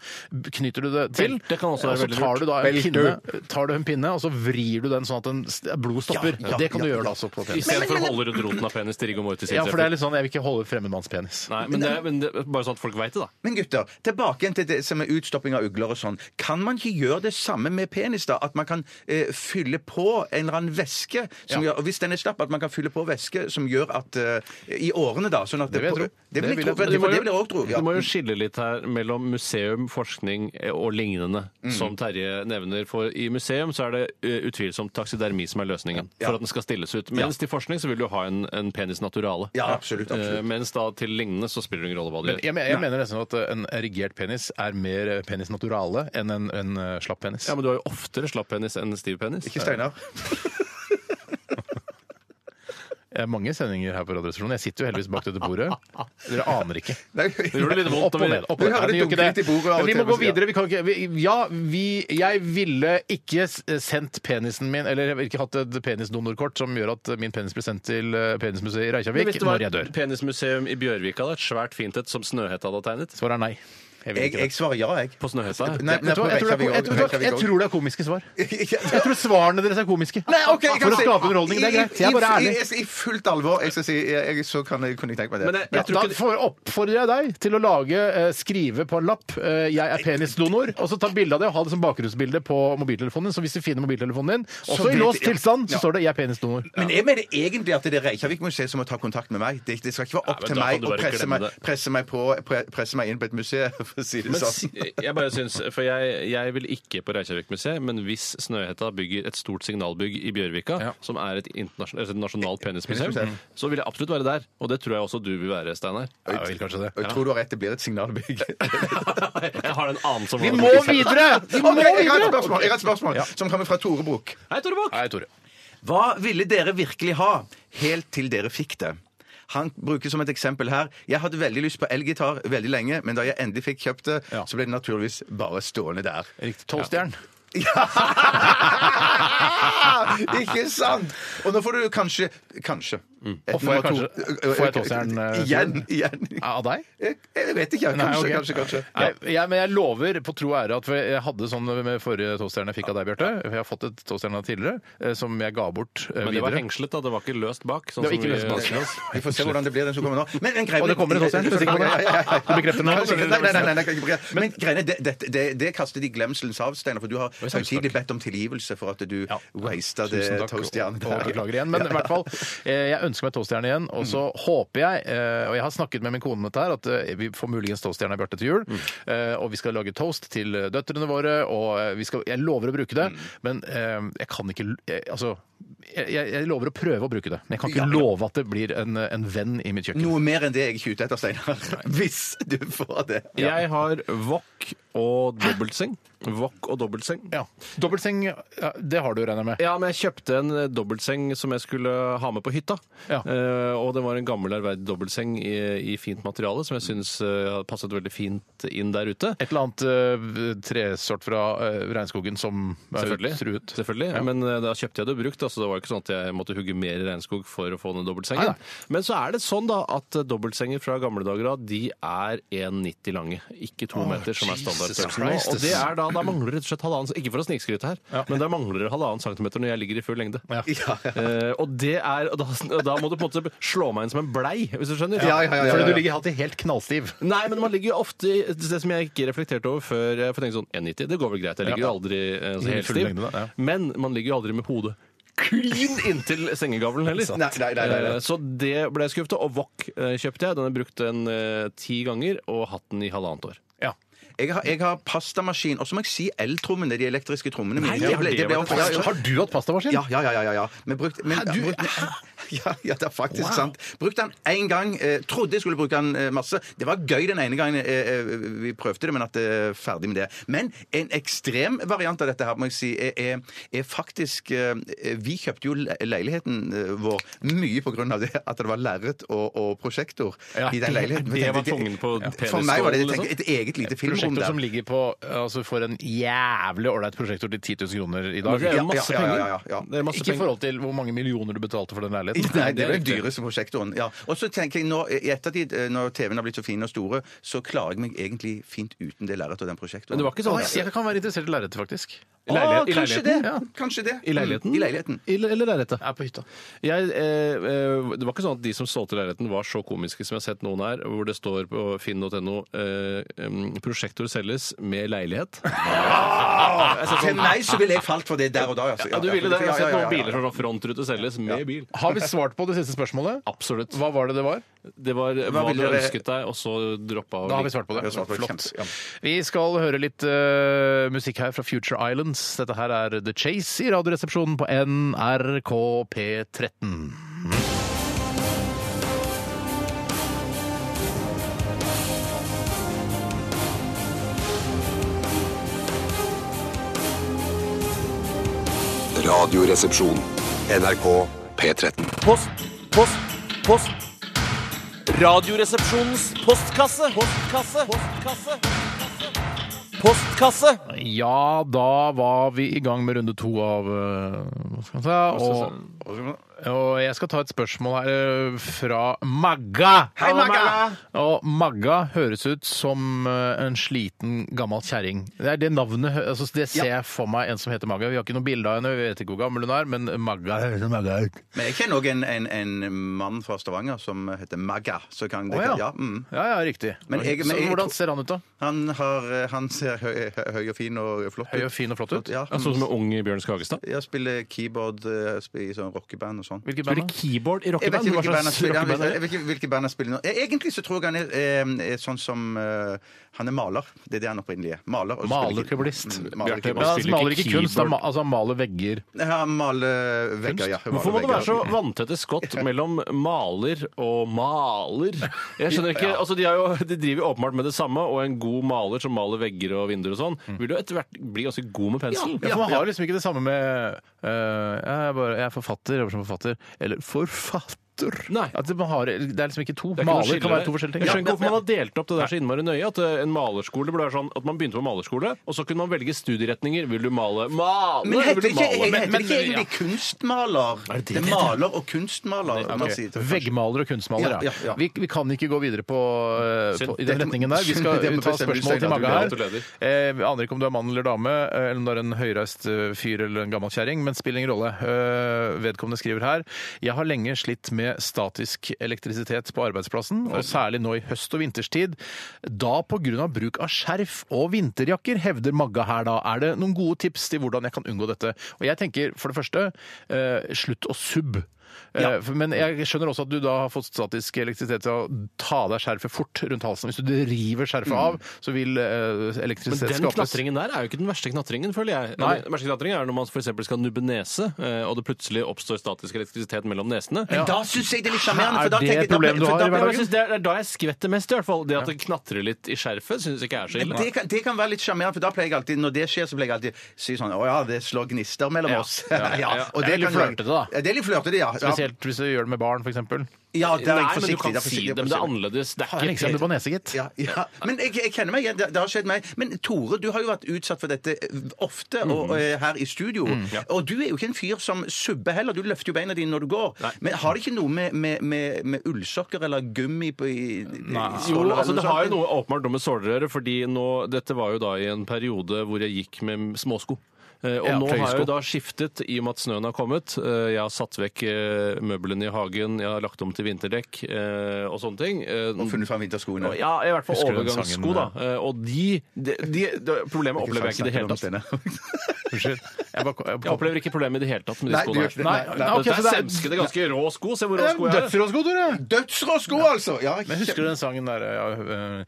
[SPEAKER 1] knyter du det til.
[SPEAKER 3] Belte kan også være
[SPEAKER 1] og så
[SPEAKER 3] veldig
[SPEAKER 1] tar du da en
[SPEAKER 3] lurt.
[SPEAKER 1] pinne, tar du en pinne, og så vrir du den sånn at den st- blodet stopper.
[SPEAKER 2] Ja, ja,
[SPEAKER 1] det kan du
[SPEAKER 2] ja,
[SPEAKER 1] gjøre
[SPEAKER 2] ja.
[SPEAKER 1] da også på
[SPEAKER 3] I
[SPEAKER 1] penis.
[SPEAKER 3] stedet for å holde rundt roten av penis til rigor mortis
[SPEAKER 1] Ja, for det
[SPEAKER 3] inntrer.
[SPEAKER 1] er litt sånn, jeg vil ikke holde fremme manns penis.
[SPEAKER 3] Nei, men det, er- men det, er bare sånn at folk veit det, da.
[SPEAKER 2] Men gutter, tilbake igjen til det som er utstopping av ugler og sånn. Kan man ikke gjøre det samme med penis, da? At man kan eh, fylle på en eller annen væske, som gjør, og hvis den er slapp, at man kan fylle på væske som gjør at eh, I årene, da. Sånn at
[SPEAKER 1] Det vil jeg tro.
[SPEAKER 2] Det vil
[SPEAKER 1] Det vil
[SPEAKER 2] jeg tro.
[SPEAKER 1] jeg tro.
[SPEAKER 2] for Det
[SPEAKER 3] Du må
[SPEAKER 2] for
[SPEAKER 3] jo-
[SPEAKER 2] det vil jeg òg tro. Ja.
[SPEAKER 3] Du må jo skille litt her mellom museum, forskning eh, og lignende,
[SPEAKER 2] Mm.
[SPEAKER 3] som Terje nevner. For i museum så er det eh, utvilsomt taksidermi som er løsningen, for at den skal stilles ut. Mens til forskning så vil du ha en, en penis naturale.
[SPEAKER 2] Ja, absolutt, absolutt.
[SPEAKER 3] Eh, Mens da til lignende så spiller det ingen rolle hva du
[SPEAKER 1] Men
[SPEAKER 3] gjør.
[SPEAKER 1] jeg, men- jeg mener nesten at en erigert penis er mer eh, penis naturale enn en, en eh, slapp penis.
[SPEAKER 3] Ja, men du har jo oftere slapp penis enn stiv penis.
[SPEAKER 2] Ikke Steinar.
[SPEAKER 1] Det er mange sendinger her på Radioresepsjonen. Jeg sitter jo heldigvis bak dette bordet. Dere aner ikke.
[SPEAKER 2] Nei.
[SPEAKER 3] Det gjorde litt vondt
[SPEAKER 1] Opp og ned. Opp og ned.
[SPEAKER 2] Vi har
[SPEAKER 1] Nei,
[SPEAKER 2] det
[SPEAKER 1] vi gjør ikke
[SPEAKER 2] dunkelt
[SPEAKER 1] det.
[SPEAKER 2] i bordet av
[SPEAKER 1] Men vi
[SPEAKER 2] og
[SPEAKER 1] må
[SPEAKER 2] til,
[SPEAKER 1] gå
[SPEAKER 2] men så-
[SPEAKER 1] videre. Vi kan ikke, vi, ja, vi, jeg ville ikke s- sendt penisen min, eller jeg ville ikke hatt et penisdonorkort som gjør at min penis blir sendt til eh, Penismuseet i
[SPEAKER 3] Men hvis
[SPEAKER 1] Reykjavik
[SPEAKER 3] det var
[SPEAKER 1] når jeg
[SPEAKER 3] et
[SPEAKER 1] dør.
[SPEAKER 3] penismuseum i Bjørvika, da, et svært fint et som Snøhetta hadde tegnet
[SPEAKER 1] Svaret er nei. Jeg vil
[SPEAKER 2] Jeg,
[SPEAKER 1] ikke
[SPEAKER 2] jeg
[SPEAKER 1] det.
[SPEAKER 2] svarer ja, jeg.
[SPEAKER 3] På Snøhetta?
[SPEAKER 2] Nei,
[SPEAKER 1] Vet du hva? Jeg tror det er ko- jeg tror-
[SPEAKER 2] Reykjavik
[SPEAKER 1] jeg tror det er komiske svar. Jeg tror svarene deres er komiske.
[SPEAKER 2] Nei, ok, jeg kan
[SPEAKER 1] For å
[SPEAKER 2] si-
[SPEAKER 1] skape underholdning. Det er greit. Jeg er bare
[SPEAKER 2] I,
[SPEAKER 1] ærlig.
[SPEAKER 2] i, i, i fullt alvor. Jeg skal si, jeg, jeg, så kan jeg, kunne jeg tenke meg det.
[SPEAKER 3] Men jeg,
[SPEAKER 1] Ja,
[SPEAKER 3] jeg tror
[SPEAKER 1] da
[SPEAKER 3] ikke det-
[SPEAKER 1] får- oppfordrer jeg deg til å lage, eh, skrive på en lapp eh, 'Jeg er penisdonor', og så ta bilde av det og ha det som bakgrunnsbilde på mobiltelefonen din. Så hvis du finner mobiltelefonen din, også i
[SPEAKER 2] vet-
[SPEAKER 1] låst
[SPEAKER 2] ja.
[SPEAKER 1] tilstand, så
[SPEAKER 2] Ja.
[SPEAKER 1] står det 'Jeg er penisdonor'.
[SPEAKER 2] Men jeg mener egentlig at det er Reykjavik-museet som må ta kontakt med meg. Det, det skal ikke være opp
[SPEAKER 3] Ja, men
[SPEAKER 2] til
[SPEAKER 3] da kan
[SPEAKER 2] meg
[SPEAKER 3] du
[SPEAKER 2] å
[SPEAKER 3] bare
[SPEAKER 2] presse
[SPEAKER 3] glemme
[SPEAKER 2] meg,
[SPEAKER 3] det.
[SPEAKER 2] presse, meg på, pre, presse meg inn på et museum, for å si det
[SPEAKER 3] Men si-
[SPEAKER 2] sånn.
[SPEAKER 3] jeg bare syns, for jeg, jeg vil ikke på Reykjavik-museet, men hvis Snøhetta bygger et stort signalbygg i Bjørvika,
[SPEAKER 1] Ja.
[SPEAKER 3] som er et, internasjon- eller et nasjonalt
[SPEAKER 2] Penismuseum.
[SPEAKER 3] penismuseum, så vil jeg absolutt være der. Og det tror jeg også du vil være, Steinar.
[SPEAKER 1] Ja, jeg vil kanskje det.
[SPEAKER 2] Og jeg tror du har rett, det blir et signalbygg.
[SPEAKER 3] Jeg har en annen som
[SPEAKER 1] Vi må videre! Vi må
[SPEAKER 2] Ok, jeg har et
[SPEAKER 1] videre!
[SPEAKER 2] spørsmål, jeg har et spørsmål som kommer fra Tore Bukk.
[SPEAKER 3] Hei, Tore Bukk!
[SPEAKER 1] Nei, Tore.
[SPEAKER 2] Hva ville dere virkelig ha helt til dere fikk det? Han bruker som et eksempel her Jeg hadde veldig lyst på elgitar veldig lenge, men da jeg endelig fikk kjøpt det,
[SPEAKER 1] Ja.
[SPEAKER 2] så ble det naturligvis bare stående der.
[SPEAKER 1] Riktig. Tolvstjern.
[SPEAKER 2] Ikke sant? Og nå får du kanskje Kanskje. Et
[SPEAKER 1] Mm. Og får jeg
[SPEAKER 2] nummer to.
[SPEAKER 1] kanskje- får jeg tolvstjerneren, eh,
[SPEAKER 2] Igjen. igjen.
[SPEAKER 1] Av deg?
[SPEAKER 2] Jeg, Eh, jeg vet ikke. Kanskje,
[SPEAKER 1] ok.
[SPEAKER 2] kanskje, kanskje.
[SPEAKER 1] Nei, jeg, men jeg lover på tro og ære at jeg hadde sånn med forrige toastjerne jeg fikk av deg, Bjarte. for Jeg har fått et toastjerne tidligere eh, som jeg ga bort eh,
[SPEAKER 3] Men det var
[SPEAKER 1] videre.
[SPEAKER 3] hengslet, da. Det var ikke løst bak.
[SPEAKER 1] Det var
[SPEAKER 3] sånn som
[SPEAKER 1] ikke
[SPEAKER 3] vi-
[SPEAKER 1] løst bak.
[SPEAKER 2] Vi får se hvordan det blir, den som kommer nå. Men, men greien-
[SPEAKER 1] Og det kommer en toastjerne, er du sikker på det?
[SPEAKER 2] Ja, ja, ja, ja.
[SPEAKER 1] Du bekrefter den her?
[SPEAKER 2] Nei, Nei, nei, nei, nei, jeg kan ikke bekrefte. Men greiene, det, det, det, det kaster de glemselens av, Steinar, for du har
[SPEAKER 1] takk.
[SPEAKER 2] samtidig bedt om tilgivelse for at du
[SPEAKER 1] Ja.
[SPEAKER 2] wasta det
[SPEAKER 1] Tusen takk,
[SPEAKER 2] toastjernet
[SPEAKER 1] og- og
[SPEAKER 2] der.
[SPEAKER 1] beklager igjen. Men i hvert fall, eh, jeg ønsker meg toastjerne igjen. Og så håper jeg, eh, og jeg har snakket med min kone om dette her, at eh, vi får muligens toastjerne av Bjarte til jul.
[SPEAKER 3] Mm.
[SPEAKER 1] Eh, Og vi skal lage toast til eh, døtrene våre, og eh, vi skal, jeg lover å bruke det.
[SPEAKER 3] Mm.
[SPEAKER 1] Men eh, jeg kan ikke l- jeg- Altså, jeg, jeg jeg lover å prøve å bruke det. Men jeg kan ikke love at det blir en, en venn i mitt kjøkken.
[SPEAKER 2] Noe mer enn det er jeg ikke ute etter, Steinar. Hvis du får det.
[SPEAKER 3] Jeg har wok og dobbeltseng. Wok og dobbeltseng.
[SPEAKER 1] Ja. Dobbeltseng, ja, det har du, regner jeg med.
[SPEAKER 3] Ja, men jeg kjøpte en eh, dobbeltseng som jeg skulle ha med på hytta.
[SPEAKER 1] Ja.
[SPEAKER 3] Eh, og det var en gammel ærverdig dobbeltseng i, i fint materiale som jeg syns eh, hadde passet veldig fint inn der ute.
[SPEAKER 1] Et eller annet eh, tresort fra eh, regnskogen som er
[SPEAKER 3] Selvfølgelig.
[SPEAKER 1] truet.
[SPEAKER 3] Selvfølgelig. Men eh, da kjøpte jeg det brukt. Altså, det var ikke sånn at jeg måtte hugge mer regnskog for å få den dobbeltsengen.
[SPEAKER 1] Nei, nei.
[SPEAKER 3] Men så er det sånn da at eh, dobbeltsenger fra gamle dager av, de er 1,90 lange. Ikke to meter, som er
[SPEAKER 1] Jesus
[SPEAKER 3] standardstørrelsen. nå.
[SPEAKER 1] Christ.
[SPEAKER 3] Og det
[SPEAKER 2] altså.
[SPEAKER 3] er da, da mangler det rett og slett halvannen Ikke for å snikskryte her, men der mangler det halvannen centimeter når jeg ligger i full lengde.
[SPEAKER 2] Ja, ja.
[SPEAKER 3] Eh, og det er og da, da må du på en måte slå meg inn som en blei, hvis du skjønner.
[SPEAKER 2] Ja, ja, ja, ja, ja.
[SPEAKER 1] Fordi du ligger alltid helt knallstiv.
[SPEAKER 3] Nei, men man ligger jo ofte i det som jeg ikke reflekterte over før. eh, For jeg tenkte sånn 1,90, det går vel greit. Jeg ligger jo aldri eh, altså,
[SPEAKER 1] I
[SPEAKER 3] helt
[SPEAKER 1] full
[SPEAKER 3] stiv.
[SPEAKER 1] lengde, da, ja.
[SPEAKER 3] Men man ligger jo aldri med hodet klin inntil sengegavlen heller.
[SPEAKER 2] Nei, nei, nei, nei, nei.
[SPEAKER 3] Eh, Så det ble jeg skuffet av. Og wok eh, kjøpte jeg. Den har jeg brukt en eh, ti ganger og hatt den i halvannet år.
[SPEAKER 1] Ja.
[SPEAKER 2] Jeg har, jeg har pastamaskin, og så må jeg si eltrommene, de elektriske trommene mine.
[SPEAKER 3] Nei,
[SPEAKER 2] Det
[SPEAKER 3] har
[SPEAKER 2] ble-
[SPEAKER 3] det
[SPEAKER 2] det ble
[SPEAKER 3] vært
[SPEAKER 2] opp- ja, ja.
[SPEAKER 1] Har du hatt pastamaskin?
[SPEAKER 2] Ja, ja, ja. ja, ja, ja. Men brukt, men,
[SPEAKER 1] Hæ, du-
[SPEAKER 2] brukt,
[SPEAKER 1] hæ?
[SPEAKER 2] ja, ja, det er faktisk sant. Brukte den én gang. Eh, trodde jeg skulle bruke den eh, masse. Det var gøy den ene gangen eh, eh, vi prøvde det, men at det er ferdig med det. Men en ekstrem variant av dette her, må jeg si, er, er, er faktisk eh, Vi kjøpte jo le- leiligheten eh, vår mye på grunn av det at det var lerret og, og prosjektor
[SPEAKER 1] Ja,
[SPEAKER 2] i den leiligheten.
[SPEAKER 3] det
[SPEAKER 2] Tenkte
[SPEAKER 3] var
[SPEAKER 2] jeg-
[SPEAKER 3] tvungen på
[SPEAKER 2] For meg var det jeg
[SPEAKER 3] penisskålen,
[SPEAKER 2] tenkte, et eget lite filmrom
[SPEAKER 1] liksom. Prosjektor som
[SPEAKER 2] der.
[SPEAKER 1] ligger på altså For en jævlig ålreit prosjektor til 10 000 kroner i dag.
[SPEAKER 3] Det er jo
[SPEAKER 2] Ja,
[SPEAKER 3] masse
[SPEAKER 2] ja, ja,
[SPEAKER 3] penger.
[SPEAKER 2] ja, ja, ja.
[SPEAKER 3] Det er masse
[SPEAKER 1] Ikke i
[SPEAKER 3] penger.
[SPEAKER 1] forhold til hvor mange millioner du betalte for den leiligheten.
[SPEAKER 2] Nei, det er den
[SPEAKER 1] riktig.
[SPEAKER 2] dyreste prosjektoren. Ja. Og så tenker jeg nå, i ettertid, eh, når TV-en har blitt så fin og store, så klarer jeg meg egentlig fint uten det lerretet og den prosjektoren.
[SPEAKER 3] Men det var ikke
[SPEAKER 1] Å,
[SPEAKER 3] sånn
[SPEAKER 1] jeg, jeg kan være interessert i lerretet, faktisk.
[SPEAKER 3] I leilighet- i
[SPEAKER 2] kanskje
[SPEAKER 3] leiligheten?
[SPEAKER 2] det.
[SPEAKER 1] ja.
[SPEAKER 2] Kanskje det.
[SPEAKER 3] I leiligheten?
[SPEAKER 2] Mm, I leiligheten.
[SPEAKER 3] I le- Eller lerretet?
[SPEAKER 1] Jeg er på hytta.
[SPEAKER 3] Jeg, eh, eh, det var ikke sånn at de som solgte leiligheten, var så komiske som jeg har sett noen her, hvor det står på finn.no eh, em, 'Prosjektor selges med leilighet'.
[SPEAKER 2] Til meg så ville jeg falt for det der og da. altså.
[SPEAKER 3] altså, sånn- Ja, du ville det. Jeg har
[SPEAKER 2] Ja,
[SPEAKER 3] sett
[SPEAKER 2] ja, ja,
[SPEAKER 3] noen
[SPEAKER 2] ja.
[SPEAKER 3] biler som var frontrute selges med bil.
[SPEAKER 1] Har vi svart på det siste spørsmålet?
[SPEAKER 3] Absolutt.
[SPEAKER 1] Hva var det det var?
[SPEAKER 3] Det var hva,
[SPEAKER 2] ville
[SPEAKER 3] du
[SPEAKER 2] dere-
[SPEAKER 3] ønsket deg, og så droppa
[SPEAKER 1] Da har vi svart på det.
[SPEAKER 2] Vi har svart på det.
[SPEAKER 1] Flott.
[SPEAKER 2] Kjempe- ja.
[SPEAKER 1] Vi skal høre litt eh, musikk her fra Future Islands. Dette her er The Chase i Radioresepsjonen på NRK P13.
[SPEAKER 4] Radioresepsjon. NRK P13.
[SPEAKER 8] Post, post, post. Radioresepsjonens postkasse. Postkasse. Postkasse. Postkasse.
[SPEAKER 1] Ja, da var vi i gang med runde to av eh, Hva skal man si? Og, og jeg skal ta et spørsmål her eh, fra Magga.
[SPEAKER 2] Hei, Magga!
[SPEAKER 1] Og Magga høres ut som eh, en sliten, gammel kjerring. Det er det navnet hø- altså, Det ser jeg for meg en som heter Magga. Vi har ikke noe bilde av henne, vi vet ikke hvor gammel hun er, men Magga høres som Magga ut.
[SPEAKER 2] Men jeg kjenner òg en, en, en mann fra Stavanger som heter Magga. Så kan det,
[SPEAKER 1] Å, ja.
[SPEAKER 2] ja. mm.
[SPEAKER 1] Ja, ja, riktig.
[SPEAKER 2] Men jeg- men jeg-
[SPEAKER 1] Så hvordan ser han ut, da?
[SPEAKER 2] han, har, eh, han ser høy, høy og fin og flott ut.
[SPEAKER 1] Høy og fin og flott ut?
[SPEAKER 2] Ja,
[SPEAKER 3] Sånn som en ung Bjørn Skagestad?
[SPEAKER 2] jeg spiller keyboard eh, i sånn rockeband og sånn.
[SPEAKER 1] Hvilket
[SPEAKER 3] Spiller
[SPEAKER 1] band? da?
[SPEAKER 3] keyboard i
[SPEAKER 2] Jeg vet
[SPEAKER 3] rockeband?
[SPEAKER 2] ikke hvilke band
[SPEAKER 3] Hva
[SPEAKER 2] han
[SPEAKER 3] slags
[SPEAKER 2] spiller,
[SPEAKER 3] rockeband er det?
[SPEAKER 2] Jeg vet ikke eh, hvilke band han spiller nå. Egentlig så tror jeg han er, eh, er sånn som eh, Han er maler. Det er det han opprinnelig er. Maler. og spiller keyboard.
[SPEAKER 1] Malerkubist.
[SPEAKER 2] Mm,
[SPEAKER 3] Bjarte,
[SPEAKER 2] malerkubist.
[SPEAKER 3] hva
[SPEAKER 1] Men han
[SPEAKER 3] spiller
[SPEAKER 1] altså, maler
[SPEAKER 3] ikke
[SPEAKER 1] ikke kunst, han
[SPEAKER 3] keyboard.
[SPEAKER 1] ma- altså, han maler vegger.
[SPEAKER 2] Ja, han maler vegger, ja.
[SPEAKER 3] Hvorfor må
[SPEAKER 2] Maler
[SPEAKER 3] det være så
[SPEAKER 2] vegger.
[SPEAKER 3] vanntette skott mellom maler og maler? Jeg skjønner ikke, altså De, er jo, de driver jo åpenbart med det samme, og en god maler som maler vegger og vinduer og sånn,
[SPEAKER 2] Mm.
[SPEAKER 3] vil jo etter hvert bli ganske god med pensel.
[SPEAKER 1] Ja, for man har liksom ikke det samme med eh, jeg, er bare, jeg er forfatter, jobber som forfatter. Eller forfatter!
[SPEAKER 3] Nei.
[SPEAKER 1] At man har, det er liksom ikke to.
[SPEAKER 3] Det er ikke noe
[SPEAKER 1] Maler
[SPEAKER 3] skille
[SPEAKER 1] kan være
[SPEAKER 3] der.
[SPEAKER 1] to forskjellige
[SPEAKER 3] Jeg skjønner
[SPEAKER 1] ting.
[SPEAKER 3] ikke hvorfor man har delt opp det der så innmari nøye. At eh, en malerskole burde være sånn at man begynte på malerskole, og så kunne man velge studieretninger. Vil du male Male!
[SPEAKER 2] Men heter
[SPEAKER 3] Vil
[SPEAKER 2] det
[SPEAKER 3] du
[SPEAKER 2] ikke,
[SPEAKER 3] male?
[SPEAKER 2] heter det ikke egentlig kunstmaler? Det, er maler og kunstmaler. man sier til-
[SPEAKER 1] Veggmaler og kunstmaler, ja.
[SPEAKER 2] Ja, ja, ja.
[SPEAKER 1] Vi, vi kan ikke gå videre på, eh,
[SPEAKER 3] Synd.
[SPEAKER 1] på i den
[SPEAKER 2] Dette-
[SPEAKER 1] retningen der. Vi
[SPEAKER 2] Synd, det
[SPEAKER 1] skal
[SPEAKER 2] må
[SPEAKER 1] ta
[SPEAKER 2] bestemme
[SPEAKER 1] spørsmål
[SPEAKER 2] seg
[SPEAKER 1] til
[SPEAKER 2] at du
[SPEAKER 1] Magga
[SPEAKER 3] blir
[SPEAKER 1] her.
[SPEAKER 3] autoleder.
[SPEAKER 1] Eh, vi aner ikke om du er mann eller dame, eh, eller om du er en høyreist eh, fyr eller en gammel kjerring, men spiller ingen rolle. Eh, vedkommende skriver her Jeg har lenge slitt med statisk elektrisitet på arbeidsplassen, og særlig nå i høst- og vinterstid. Da pga. bruk av skjerf og vinterjakker, hevder Magga her da. Er det noen gode tips til hvordan jeg kan unngå dette? Og jeg tenker for det første, eh, slutt å subbe. Eh, for- Men jeg skjønner også at du da har fått statisk elektrisitet til å ta av deg skjerfet fort rundt halsen. Hvis du river skjerfet av, så vil eh,
[SPEAKER 3] Men
[SPEAKER 1] elektrisitet
[SPEAKER 3] den
[SPEAKER 1] skapes.
[SPEAKER 3] knatringen der er jo ikke den verste knatringen, føler jeg.
[SPEAKER 1] Nei.
[SPEAKER 3] Den verste knatringen er når man f.eks. skal nubbe nese, eh, og det plutselig oppstår statisk elektrisitet mellom nesene.
[SPEAKER 2] Men da syns jeg det er litt sjarmerende.
[SPEAKER 1] Er
[SPEAKER 2] for da
[SPEAKER 1] det
[SPEAKER 2] tenker jeg- da-
[SPEAKER 1] problemet du
[SPEAKER 2] for
[SPEAKER 1] har i
[SPEAKER 2] da-
[SPEAKER 3] Ja, men jeg synes det, er, det er da jeg skvetter mest, i hvert fall. Det at det knatrer litt i skjerfet, syns jeg ikke er så
[SPEAKER 2] Men
[SPEAKER 3] ille.
[SPEAKER 2] Det kan, det kan være litt sjarmerende, for da pleier jeg alltid, når det skjer, så pleier jeg alltid si sånn Å ja, det slår gnister mellom
[SPEAKER 3] Ja,
[SPEAKER 2] oss.
[SPEAKER 3] ja, ja.
[SPEAKER 2] og
[SPEAKER 1] Det er litt
[SPEAKER 2] kan jo-
[SPEAKER 1] flørtete, da.
[SPEAKER 2] Ja, det er litt flørtete, ja. Ja.
[SPEAKER 1] Spesielt hvis du gjør det med barn, f.eks. Det
[SPEAKER 2] Ja, der er jeg
[SPEAKER 3] Nei, men du
[SPEAKER 2] forsiktig.
[SPEAKER 3] kan
[SPEAKER 2] der er
[SPEAKER 3] si
[SPEAKER 2] forsiktig,
[SPEAKER 3] det,
[SPEAKER 2] der er
[SPEAKER 3] men det er
[SPEAKER 2] forsiktig.
[SPEAKER 3] annerledes. Det
[SPEAKER 1] er
[SPEAKER 3] er
[SPEAKER 1] lenge siden du
[SPEAKER 3] ikke
[SPEAKER 1] på nese, gitt.
[SPEAKER 2] Ja, ja. Men jeg, jeg kjenner meg igjen. Det, det har skjedd meg. Men Tore, du har jo vært utsatt for dette eh, ofte og, og, eh, her i studio. Og du er jo ikke en fyr som subber heller. Du løfter jo beina dine når du går. Men har det ikke noe med, med, med, med ullsokker eller gummi på i, i
[SPEAKER 3] Jo,
[SPEAKER 2] ståler?
[SPEAKER 3] altså det har jo noe åpenbart noe med såler å gjøre, fordi nå, dette var jo da i en periode hvor jeg gikk med småsko. Eh, Og
[SPEAKER 1] Ja,
[SPEAKER 3] nå har jeg
[SPEAKER 1] fløyesko.
[SPEAKER 3] jo da skiftet i og med at snøen har kommet. Eh, Jeg har satt vekk eh, møblene i hagen, jeg har lagt om til vinterdekk eh, og sånne ting. Eh,
[SPEAKER 2] Og funnet fram vinterskoene.
[SPEAKER 3] Ja, i hvert fall
[SPEAKER 1] Husker du den
[SPEAKER 3] overgangssko, da.
[SPEAKER 1] sangen,
[SPEAKER 3] Eh, Og de, de, de, de Problemet opplever jeg ikke i det hele tatt.
[SPEAKER 1] Unnskyld. Jeg, bare, jeg,
[SPEAKER 3] Jeg opplever ikke problemet i det hele tatt med de
[SPEAKER 2] Nei, du gjør ikke
[SPEAKER 3] skoene.
[SPEAKER 2] det.
[SPEAKER 3] Nei,
[SPEAKER 2] Nei,
[SPEAKER 3] nei,
[SPEAKER 1] nei, ok, så
[SPEAKER 3] Dette er
[SPEAKER 1] det er-
[SPEAKER 3] semskede, ganske rå sko. Se hvor rå sko jeg er.
[SPEAKER 1] Dødsrå sko, Tore!
[SPEAKER 2] Dødsrå sko, altså! Ja,
[SPEAKER 1] Men husker du den sangen der ja, øh,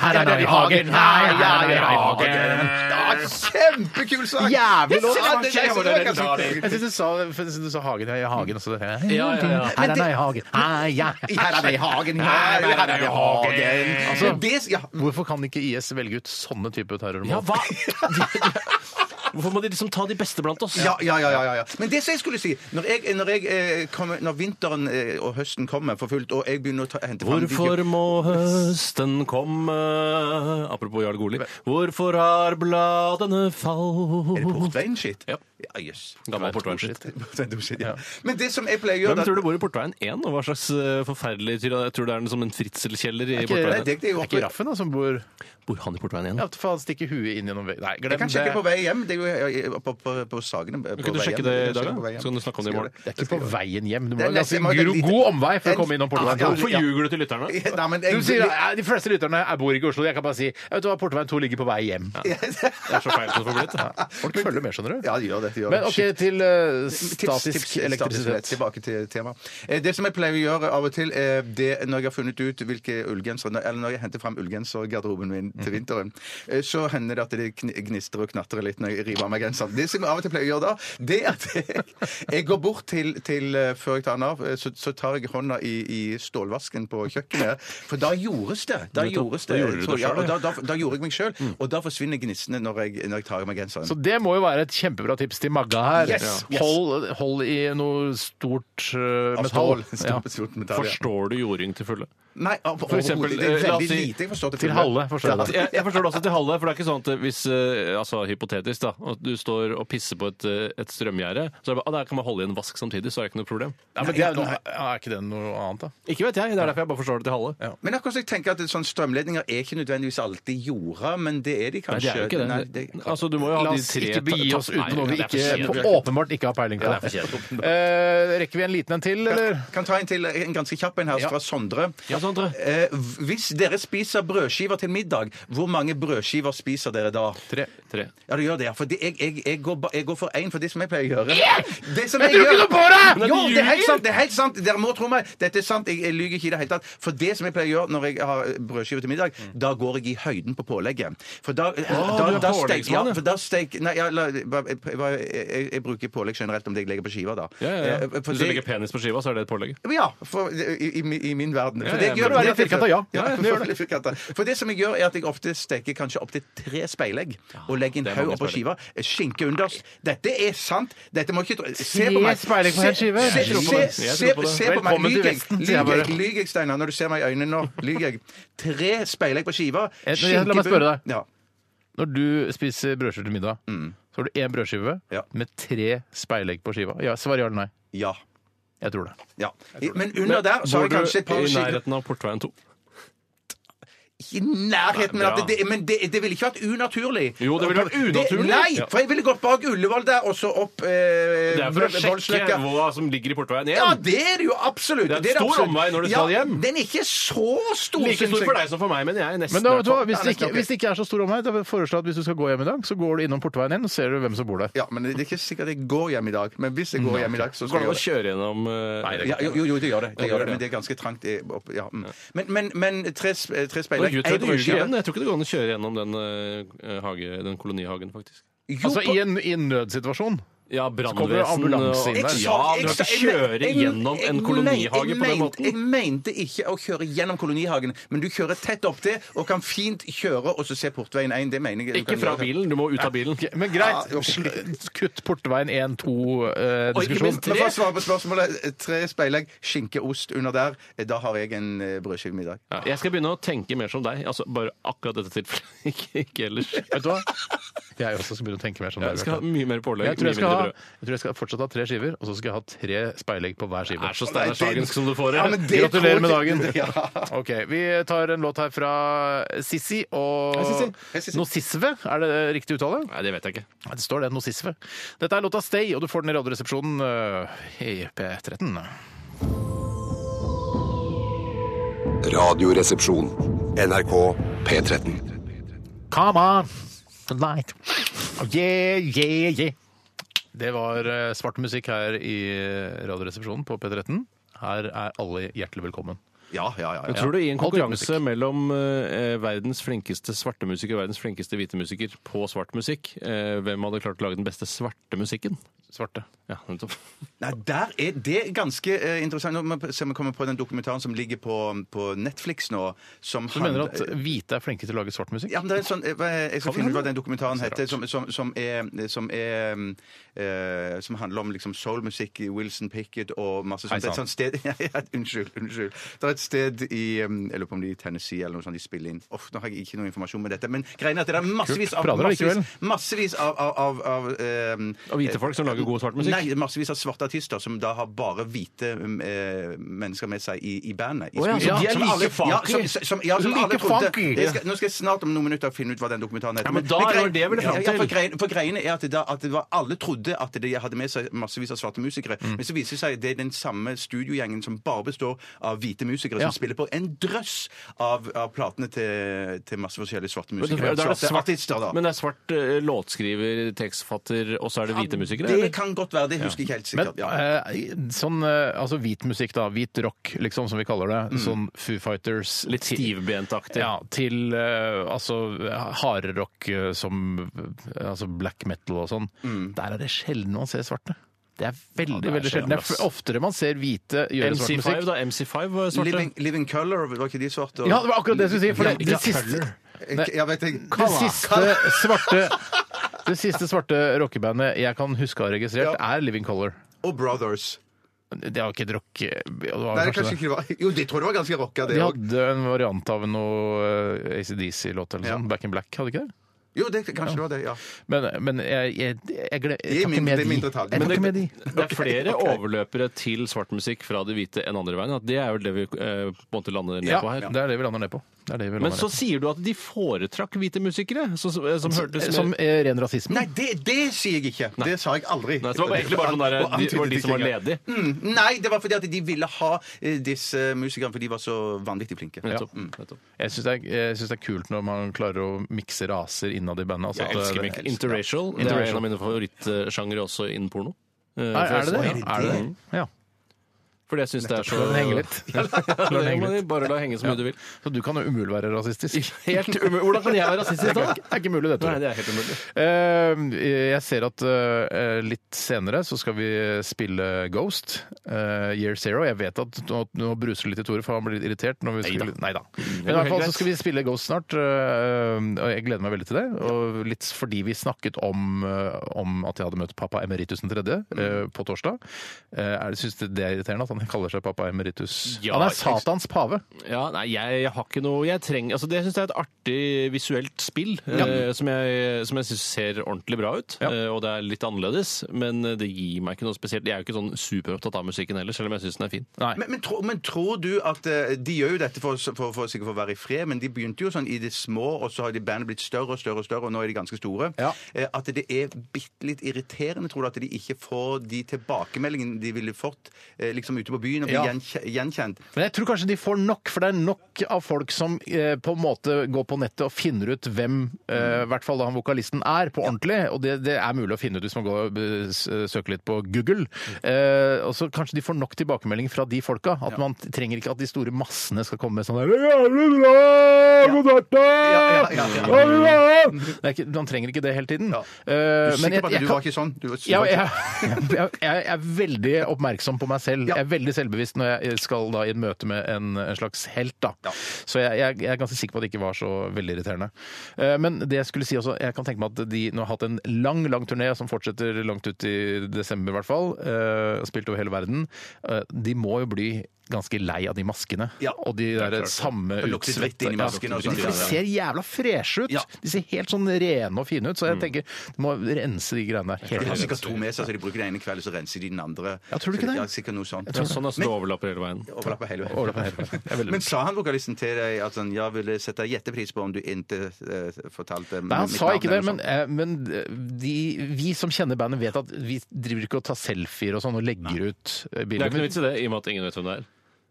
[SPEAKER 3] Her er det i hagen, her er det i hagen.
[SPEAKER 2] Ja, kjempekul sak!
[SPEAKER 1] Jævlig låt!
[SPEAKER 2] Ja, det- det- det- det- det- det- det-
[SPEAKER 1] Jeg syns du sa, jeg synes du sa hagen her i hagen. Og så det,
[SPEAKER 3] Ja, ja, ja.
[SPEAKER 1] Her er det i hagen. Her
[SPEAKER 2] Her er det i hagen, her er det i hagen
[SPEAKER 1] Altså-
[SPEAKER 2] det, ja.
[SPEAKER 1] Hvorfor kan ikke IS velge ut sånne type terrormål?
[SPEAKER 3] Ja, hva? Hvorfor må de liksom ta de beste blant oss?
[SPEAKER 2] Ja, ja, ja, ja, ja. Men det som jeg skulle si Når, jeg, når, jeg, eh, kommer, når vinteren eh, og høsten kommer for fullt, og jeg begynner å ta, hente fram
[SPEAKER 3] Hvorfor må høsten komme? Apropos Jarl Goli. Hvorfor har bladene
[SPEAKER 2] Er det
[SPEAKER 3] falt?
[SPEAKER 2] portveinskitt?
[SPEAKER 3] Ja.
[SPEAKER 2] Ja, jøss.
[SPEAKER 3] Gammel portveien.
[SPEAKER 2] Portveinskitt, ja. Men det som jeg pleier å
[SPEAKER 3] Hvem
[SPEAKER 2] gjøre
[SPEAKER 3] tror du bor i Portveien 1? Og hva slags eh, forferdelig tyra- Jeg tror det er en- som en fritzelkjeller i
[SPEAKER 1] ikke
[SPEAKER 3] Portveien
[SPEAKER 2] det,
[SPEAKER 3] 1.
[SPEAKER 2] det er
[SPEAKER 1] Det er
[SPEAKER 2] jo oppe
[SPEAKER 1] ikke Raffen da, som bor
[SPEAKER 3] Bor han i Portveien 1?
[SPEAKER 1] Ja, faen, stikke huet inn gjennom veggen Nei, glem
[SPEAKER 2] Jeg
[SPEAKER 1] det.
[SPEAKER 2] kan sjekke på vei hjem. Det er jo eh, på, på, på Sagene. På
[SPEAKER 3] Kan du
[SPEAKER 2] vei
[SPEAKER 3] sjekke
[SPEAKER 2] hjem.
[SPEAKER 3] det i
[SPEAKER 2] Jeg kan
[SPEAKER 3] dag,
[SPEAKER 2] sjekke på
[SPEAKER 3] da?
[SPEAKER 2] vei hjem.
[SPEAKER 3] Så kan du snakke om det i morgen.
[SPEAKER 1] Det er ikke på veien hjem. Du må
[SPEAKER 2] Det er
[SPEAKER 1] ha
[SPEAKER 2] nesten-
[SPEAKER 1] ganske
[SPEAKER 2] jeg må ha
[SPEAKER 1] gro-
[SPEAKER 2] litt-
[SPEAKER 1] god omvei for å
[SPEAKER 2] En-
[SPEAKER 1] komme innom
[SPEAKER 2] Ja,
[SPEAKER 1] Portveien 2.
[SPEAKER 3] Hvorfor ljuger du til lytterne?
[SPEAKER 2] Nei, men jeg,
[SPEAKER 1] Du sier ja, de fleste lytterne jeg bor ikke i Oslo. Jeg kan bare si vet du hva, Portveien 2 ligger på vei hjem.
[SPEAKER 3] Det er så feil som det får blitt.
[SPEAKER 1] Ja, Folk følger med, skjønner du.
[SPEAKER 2] Ja, de gjør det. De gjør
[SPEAKER 1] Men
[SPEAKER 2] det.
[SPEAKER 1] OK, til eh,
[SPEAKER 2] Tips,
[SPEAKER 1] statisk
[SPEAKER 2] tips, elektrisitet.
[SPEAKER 1] elektrisitet.
[SPEAKER 2] Tilbake til temaet. Eh, Det som jeg pleier å gjøre av og til, eh, det er når jeg har funnet ut hvilke ullgensere Eller når jeg henter fram ullgensergarderoben min til
[SPEAKER 3] Mhm.
[SPEAKER 2] vinteren, eh, så hender det at det kn- gnistrer og knatrer litt når jeg river av meg genseren. Det som jeg av og til pleier å gjøre da, det er at jeg, jeg går bort til, til eh, Før jeg tar den av, eh, så, så tar jeg hånda i, i stålvasken på kjøkkenet. For da gjordes det. Da gjordes det.
[SPEAKER 3] Da gjorde du det
[SPEAKER 2] tror jeg.
[SPEAKER 3] selv, Mm.
[SPEAKER 2] og da, da, da gjorde jeg meg sjøl. Og da forsvinner gnistene når jeg, når jeg tar av meg genseren.
[SPEAKER 1] Så det må jo være et kjempebra tips til Magga her.
[SPEAKER 2] Yes,
[SPEAKER 1] Ja.
[SPEAKER 2] yes.
[SPEAKER 1] Hold, hold i noe stort eh,
[SPEAKER 2] Av
[SPEAKER 1] metall.
[SPEAKER 2] stål.
[SPEAKER 1] Ja.
[SPEAKER 2] Stort metall, ja.
[SPEAKER 3] Forstår du jording til fulle?
[SPEAKER 2] Nei, for
[SPEAKER 3] eksempel,
[SPEAKER 2] eksempel, det er
[SPEAKER 3] eh, la oss
[SPEAKER 2] veldig
[SPEAKER 3] si-
[SPEAKER 2] lite jeg forstår til
[SPEAKER 1] Til
[SPEAKER 2] fulle.
[SPEAKER 1] halve, forstår jeg det.
[SPEAKER 3] Altså, Jeg, jeg forstår det også til halve, for det er ikke sånn at hvis eh, Altså hypotetisk, da. At du står og pisser på et, eh, et strømgjerde, så er det bare, ah, der kan man holde i en vask samtidig, så er det ikke noe problem.
[SPEAKER 1] Ja, men det er, noe, er ikke det noe annet, da?
[SPEAKER 3] Ikke vet jeg. Det er derfor jeg bare forstår det til halve.
[SPEAKER 2] Men akkurat så jeg tenker at sånn strømledninger er ikke nødvendigvis alltid jorda, men det er de
[SPEAKER 3] Nei,
[SPEAKER 2] kanskje.
[SPEAKER 3] det er jo ikke det.
[SPEAKER 2] Nei, det-
[SPEAKER 3] altså, du må jo
[SPEAKER 1] La
[SPEAKER 3] ha de
[SPEAKER 1] oss
[SPEAKER 3] tre
[SPEAKER 1] ikke begi oss ut på noe vi
[SPEAKER 3] Nei, det er for
[SPEAKER 1] ikke,
[SPEAKER 3] kjedelig.
[SPEAKER 1] åpenbart ikke har peiling på.
[SPEAKER 3] det er for kjedelig.
[SPEAKER 1] Eh, rekker vi en liten en til, eller?
[SPEAKER 2] kan ta en til, en ganske kjapp en her fra Sondre.
[SPEAKER 3] Ja, Sondre.
[SPEAKER 2] Eh, hvis dere spiser brødskiver til middag, hvor mange brødskiver spiser dere da?
[SPEAKER 3] Tre. tre.
[SPEAKER 2] Ja, du gjør det, ja. For det, jeg, jeg, jeg, går, ba- jeg går for én, for det som jeg pleier å gjøre Det som
[SPEAKER 1] Jeg tror ikke
[SPEAKER 2] gjør-
[SPEAKER 1] noe på deg!
[SPEAKER 3] Men
[SPEAKER 2] Jo,
[SPEAKER 3] du
[SPEAKER 2] det er helt
[SPEAKER 3] ljuger!
[SPEAKER 2] sant! det er helt sant Dere må tro meg. Dette er sant. Jeg, jeg lyver ikke i det hele tatt. For det som jeg pleier å gjøre når jeg har brødskive til middag, da går jeg i høyden på pålegget. For da, da,
[SPEAKER 3] Mm. du er
[SPEAKER 2] da steik-
[SPEAKER 3] påleggsmann,
[SPEAKER 2] ja,
[SPEAKER 3] ja.
[SPEAKER 2] for da steik... Nei, ja, la- hva- jeg, hva- jeg, jeg bruker pålegg generelt om det jeg legger på skiva, da.
[SPEAKER 3] Ja, ja,
[SPEAKER 2] Eh,
[SPEAKER 3] ja.
[SPEAKER 2] for
[SPEAKER 3] Hvis du
[SPEAKER 2] det-
[SPEAKER 3] legger penis på skiva, så er det et pålegg.
[SPEAKER 2] ja, for, i, i, i min verden. For
[SPEAKER 3] ja,
[SPEAKER 2] det jeg
[SPEAKER 3] men
[SPEAKER 2] gjør-
[SPEAKER 3] det er
[SPEAKER 2] det
[SPEAKER 1] litt
[SPEAKER 2] at jeg-
[SPEAKER 1] firkantet, ja.
[SPEAKER 2] Ja,
[SPEAKER 1] Ja,
[SPEAKER 2] for,
[SPEAKER 1] det gjør
[SPEAKER 2] litt firkantet. for det som jeg gjør, er at jeg ofte steker kanskje opptil tre speilegg og legger en
[SPEAKER 3] det er
[SPEAKER 2] haug
[SPEAKER 3] mange
[SPEAKER 2] oppå skiva. Eh,
[SPEAKER 3] speilegg.
[SPEAKER 2] Skinke underst. Dette er sant. Dette må ikke tro- Se på meg.
[SPEAKER 1] speilegg på en skive?
[SPEAKER 2] Se,
[SPEAKER 1] Jeg
[SPEAKER 2] se,
[SPEAKER 1] tror på
[SPEAKER 2] se,
[SPEAKER 1] det.
[SPEAKER 2] se,
[SPEAKER 3] Jeg
[SPEAKER 2] se
[SPEAKER 3] tror på det.
[SPEAKER 2] på meg.
[SPEAKER 1] Velkommen til
[SPEAKER 2] Lyger jeg?
[SPEAKER 1] Vesten, sier jeg
[SPEAKER 2] Lyger
[SPEAKER 1] bare.
[SPEAKER 2] jeg? Lyger jeg, Steinar, når du ser meg i øynene nå? Lyger jeg? Tre speilegg på skiva.
[SPEAKER 1] Jeg- jeg- la meg
[SPEAKER 2] skinkebunn-
[SPEAKER 1] spørre deg.
[SPEAKER 2] Ja.
[SPEAKER 1] Når du spiser brødskive til middag, så har du én brødskive
[SPEAKER 2] Ja.
[SPEAKER 1] med tre speilegg på skiva. Ja, Svar ja eller nei.
[SPEAKER 2] Ja.
[SPEAKER 1] Jeg tror det.
[SPEAKER 2] ja. Men under der så har jeg kanskje et par
[SPEAKER 3] i
[SPEAKER 2] skiver
[SPEAKER 3] nærheten av Portveien 2?
[SPEAKER 2] i nærheten, men,
[SPEAKER 3] Nei,
[SPEAKER 2] at
[SPEAKER 3] bra.
[SPEAKER 2] det, men det, det ville ikke vært unaturlig.
[SPEAKER 3] Jo, det ville vært unaturlig.
[SPEAKER 2] Det, nei,
[SPEAKER 3] Ja.
[SPEAKER 2] for jeg ville gått bak Ullevål der, og så opp eh,
[SPEAKER 3] Det er for å sjekke
[SPEAKER 2] Voldsløkka.
[SPEAKER 3] hva som ligger i Portveien 1.
[SPEAKER 2] Ja, det er det jo absolutt.
[SPEAKER 3] Det er en
[SPEAKER 2] det
[SPEAKER 3] stor
[SPEAKER 2] absolutt.
[SPEAKER 3] omvei når du skal
[SPEAKER 2] ja,
[SPEAKER 3] hjem.
[SPEAKER 2] Den er ikke så stor.
[SPEAKER 3] Like
[SPEAKER 2] synes
[SPEAKER 3] stor
[SPEAKER 2] jeg.
[SPEAKER 3] for deg som for meg, men jeg er nesten
[SPEAKER 1] Men da,
[SPEAKER 3] i
[SPEAKER 1] vet
[SPEAKER 3] hvert
[SPEAKER 1] du hva,
[SPEAKER 3] fall.
[SPEAKER 1] hvis, det ikke,
[SPEAKER 2] ok.
[SPEAKER 1] hvis det ikke er så stor omvei, da foreslår jeg at hvis du skal gå hjem i dag, så går du innom portveien din og ser du hvem som bor der.
[SPEAKER 2] Ja, men det er ikke sikkert jeg går hjem i dag. Men hvis jeg går hjem i dag, så
[SPEAKER 3] Går
[SPEAKER 2] skal jeg
[SPEAKER 3] det an
[SPEAKER 2] gjøre det.
[SPEAKER 3] å kjøre gjennom eh, Nei,
[SPEAKER 2] Ja, jo, jo, jo, det gjør det. det,
[SPEAKER 3] gjør
[SPEAKER 2] gjør det
[SPEAKER 3] det.
[SPEAKER 2] men det er ganske trangt. i- opp- Ja. mm. Men, men, men tre, sp- tre
[SPEAKER 3] Oi,
[SPEAKER 2] speilegg,
[SPEAKER 3] Gud,
[SPEAKER 2] ei
[SPEAKER 3] jeg, tror du ljuger
[SPEAKER 2] brødskive.
[SPEAKER 3] igjen. jeg tror ikke det går an å kjøre gjennom den, eh, hage, den kolonihagen, faktisk.
[SPEAKER 2] Jo,
[SPEAKER 1] Altså
[SPEAKER 2] på-
[SPEAKER 1] i en, i en nødsituasjon.
[SPEAKER 3] Ja,
[SPEAKER 1] kommer det ambulanse inn
[SPEAKER 3] Ja,
[SPEAKER 1] der.
[SPEAKER 2] Jeg sa-
[SPEAKER 3] du kan
[SPEAKER 2] jeg sa-
[SPEAKER 3] ikke
[SPEAKER 2] jeg-
[SPEAKER 3] kjøre
[SPEAKER 2] jeg-
[SPEAKER 3] gjennom en
[SPEAKER 2] jeg
[SPEAKER 3] kolonihage
[SPEAKER 2] mente-
[SPEAKER 3] på den
[SPEAKER 2] Jeg
[SPEAKER 3] måten.
[SPEAKER 2] mente ikke å kjøre gjennom kolonihagen, men du kjører tett opptil og kan fint kjøre og så se Portveien 1. Det mener jeg. du
[SPEAKER 3] Ikke
[SPEAKER 2] kan
[SPEAKER 3] fra
[SPEAKER 2] gjøre.
[SPEAKER 3] bilen, du må ut av bilen.
[SPEAKER 1] Men greit, sl- kutt portveien eh, 1-2-diskusjon.
[SPEAKER 3] ikke minst
[SPEAKER 2] Men for å svare på spørsmålet, tre speilegg, skinkeost under der. Da har jeg en eh, brødskive middag.
[SPEAKER 3] Ja, jeg skal begynne å tenke mer som deg. Altså, bare akkurat dette tilfellet. Ikke, ikke ellers.
[SPEAKER 1] Vet du hva? Jeg også skal begynne å tenke mer sånn som deg.
[SPEAKER 3] Jeg skal ha
[SPEAKER 1] Bjarte.
[SPEAKER 3] mye mer pålegg.
[SPEAKER 1] Jeg tror jeg
[SPEAKER 3] mye
[SPEAKER 1] skal ha ha,
[SPEAKER 3] brød.
[SPEAKER 1] jeg tror jeg skal fortsatt ha tre skiver, og så skal jeg ha tre speilegg på hver skive.
[SPEAKER 3] Er så Steinar Sagensk som du får
[SPEAKER 2] Ja,
[SPEAKER 3] det.
[SPEAKER 2] men det
[SPEAKER 1] Gratulerer med
[SPEAKER 2] tror jeg-
[SPEAKER 1] dagen. Ok, Vi tar en låt her fra Sissi og Nosisve. Er det riktig uttale?
[SPEAKER 3] Nei, det vet jeg ikke.
[SPEAKER 1] Nei, Det står det. Nosisve. Dette er låta Stay, og du får den i Radioresepsjonen øh, i P13.
[SPEAKER 4] Radioresepsjon. NRK P13.
[SPEAKER 1] Come on, tonight. Yeah, yeah, yeah. Det var eh, svart musikk her i eh, Radioresepsjonen på P13. Her er alle hjertelig velkommen.
[SPEAKER 2] Ja, ja, ja.
[SPEAKER 3] Jeg
[SPEAKER 2] ja.
[SPEAKER 3] tror det i en
[SPEAKER 1] Alt
[SPEAKER 3] konkurranse mellom eh, verdens flinkeste svarte musiker og verdens flinkeste hvite musiker på svart musikk, eh, hvem hadde klart å lage den beste svarte musikken?
[SPEAKER 1] Svarte.
[SPEAKER 3] Ja, nettopp.
[SPEAKER 2] Nei, der er det ganske eh, interessant. Nå må jeg se om jeg kommer på den dokumentaren som ligger på, på Netflix nå. Som
[SPEAKER 1] Du mener at hvite er flinke til å lage svart musikk?
[SPEAKER 2] Ja, men det er en sånn, eh, hva- jeg skal
[SPEAKER 1] Kan
[SPEAKER 2] finne ut
[SPEAKER 1] hende.
[SPEAKER 2] hva den dokumentaren
[SPEAKER 1] Det er
[SPEAKER 2] heter, som, som, som, er, som, er, eh, som handler om liksom soulmusikk i Wilson Pickett og masse sånt. Det er et
[SPEAKER 1] sann.
[SPEAKER 2] sånt sted, ja, ja, unnskyld, unnskyld. Det er et sted i um, jeg lurer på om det er i Tennessee eller noe sånt de spiller inn. Uff, nå har jeg ikke noe informasjon med dette, men greien er at det er massevis av,
[SPEAKER 1] prater allikevel.
[SPEAKER 2] massevis, massevis av, av, av, av eh,
[SPEAKER 3] Av hvite folk som lager god svart musikk?
[SPEAKER 2] Nei, massevis av svarte artister som da har bare hvite um, eh, mennesker med seg i, i bandet. I
[SPEAKER 3] Å ja,
[SPEAKER 2] spillet.
[SPEAKER 3] så de er
[SPEAKER 2] som
[SPEAKER 3] like
[SPEAKER 2] alle-
[SPEAKER 3] funky.
[SPEAKER 2] Ja, som, som, ja, som
[SPEAKER 1] Like
[SPEAKER 2] alle trodde.
[SPEAKER 1] funky.
[SPEAKER 2] Jeg skal, nå skal jeg snart om noen minutter finne ut hva den dokumentaren heter.
[SPEAKER 3] Ja, men da er det
[SPEAKER 2] greien-
[SPEAKER 3] det jeg ville fram
[SPEAKER 2] Ja, for,
[SPEAKER 3] til.
[SPEAKER 2] greien, for greien er at, det da, at det var, alle trodde at de hadde med seg massevis av svarte musikere, men så viser det seg at det er den samme studiogjengen som bare består av hvite musikere,
[SPEAKER 1] Ja.
[SPEAKER 2] som spiller på en drøss av, av platene til, til masse forskjellige svarte
[SPEAKER 3] Men
[SPEAKER 2] musikere.
[SPEAKER 3] da er det
[SPEAKER 2] Svarte
[SPEAKER 3] svart-
[SPEAKER 2] artister, da.
[SPEAKER 3] Men det er svart eh, låtskriver, tekstfatter, og så er det hvite musikere?
[SPEAKER 2] det
[SPEAKER 3] eller?
[SPEAKER 2] kan godt være, det husker jeg ikke helt
[SPEAKER 1] Men
[SPEAKER 2] sikkert. ja.
[SPEAKER 1] eh, sånn eh, altså hvit musikk, da. Hvit rock, liksom, som vi kaller det. Sånn Foo Fighters.
[SPEAKER 3] Mm. Litt
[SPEAKER 1] ti-
[SPEAKER 3] stivbentaktig.
[SPEAKER 1] Ja, til eh, altså hardrock eh, som eh, altså black metal og sånn. Der er det sjelden man ser svarte. Det er veldig
[SPEAKER 3] Mm. Ja, det er
[SPEAKER 1] veldig sjelden. Det er
[SPEAKER 3] sjelden,
[SPEAKER 1] f- oftere man ser hvite gjøre svart
[SPEAKER 3] MC5,
[SPEAKER 1] musikk.
[SPEAKER 3] da. MC5 var svarte.
[SPEAKER 2] Living, Living Color, var ikke de svarte?
[SPEAKER 1] Ja, det var akkurat det jeg skulle si! For det, det,
[SPEAKER 3] Ja,
[SPEAKER 1] siste,
[SPEAKER 2] Jeg, jeg vet ikke.
[SPEAKER 1] det
[SPEAKER 2] Color.
[SPEAKER 1] siste svarte det siste svarte rockebandet jeg kan huske å ha registrert, er Living Color.
[SPEAKER 2] Og Brothers.
[SPEAKER 1] Det var ikke et rock... Det var
[SPEAKER 2] Nei,
[SPEAKER 1] kanskje
[SPEAKER 2] det kanskje
[SPEAKER 1] det.
[SPEAKER 2] ikke var. Jo, de tror det var ganske rocka, det
[SPEAKER 1] De
[SPEAKER 2] òg.
[SPEAKER 1] hadde en variant av noe eh, ACDC-låt eller
[SPEAKER 2] Ja.
[SPEAKER 1] sånn. Back in Black, hadde ikke det?
[SPEAKER 2] Jo, det, kanskje det var det, ja.
[SPEAKER 1] Men, men jeg, jeg, jeg, glem- jeg,
[SPEAKER 2] Gi
[SPEAKER 1] tar
[SPEAKER 2] min-
[SPEAKER 1] ikke med
[SPEAKER 2] det er
[SPEAKER 1] de.
[SPEAKER 2] min
[SPEAKER 1] Jeg
[SPEAKER 2] detalj.
[SPEAKER 1] tar
[SPEAKER 2] Men
[SPEAKER 1] ikke med de.
[SPEAKER 3] Det er flere overløpere til svart musikk fra de hvite enn andre veien. At det er jo det vi eh, på en måte lander ned
[SPEAKER 1] Ja,
[SPEAKER 3] på her.
[SPEAKER 1] det er det vi lander ned på. Det er det vi lander
[SPEAKER 3] Men så
[SPEAKER 1] ned på.
[SPEAKER 3] sier du at de foretrakk hvite musikere, som, som, som hørtes mer-
[SPEAKER 1] Som eh, ren rasisme?
[SPEAKER 2] Nei, det, det sier jeg ikke. Det sa jeg aldri.
[SPEAKER 3] Nei, det var egentlig bare sånn der,
[SPEAKER 2] Og
[SPEAKER 3] de, det var de
[SPEAKER 2] antydet
[SPEAKER 3] som var
[SPEAKER 2] ikke engang.
[SPEAKER 3] ledige.
[SPEAKER 2] Mm, nei, det var fordi at de ville ha eh, disse musikerne, for de var så vanvittig flinke.
[SPEAKER 3] Nettopp. nettopp.
[SPEAKER 1] Jeg syns det, er- jeg synes det er kult når man klarer å mikse raser innad i bandet. Altså,
[SPEAKER 3] Jeg
[SPEAKER 1] at det-
[SPEAKER 3] elsker meg. Mm. Interracial. Det er
[SPEAKER 1] Interracial.
[SPEAKER 3] en av mine favorittsjangere også innen porno. Eh,
[SPEAKER 1] Nei, er det det?
[SPEAKER 3] forresten.
[SPEAKER 1] Ja, er det det? Ja.
[SPEAKER 3] Fordi jeg syns det er så
[SPEAKER 1] La den henge litt.
[SPEAKER 3] Ja,
[SPEAKER 1] La den
[SPEAKER 3] det
[SPEAKER 1] henge
[SPEAKER 3] må de
[SPEAKER 1] litt.
[SPEAKER 3] bare la henge så mye du vil.
[SPEAKER 1] Så du kan jo umulig være rasistisk.
[SPEAKER 3] Helt umulig. Hvordan kan jeg være rasistisk
[SPEAKER 1] Det
[SPEAKER 3] da?
[SPEAKER 1] er ikke- det er ikke mulig, dette.
[SPEAKER 3] Nei, det er helt umulig.
[SPEAKER 1] Eh, Jeg ser at eh, litt senere så skal vi spille Ghost, eh, Year Zero. Jeg vet at nå, nå bruser det litt i Tore, for han blir litt irritert. Når vi skal, nei da. Men i hvert fall så skal vi spille Ghost snart, eh, og jeg gleder meg veldig til det. Og litt fordi vi snakket om, eh, om at jeg hadde møtt pappa Emeritus 3. eh, på torsdag. Uh, Syns du det er irriterende at han kaller seg pappa Emeritus?
[SPEAKER 3] Ja,
[SPEAKER 1] han er Satans pave.
[SPEAKER 3] Ja, nei, jeg, jeg har ikke noe jeg trenger, altså Det syns jeg er et artig visuelt spill, eh, som jeg, som jeg syns ser ordentlig bra ut.
[SPEAKER 1] Ja.
[SPEAKER 3] Eh, og det er litt annerledes, men det gir meg ikke noe spesielt. Jeg er jo ikke sånn superopptatt av musikken heller, selv om jeg syns den er fin.
[SPEAKER 1] Nei.
[SPEAKER 2] Men, men, tro, men tror du at eh, De gjør jo dette for, for, for, sikkert for å være i fred, men de begynte jo sånn i det små, og så har de bandet blitt større og større, og større, og nå er de ganske store.
[SPEAKER 1] Ja.
[SPEAKER 2] Eh, At det er bitte litt irriterende, tror du, at de ikke får de tilbakemeldingene de ville fått eh, liksom ute på byen og bli
[SPEAKER 1] Ja.
[SPEAKER 2] gjenkje- gjenkjent.
[SPEAKER 1] Men jeg tror kanskje de får nok, for det er nok av folk som eh, på en måte går på nettet og finner ut hvem eh, i hvert fall da han vokalisten er, på ordentlig. Og det, det er mulig å finne ut hvis man går og eh, s- søker litt på Google. Eh, og så kanskje de får nok tilbakemelding fra de folka. At man trenger ikke at de store massene skal komme med sånn der, Jævlig bra! God natt, da!
[SPEAKER 2] Ja, ja, ja, ja.
[SPEAKER 1] Ha det bra!» Det er ikke, Man trenger ikke det hele tiden.
[SPEAKER 2] Ja.
[SPEAKER 1] Eh,
[SPEAKER 2] Du,
[SPEAKER 1] men jeg-
[SPEAKER 2] sikker på at
[SPEAKER 1] jeg
[SPEAKER 2] du
[SPEAKER 1] kan-
[SPEAKER 2] var ikke sånn? Du var,
[SPEAKER 1] ja, jeg, jeg, jeg er veldig oppmerksom på meg selv.
[SPEAKER 2] Ja.
[SPEAKER 1] Jeg er veldig selvbevisst når jeg skal da i et møte med en, en slags helt. da. Så jeg, jeg, jeg er ganske sikker på at det ikke var så veldig irriterende. Eh, Men det jeg skulle si også, jeg kan tenke meg at de nå har hatt en lang lang turné som fortsetter langt ut i desember, i hvert fall. eh, og Spilt over hele verden. Eh, De må jo bli ganske lei av de maskene.
[SPEAKER 2] Ja.
[SPEAKER 1] Og de der samme
[SPEAKER 2] Lukter dritt inni masken og
[SPEAKER 1] Ja,
[SPEAKER 2] sånn.
[SPEAKER 1] de ser jævla freshe ut!
[SPEAKER 2] Ja. Mm.
[SPEAKER 1] De ser helt sånn rene og fine ut, så jeg tenker du må rense de greiene der.
[SPEAKER 2] De
[SPEAKER 1] Helt
[SPEAKER 2] har
[SPEAKER 1] rense.
[SPEAKER 2] sikkert to med seg, så de bruker den ene kvelden, så renser de den andre.
[SPEAKER 1] Ja, tror du
[SPEAKER 2] Så
[SPEAKER 1] ikke det?
[SPEAKER 2] er sikkert noe sånt.
[SPEAKER 3] Ja, sånn er det overlapper hele veien.
[SPEAKER 2] Overlapper hele veien.
[SPEAKER 1] Overlapper hele veien. Det er veldig
[SPEAKER 2] Men sa han vokalisten til deg at han ja, ville sette jettepris på om du ikke eh, fortalte
[SPEAKER 1] Nei, han
[SPEAKER 2] mitt
[SPEAKER 1] sa
[SPEAKER 2] navn
[SPEAKER 1] ikke det,
[SPEAKER 2] eller
[SPEAKER 3] liksom-
[SPEAKER 2] sånn? noe
[SPEAKER 1] men, eh, men de, vi som kjenner bandet, vet at vi driver ikke og tar selfier og sånn og legger ut eh,
[SPEAKER 3] Det er
[SPEAKER 1] bilder.
[SPEAKER 3] ikke noe vits i det, i og med at ingen vet hvem det er.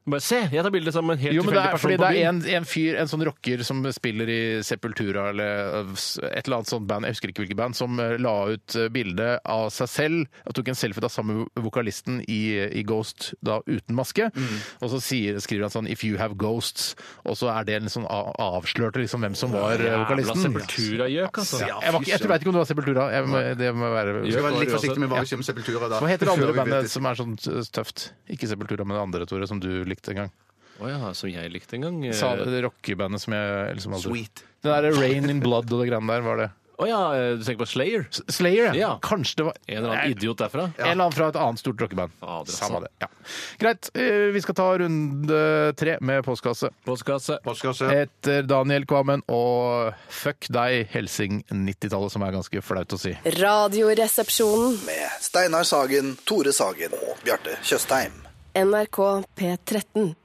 [SPEAKER 3] Bare se, jeg tar bilde sammen med en helt
[SPEAKER 1] Jo, men det
[SPEAKER 3] tilfeldig
[SPEAKER 1] er
[SPEAKER 3] person
[SPEAKER 1] fordi det
[SPEAKER 3] på
[SPEAKER 1] er
[SPEAKER 3] byen.
[SPEAKER 1] en, en fyr, en sånn rocker som spiller i Sepultura eller eh, s- et eller annet sånt band, jeg husker ikke hvilket band, som eh, la ut eh, bilde av seg selv og tok en selfie av samme vokalisten i, i Ghost, da uten maske.
[SPEAKER 3] Mm.
[SPEAKER 1] Og så sier, skriver han sånn 'If you have ghosts', og så er det en sånn a- avslørte liksom hvem som var eh, vokalisten.
[SPEAKER 3] Sepultura-gjøk, altså.
[SPEAKER 2] sånt. Ja,
[SPEAKER 1] Jeg, var ikke, jeg
[SPEAKER 2] Ah, fy
[SPEAKER 1] vet ikke om det var Sepultura. Jeg må, det må være
[SPEAKER 2] sånt. Skal være
[SPEAKER 3] Gjør
[SPEAKER 2] litt
[SPEAKER 3] det,
[SPEAKER 2] forsiktig med hva vi sier om Sepultura da.
[SPEAKER 1] Hva heter det
[SPEAKER 2] Før
[SPEAKER 1] andre
[SPEAKER 2] vi vet
[SPEAKER 1] bandet
[SPEAKER 2] det.
[SPEAKER 1] som er sånn tøft? Ikke Sepultura, men det andre, Tore, som du likte en gang.
[SPEAKER 3] Å ja, som jeg likte en gang. eh.
[SPEAKER 1] Sa det rockebandet som jeg liksom aldri
[SPEAKER 2] Sweet.
[SPEAKER 1] Det der Rain in Blood og det greiene der, var det
[SPEAKER 3] Å ja, eh, du tenker på Slayer?
[SPEAKER 1] S- Slayer, ja.
[SPEAKER 3] Ja.
[SPEAKER 1] Kanskje det var
[SPEAKER 3] En eller annen idiot derfra?
[SPEAKER 1] En eller annen fra et annet stort rockeband.
[SPEAKER 3] Fader, altså.
[SPEAKER 1] Samme det. Ja. Greit, eh, vi skal ta runde tre med postkasse.
[SPEAKER 3] Postkasse.
[SPEAKER 2] Postkasse.
[SPEAKER 1] Etter Daniel Kvammen og Fuck deg, Helsing 90-tallet, som er ganske flaut å si.
[SPEAKER 6] Radioresepsjonen.
[SPEAKER 9] med Steinar Sagen, Tore Sagen og Bjarte Tjøstheim.
[SPEAKER 6] NRK P13.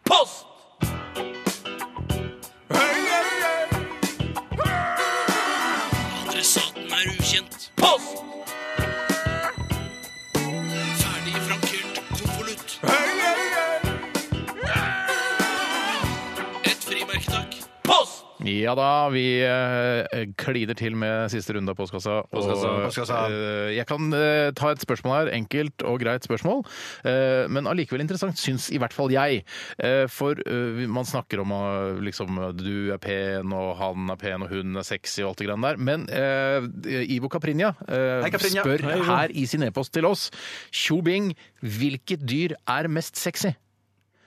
[SPEAKER 1] Ja da, vi eh, kliner til med siste runde av postkassa. Og,
[SPEAKER 3] Postkassa,
[SPEAKER 2] postkassa.
[SPEAKER 1] eh, jeg kan eh, ta et spørsmål her. Enkelt og greit spørsmål. eh, men allikevel interessant, syns i hvert fall jeg. Eh, for eh, vi- man snakker om eh, liksom du er pen, og han er pen, og hun er sexy, og alt det grann der. Men eh, Ivo Caprinja eh,
[SPEAKER 2] Hei, Caprinja.
[SPEAKER 1] spør
[SPEAKER 2] Hei, Ivo.
[SPEAKER 1] her i sin e-post til oss Tjo Bing, hvilket dyr er mest sexy?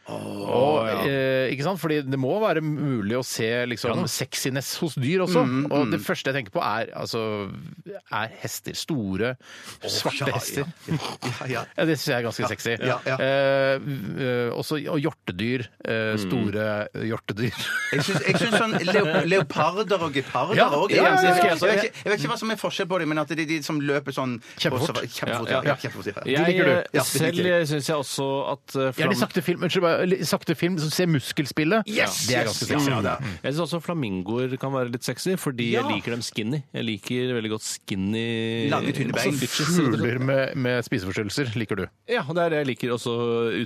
[SPEAKER 1] Og, eh, ikke sant? Fordi det må være mulig å se liksom, sexiness hos dyr også.
[SPEAKER 2] Mm,
[SPEAKER 1] og det første jeg tenker på, er, altså, er hester. Store, svarte
[SPEAKER 2] ja,
[SPEAKER 1] hester.
[SPEAKER 2] Ja, ja.
[SPEAKER 1] Ja, det syns jeg er ganske sexy.
[SPEAKER 2] ja, ja.
[SPEAKER 1] Eh, eh, også, og hjortedyr. Eh,
[SPEAKER 2] Mm.
[SPEAKER 1] store hjortedyr.
[SPEAKER 2] Jeg syns, jeg syns sånn leop leoparder og geparder
[SPEAKER 1] Ja,
[SPEAKER 2] òg
[SPEAKER 1] ja, ja, ja, ja.
[SPEAKER 2] jeg, vet ikke- jeg vet ikke hva som er forskjell på dem, men at det er de som løper sånn
[SPEAKER 1] Kjempefort.
[SPEAKER 2] på- Kjempefort,
[SPEAKER 3] Ja,
[SPEAKER 2] ja.
[SPEAKER 3] ja.
[SPEAKER 2] ja, kjempefort, ja.
[SPEAKER 3] Jeg,
[SPEAKER 1] liker du.
[SPEAKER 3] eh,
[SPEAKER 2] Ja, de
[SPEAKER 3] selv
[SPEAKER 2] liker
[SPEAKER 3] syns jeg også at eh,
[SPEAKER 1] Ja,
[SPEAKER 3] flam-
[SPEAKER 1] litt sakte film, unnskyld, bare, litt sakte film som ser muskelspillet.
[SPEAKER 2] Yes,
[SPEAKER 1] det er
[SPEAKER 2] yes,
[SPEAKER 1] ganske
[SPEAKER 2] yes,
[SPEAKER 1] sexy.
[SPEAKER 2] ja, det er.
[SPEAKER 3] Jeg syns også flamingoer kan være litt sexy, fordi
[SPEAKER 2] Ja.
[SPEAKER 3] jeg liker dem skinny. Jeg liker veldig godt skinny
[SPEAKER 2] Lange, tynne bein.
[SPEAKER 3] Altså, bitches.
[SPEAKER 1] Fugler med, med spiseforstyrrelser liker du.
[SPEAKER 3] Ja, det er det jeg liker også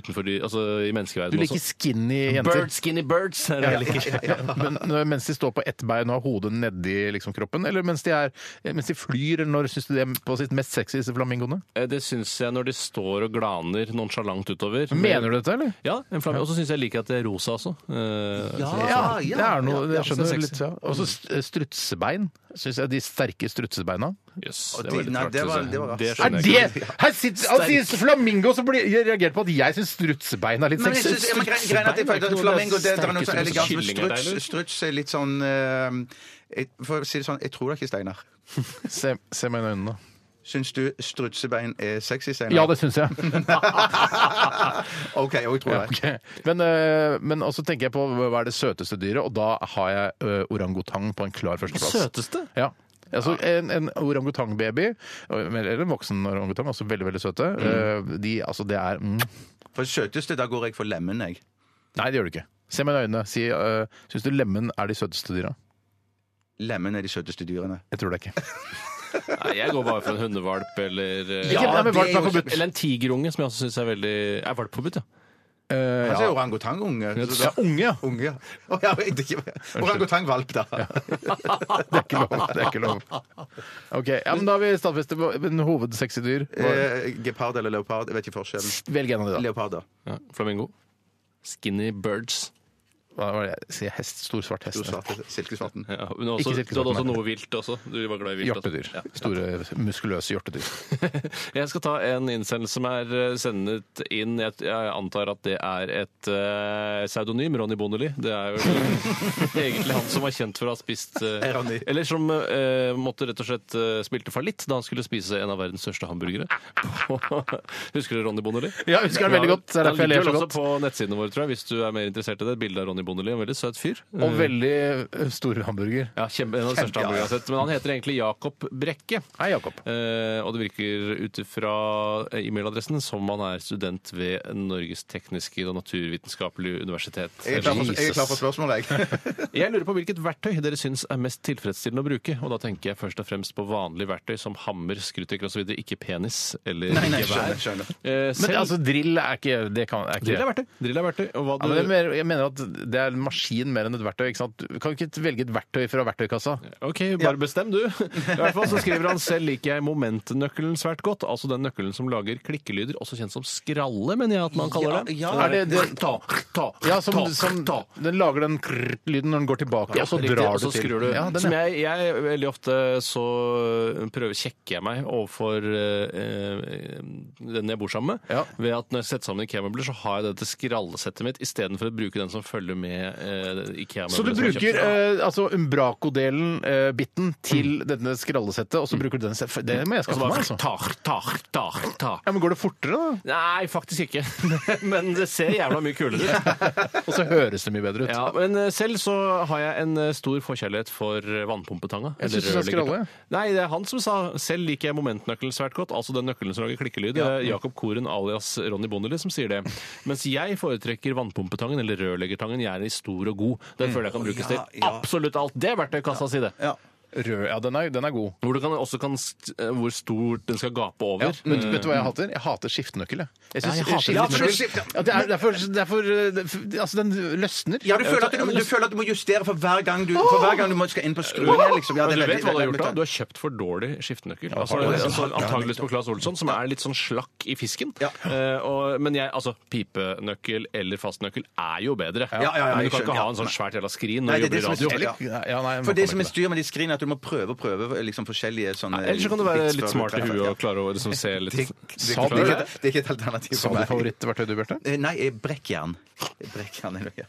[SPEAKER 3] utenfor de, altså i
[SPEAKER 1] Du
[SPEAKER 3] menneskeverdenen
[SPEAKER 1] liker
[SPEAKER 3] også.
[SPEAKER 1] skinny jenter.
[SPEAKER 3] Bird, skinny birds er det jeg liker.
[SPEAKER 1] Men når- mens de står på ett bein og har hodet nedi liksom, kroppen, eller mens de, er, mens de flyr, eller når syns du de er på sitt mest sexy, disse flamingoene?
[SPEAKER 3] Eh, Det syns jeg når de står og glaner nonsjalant utover.
[SPEAKER 1] Mener du dette, eller?
[SPEAKER 3] Ja, en flamingo. Og så syns jeg jeg liker at det er rosa også. Eh,
[SPEAKER 1] Ja,
[SPEAKER 2] Ja,
[SPEAKER 1] det er noe, jeg
[SPEAKER 3] så
[SPEAKER 1] skjønner
[SPEAKER 3] sexy.
[SPEAKER 1] litt. Ja. Og så st- eh, strutsebein. Syns jeg de sterke strutsebeina.
[SPEAKER 3] Jøss,
[SPEAKER 2] Og
[SPEAKER 3] det var
[SPEAKER 2] de-
[SPEAKER 3] litt
[SPEAKER 2] nei,
[SPEAKER 3] rart,
[SPEAKER 2] det var-
[SPEAKER 3] synes jeg.
[SPEAKER 2] det var rart.
[SPEAKER 3] Det
[SPEAKER 1] Er
[SPEAKER 3] skjønner jeg ikke.
[SPEAKER 1] det Her sitter han sier flamingo, så blir jeg reagert på at jeg syns strutsebein er litt
[SPEAKER 2] Men jeg
[SPEAKER 1] sexy.
[SPEAKER 2] synes, men gre- greien er at jeg følte at Flamingo det, det er noe så
[SPEAKER 3] Sterke
[SPEAKER 2] elegant med
[SPEAKER 3] kyllinger der, eller?
[SPEAKER 2] struts. Struts er litt sånn eh, jeg- For å si det sånn, jeg tror da ikke Steinar.
[SPEAKER 1] Se, se meg i øynene.
[SPEAKER 2] Syns du strutsebein er sexy, Steinar?
[SPEAKER 1] Ja, det syns jeg.
[SPEAKER 2] OK, jo, jeg tror
[SPEAKER 1] Ja,
[SPEAKER 2] det.
[SPEAKER 1] ok. Men, eh, men også tenker jeg på hva er det søteste dyret, og da har jeg eh, orangutang på en klar førsteplass.
[SPEAKER 3] Søteste?
[SPEAKER 1] Ja. Altså, en en orangutangbaby, eller en voksen orangutang, også veldig veldig søte, eh, de, altså, det er mm.
[SPEAKER 2] For det søteste, da går jeg for lemen, jeg.
[SPEAKER 1] Nei, det gjør du ikke. Se meg i øynene. Si, uh, Syns du lemen er de søteste dyra?
[SPEAKER 2] Lemen er de søteste dyrene.
[SPEAKER 1] Jeg tror det ikke.
[SPEAKER 3] Nei, jeg går bare for en hundevalp eller eh,
[SPEAKER 1] Ikke- nei, men
[SPEAKER 2] det
[SPEAKER 1] valp er
[SPEAKER 2] er jo-
[SPEAKER 1] forbudt.
[SPEAKER 3] Eller en tigerunge, som jeg også syns er veldig Er valp forbudt, ja?
[SPEAKER 1] Eh,
[SPEAKER 2] Altså
[SPEAKER 1] ja.
[SPEAKER 2] orangutangunge. så
[SPEAKER 1] ja,
[SPEAKER 2] da-
[SPEAKER 1] unge, ja.
[SPEAKER 2] Unge, ja. Å, ja, jeg vet ikke. Orangutangvalp, da.
[SPEAKER 1] Det er ikke lov. Det er ikke lov. Ok, ja, men Da har vi stadfestet på- men hovedsexy dyr. Hva-
[SPEAKER 2] Eh, gepard eller leopard? Jeg vet ikke forskjellen.
[SPEAKER 1] Velg en av de, da.
[SPEAKER 2] Leopard, da.
[SPEAKER 3] ja. Flamingo. Skinny birds.
[SPEAKER 1] Hva var det jeg sier? Hest? Stor svart hest?
[SPEAKER 2] Jo, svarte- Silkesvarten.
[SPEAKER 3] Ja, men også,
[SPEAKER 1] Ikke
[SPEAKER 3] du hadde også
[SPEAKER 1] silkesvarten,
[SPEAKER 3] noe vilt også. Du var glad i vilt. også.
[SPEAKER 1] Hjortedyr.
[SPEAKER 3] Ja.
[SPEAKER 1] Store, muskuløse hjortedyr.
[SPEAKER 3] Jeg skal ta en innsendelse som er eh, sendet inn. Jeg, jeg antar at det er et eh, pseudonym. Ronny Bondeli. Det er jo egentlig han som var kjent for å ha spist eh,
[SPEAKER 2] Hei, Ronny.
[SPEAKER 3] Eller som eh, måtte rett og slett eh, spilte fallitt da han skulle spise en av verdens største hamburgere. Husker du Ronny Bondeli?
[SPEAKER 1] Ja, jeg husker han veldig godt. Det er
[SPEAKER 3] Han
[SPEAKER 1] derfor jeg ler
[SPEAKER 3] ligger
[SPEAKER 1] så
[SPEAKER 3] vel
[SPEAKER 1] godt.
[SPEAKER 3] også på nettsidene våre, tror jeg, hvis du er mer interessert i det. Et bilde av Ronny Bondeli. En veldig søt fyr.
[SPEAKER 1] Og veldig eh, store hamburger.
[SPEAKER 3] Ja, kjempe, en av de største hamburgerne jeg har sett. Men han heter egentlig Jakob Brekke.
[SPEAKER 1] Hei, Jakob.
[SPEAKER 3] Eh, og det virker ut fra eh, e-mailadressen som han er student ved Norges tekniske og naturvitenskapelige universitet.
[SPEAKER 2] Jeg er klar for, jeg er klar for
[SPEAKER 3] Jesus.
[SPEAKER 2] spørsmålet, jeg.
[SPEAKER 3] Jeg lurer på hvilket verktøy dere syns er mest tilfredsstillende å bruke. Og da tenker jeg først og fremst på vanlige verktøy som hammer, skrutrekker osv., ikke penis eller
[SPEAKER 2] Nei, nei,
[SPEAKER 3] gevær.
[SPEAKER 2] skjønner, skjønner.
[SPEAKER 3] Eh,
[SPEAKER 1] Men
[SPEAKER 3] selv
[SPEAKER 1] altså, drill er ikke det kan, er ikke
[SPEAKER 3] Drill er verktøy. Drill er verktøy. Og hva
[SPEAKER 1] Ja, men det er
[SPEAKER 3] du...
[SPEAKER 1] mer, jeg mener at det er en maskin mer enn et verktøy. ikke sant? Du kan ikke velge et verktøy fra verktøykassa.
[SPEAKER 3] OK, bare bestem, du. I hvert fall så skriver han selv liker jeg momentnøkkelen svært godt. Altså den nøkkelen som lager klikkelyder, også kjent som skralle, mener jeg at man kaller den.
[SPEAKER 1] Er det, det, ja, som, som, den lager den lyden når den går tilbake, og så
[SPEAKER 3] riktig,
[SPEAKER 1] drar
[SPEAKER 3] og så
[SPEAKER 1] du til.
[SPEAKER 3] skrur du.
[SPEAKER 1] Ja, den,
[SPEAKER 3] Som
[SPEAKER 1] ja.
[SPEAKER 3] jeg, jeg veldig ofte så prøver kjekker jeg meg overfor eh, den jeg bor sammen med,
[SPEAKER 1] Ja.
[SPEAKER 3] ved at når jeg setter sammen IKEA-møbler, så har jeg det til skrallesettet mitt istedenfor å bruke den som følger med eh, IKEA-møbler.
[SPEAKER 1] Så du
[SPEAKER 3] som jeg
[SPEAKER 1] bruker
[SPEAKER 3] kjøpte.
[SPEAKER 1] eh, altså umbraco-delen, eh, biten, til denne skrallesettet, og så bruker du den selv. Det må jeg
[SPEAKER 3] Mm. Og så
[SPEAKER 1] skaffe
[SPEAKER 3] bare
[SPEAKER 1] meg, altså.
[SPEAKER 3] tar, tar, tar, tar.
[SPEAKER 1] Ja, men går det fortere, da?
[SPEAKER 3] Nei, faktisk ikke. Men det ser jævla mye kulere ut.
[SPEAKER 1] Og så høres det mye bedre ut.
[SPEAKER 3] Ja, men eh, selv så har jeg en eh, stor forkjærlighet for eh, vannpumpetanga.
[SPEAKER 1] Jeg
[SPEAKER 3] eller
[SPEAKER 1] synes du sa
[SPEAKER 3] rørleggertanga.
[SPEAKER 1] skralle.
[SPEAKER 3] Nei, det er han som sa 'selv liker jeg momentnøkkelen svært godt', altså den nøkkelen som lager klikkelyd. Det er Jakob Koren alias Ronny Bondeli som sier det. Mens jeg foretrekker vannpumpetangen eller rørleggertangen. Jeg er i stor og god. Den føler jeg kan brukes til absolutt alt. Det er verktøykassa si, det.
[SPEAKER 1] Rød, ja, den er, den er god.
[SPEAKER 3] Hvor du kan, også kan st- eh, Hvor stort den skal gape over.
[SPEAKER 1] Ja, men vet du hva jeg hater? Jeg hater skiftenøkkel. jeg. Jeg synes,
[SPEAKER 3] Ja, jeg
[SPEAKER 1] skiftenøkkel-
[SPEAKER 2] Ja, for
[SPEAKER 3] hater
[SPEAKER 2] du skifter-
[SPEAKER 1] Ja, det er derfor, derfor eh, Altså, den løsner.
[SPEAKER 2] Ja, du føler, at du, du føler at du må justere for hver gang du, for hver gang du må, skal inn på skruen igjen. Liksom. Ja, det
[SPEAKER 3] Men du
[SPEAKER 2] er
[SPEAKER 3] vet hva du har
[SPEAKER 2] veldig-
[SPEAKER 3] gjort da? Du har kjøpt for dårlig skiftenøkkel. Altså,
[SPEAKER 1] har du det?
[SPEAKER 3] altså, antageligvis på Claes Olsson, som er litt sånn slakk i fisken.
[SPEAKER 2] Ja.
[SPEAKER 3] Eh, og, men jeg, altså, pipenøkkel eller fastnøkkel er jo bedre.
[SPEAKER 2] ja, ja,
[SPEAKER 3] men du
[SPEAKER 2] jeg
[SPEAKER 3] kan ikke
[SPEAKER 2] skjønner,
[SPEAKER 3] ha
[SPEAKER 2] ja.
[SPEAKER 3] en sånn svært jævla skrin
[SPEAKER 2] Nei,
[SPEAKER 3] når du
[SPEAKER 2] det er
[SPEAKER 3] jobber
[SPEAKER 2] det som er
[SPEAKER 3] i radio.
[SPEAKER 2] styr.
[SPEAKER 3] Eller,
[SPEAKER 1] Ja, ja, nei, man
[SPEAKER 2] For det
[SPEAKER 1] kommer
[SPEAKER 2] som
[SPEAKER 1] ikke
[SPEAKER 2] er styr med de skrinene, er at du må prøve og prøve liksom, forskjellige sånne
[SPEAKER 3] ellers så kan du være
[SPEAKER 2] bits før
[SPEAKER 3] litt
[SPEAKER 2] du
[SPEAKER 3] smart i
[SPEAKER 2] treffer.
[SPEAKER 3] huet og klare å liksom, se litt
[SPEAKER 2] Det, det,
[SPEAKER 3] Sa
[SPEAKER 2] det,
[SPEAKER 3] du
[SPEAKER 2] det,
[SPEAKER 3] det?
[SPEAKER 2] det er ikke et alternativ
[SPEAKER 1] Sa
[SPEAKER 2] for
[SPEAKER 1] du
[SPEAKER 2] meg.
[SPEAKER 1] favorittverktøy du, Bjarte?
[SPEAKER 2] Eh, Nei, eh, brekkjern. Brekkjern er det ja.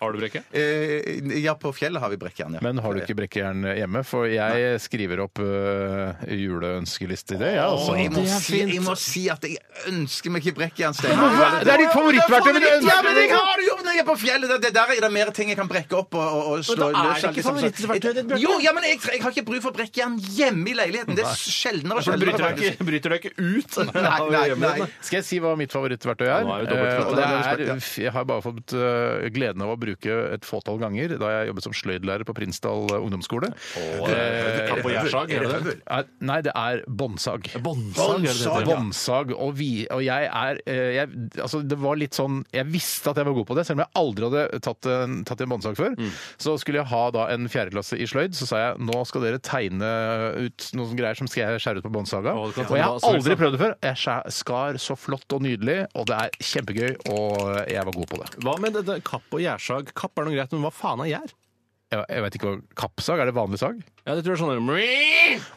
[SPEAKER 3] Har du brekket?
[SPEAKER 2] Eh, Ja, på fjellet har vi brekkjern, ja.
[SPEAKER 1] Men har du ikke brekkjern hjemme? For jeg skriver opp øh, juleønskeliste i det. Ja, altså.
[SPEAKER 2] Åh, jeg, må
[SPEAKER 3] Det er
[SPEAKER 2] si,
[SPEAKER 3] fint.
[SPEAKER 2] jeg må si at jeg ønsker meg ikke brekkjern, Steinar.
[SPEAKER 1] hva- det er ditt favorittverktøy, men du ønsker
[SPEAKER 2] Ja, men
[SPEAKER 1] deg
[SPEAKER 2] jeg
[SPEAKER 1] det.
[SPEAKER 2] har det jo når jeg er på fjellet! Det, det der er det mer ting jeg kan brekke opp og, og, og slå
[SPEAKER 3] Men da er
[SPEAKER 2] løs.
[SPEAKER 3] det ikke
[SPEAKER 2] liksom, så-
[SPEAKER 3] favorittverktøyet ditt, Bjarte.
[SPEAKER 2] Jo, ja, men jeg, jeg har ikke bruk for brekkjern hjemme i leiligheten. Det er sjeldnere og
[SPEAKER 3] Du
[SPEAKER 2] sjeldnere.
[SPEAKER 3] bryter deg
[SPEAKER 2] faktisk.
[SPEAKER 3] ikke, bryter deg ikke ut?
[SPEAKER 2] Nei, nei, nei.
[SPEAKER 1] Skal jeg si hva mitt favorittverktøy er?
[SPEAKER 3] Nå er det dobbelt
[SPEAKER 1] Eh, og
[SPEAKER 3] flott,
[SPEAKER 1] det
[SPEAKER 2] ja.
[SPEAKER 1] er, jeg har bare fått eh, gleden av å bruke et fåtall ganger da jeg jobbet som sløydlærer på Prinsdal ungdomsskole.
[SPEAKER 3] Eh, Kapp og gjærsag, er det det?
[SPEAKER 1] Eh, Nei, det er båndsag.
[SPEAKER 3] Båndsag, er det det heter?
[SPEAKER 1] Båndsag, Båndsag. Og, vi, og jeg er eh, jeg, Altså, det var litt sånn Jeg visste at jeg var god på det, selv om jeg aldri hadde tatt en, tatt en båndsag før.
[SPEAKER 3] Mm.
[SPEAKER 1] Så skulle jeg ha da en fjerdeklasse i sløyd, så sa jeg nå skal dere tegne ut noen greier som skal jeg skjære ut på båndsaga.
[SPEAKER 3] Å, du kan ta
[SPEAKER 1] Og jeg
[SPEAKER 3] hva
[SPEAKER 1] har
[SPEAKER 3] som helst,
[SPEAKER 1] aldri
[SPEAKER 3] da.
[SPEAKER 1] prøvd det før. Jeg skjæ- skar så flott og nydelig, og det er kjempegøy, og jeg var god på det.
[SPEAKER 3] Hva med dette kapp og gjærsag? Kapp er noe greit, men hva faen er gjær?
[SPEAKER 1] Jeg, jeg vet ikke hva Kappsag? Er det vanlig sag?
[SPEAKER 3] Ja, det tror jeg er sånn
[SPEAKER 1] Å,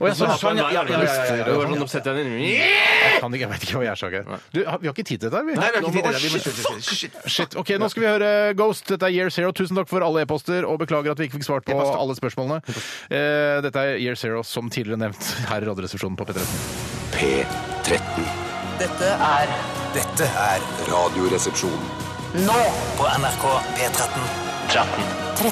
[SPEAKER 1] jeg så-
[SPEAKER 3] Så har du en
[SPEAKER 2] ja, ja,
[SPEAKER 3] vei,
[SPEAKER 2] ja, ja, ja,
[SPEAKER 3] er det noe sånn, de setter den inn
[SPEAKER 1] Jeg, kan ikke, jeg vet ikke hva gjærsag er. Du, har- vi har ikke tid til dette, her, vi.
[SPEAKER 2] Nei, vi har ikke tid til det. Vi må slutte. Shit.
[SPEAKER 1] Shit. Ok, nå skal vi høre Ghost. Dette er Year Zero. Tusen takk for alle e-poster, og beklager at vi ikke fikk svart på alle spørsmålene. Eh, Dette er Year Zero, som tidligere nevnt, her i Radioresepsjonen på P13.
[SPEAKER 7] P13.
[SPEAKER 10] Dette er
[SPEAKER 4] Dette er Radioresepsjon.
[SPEAKER 10] nå på NRK P13.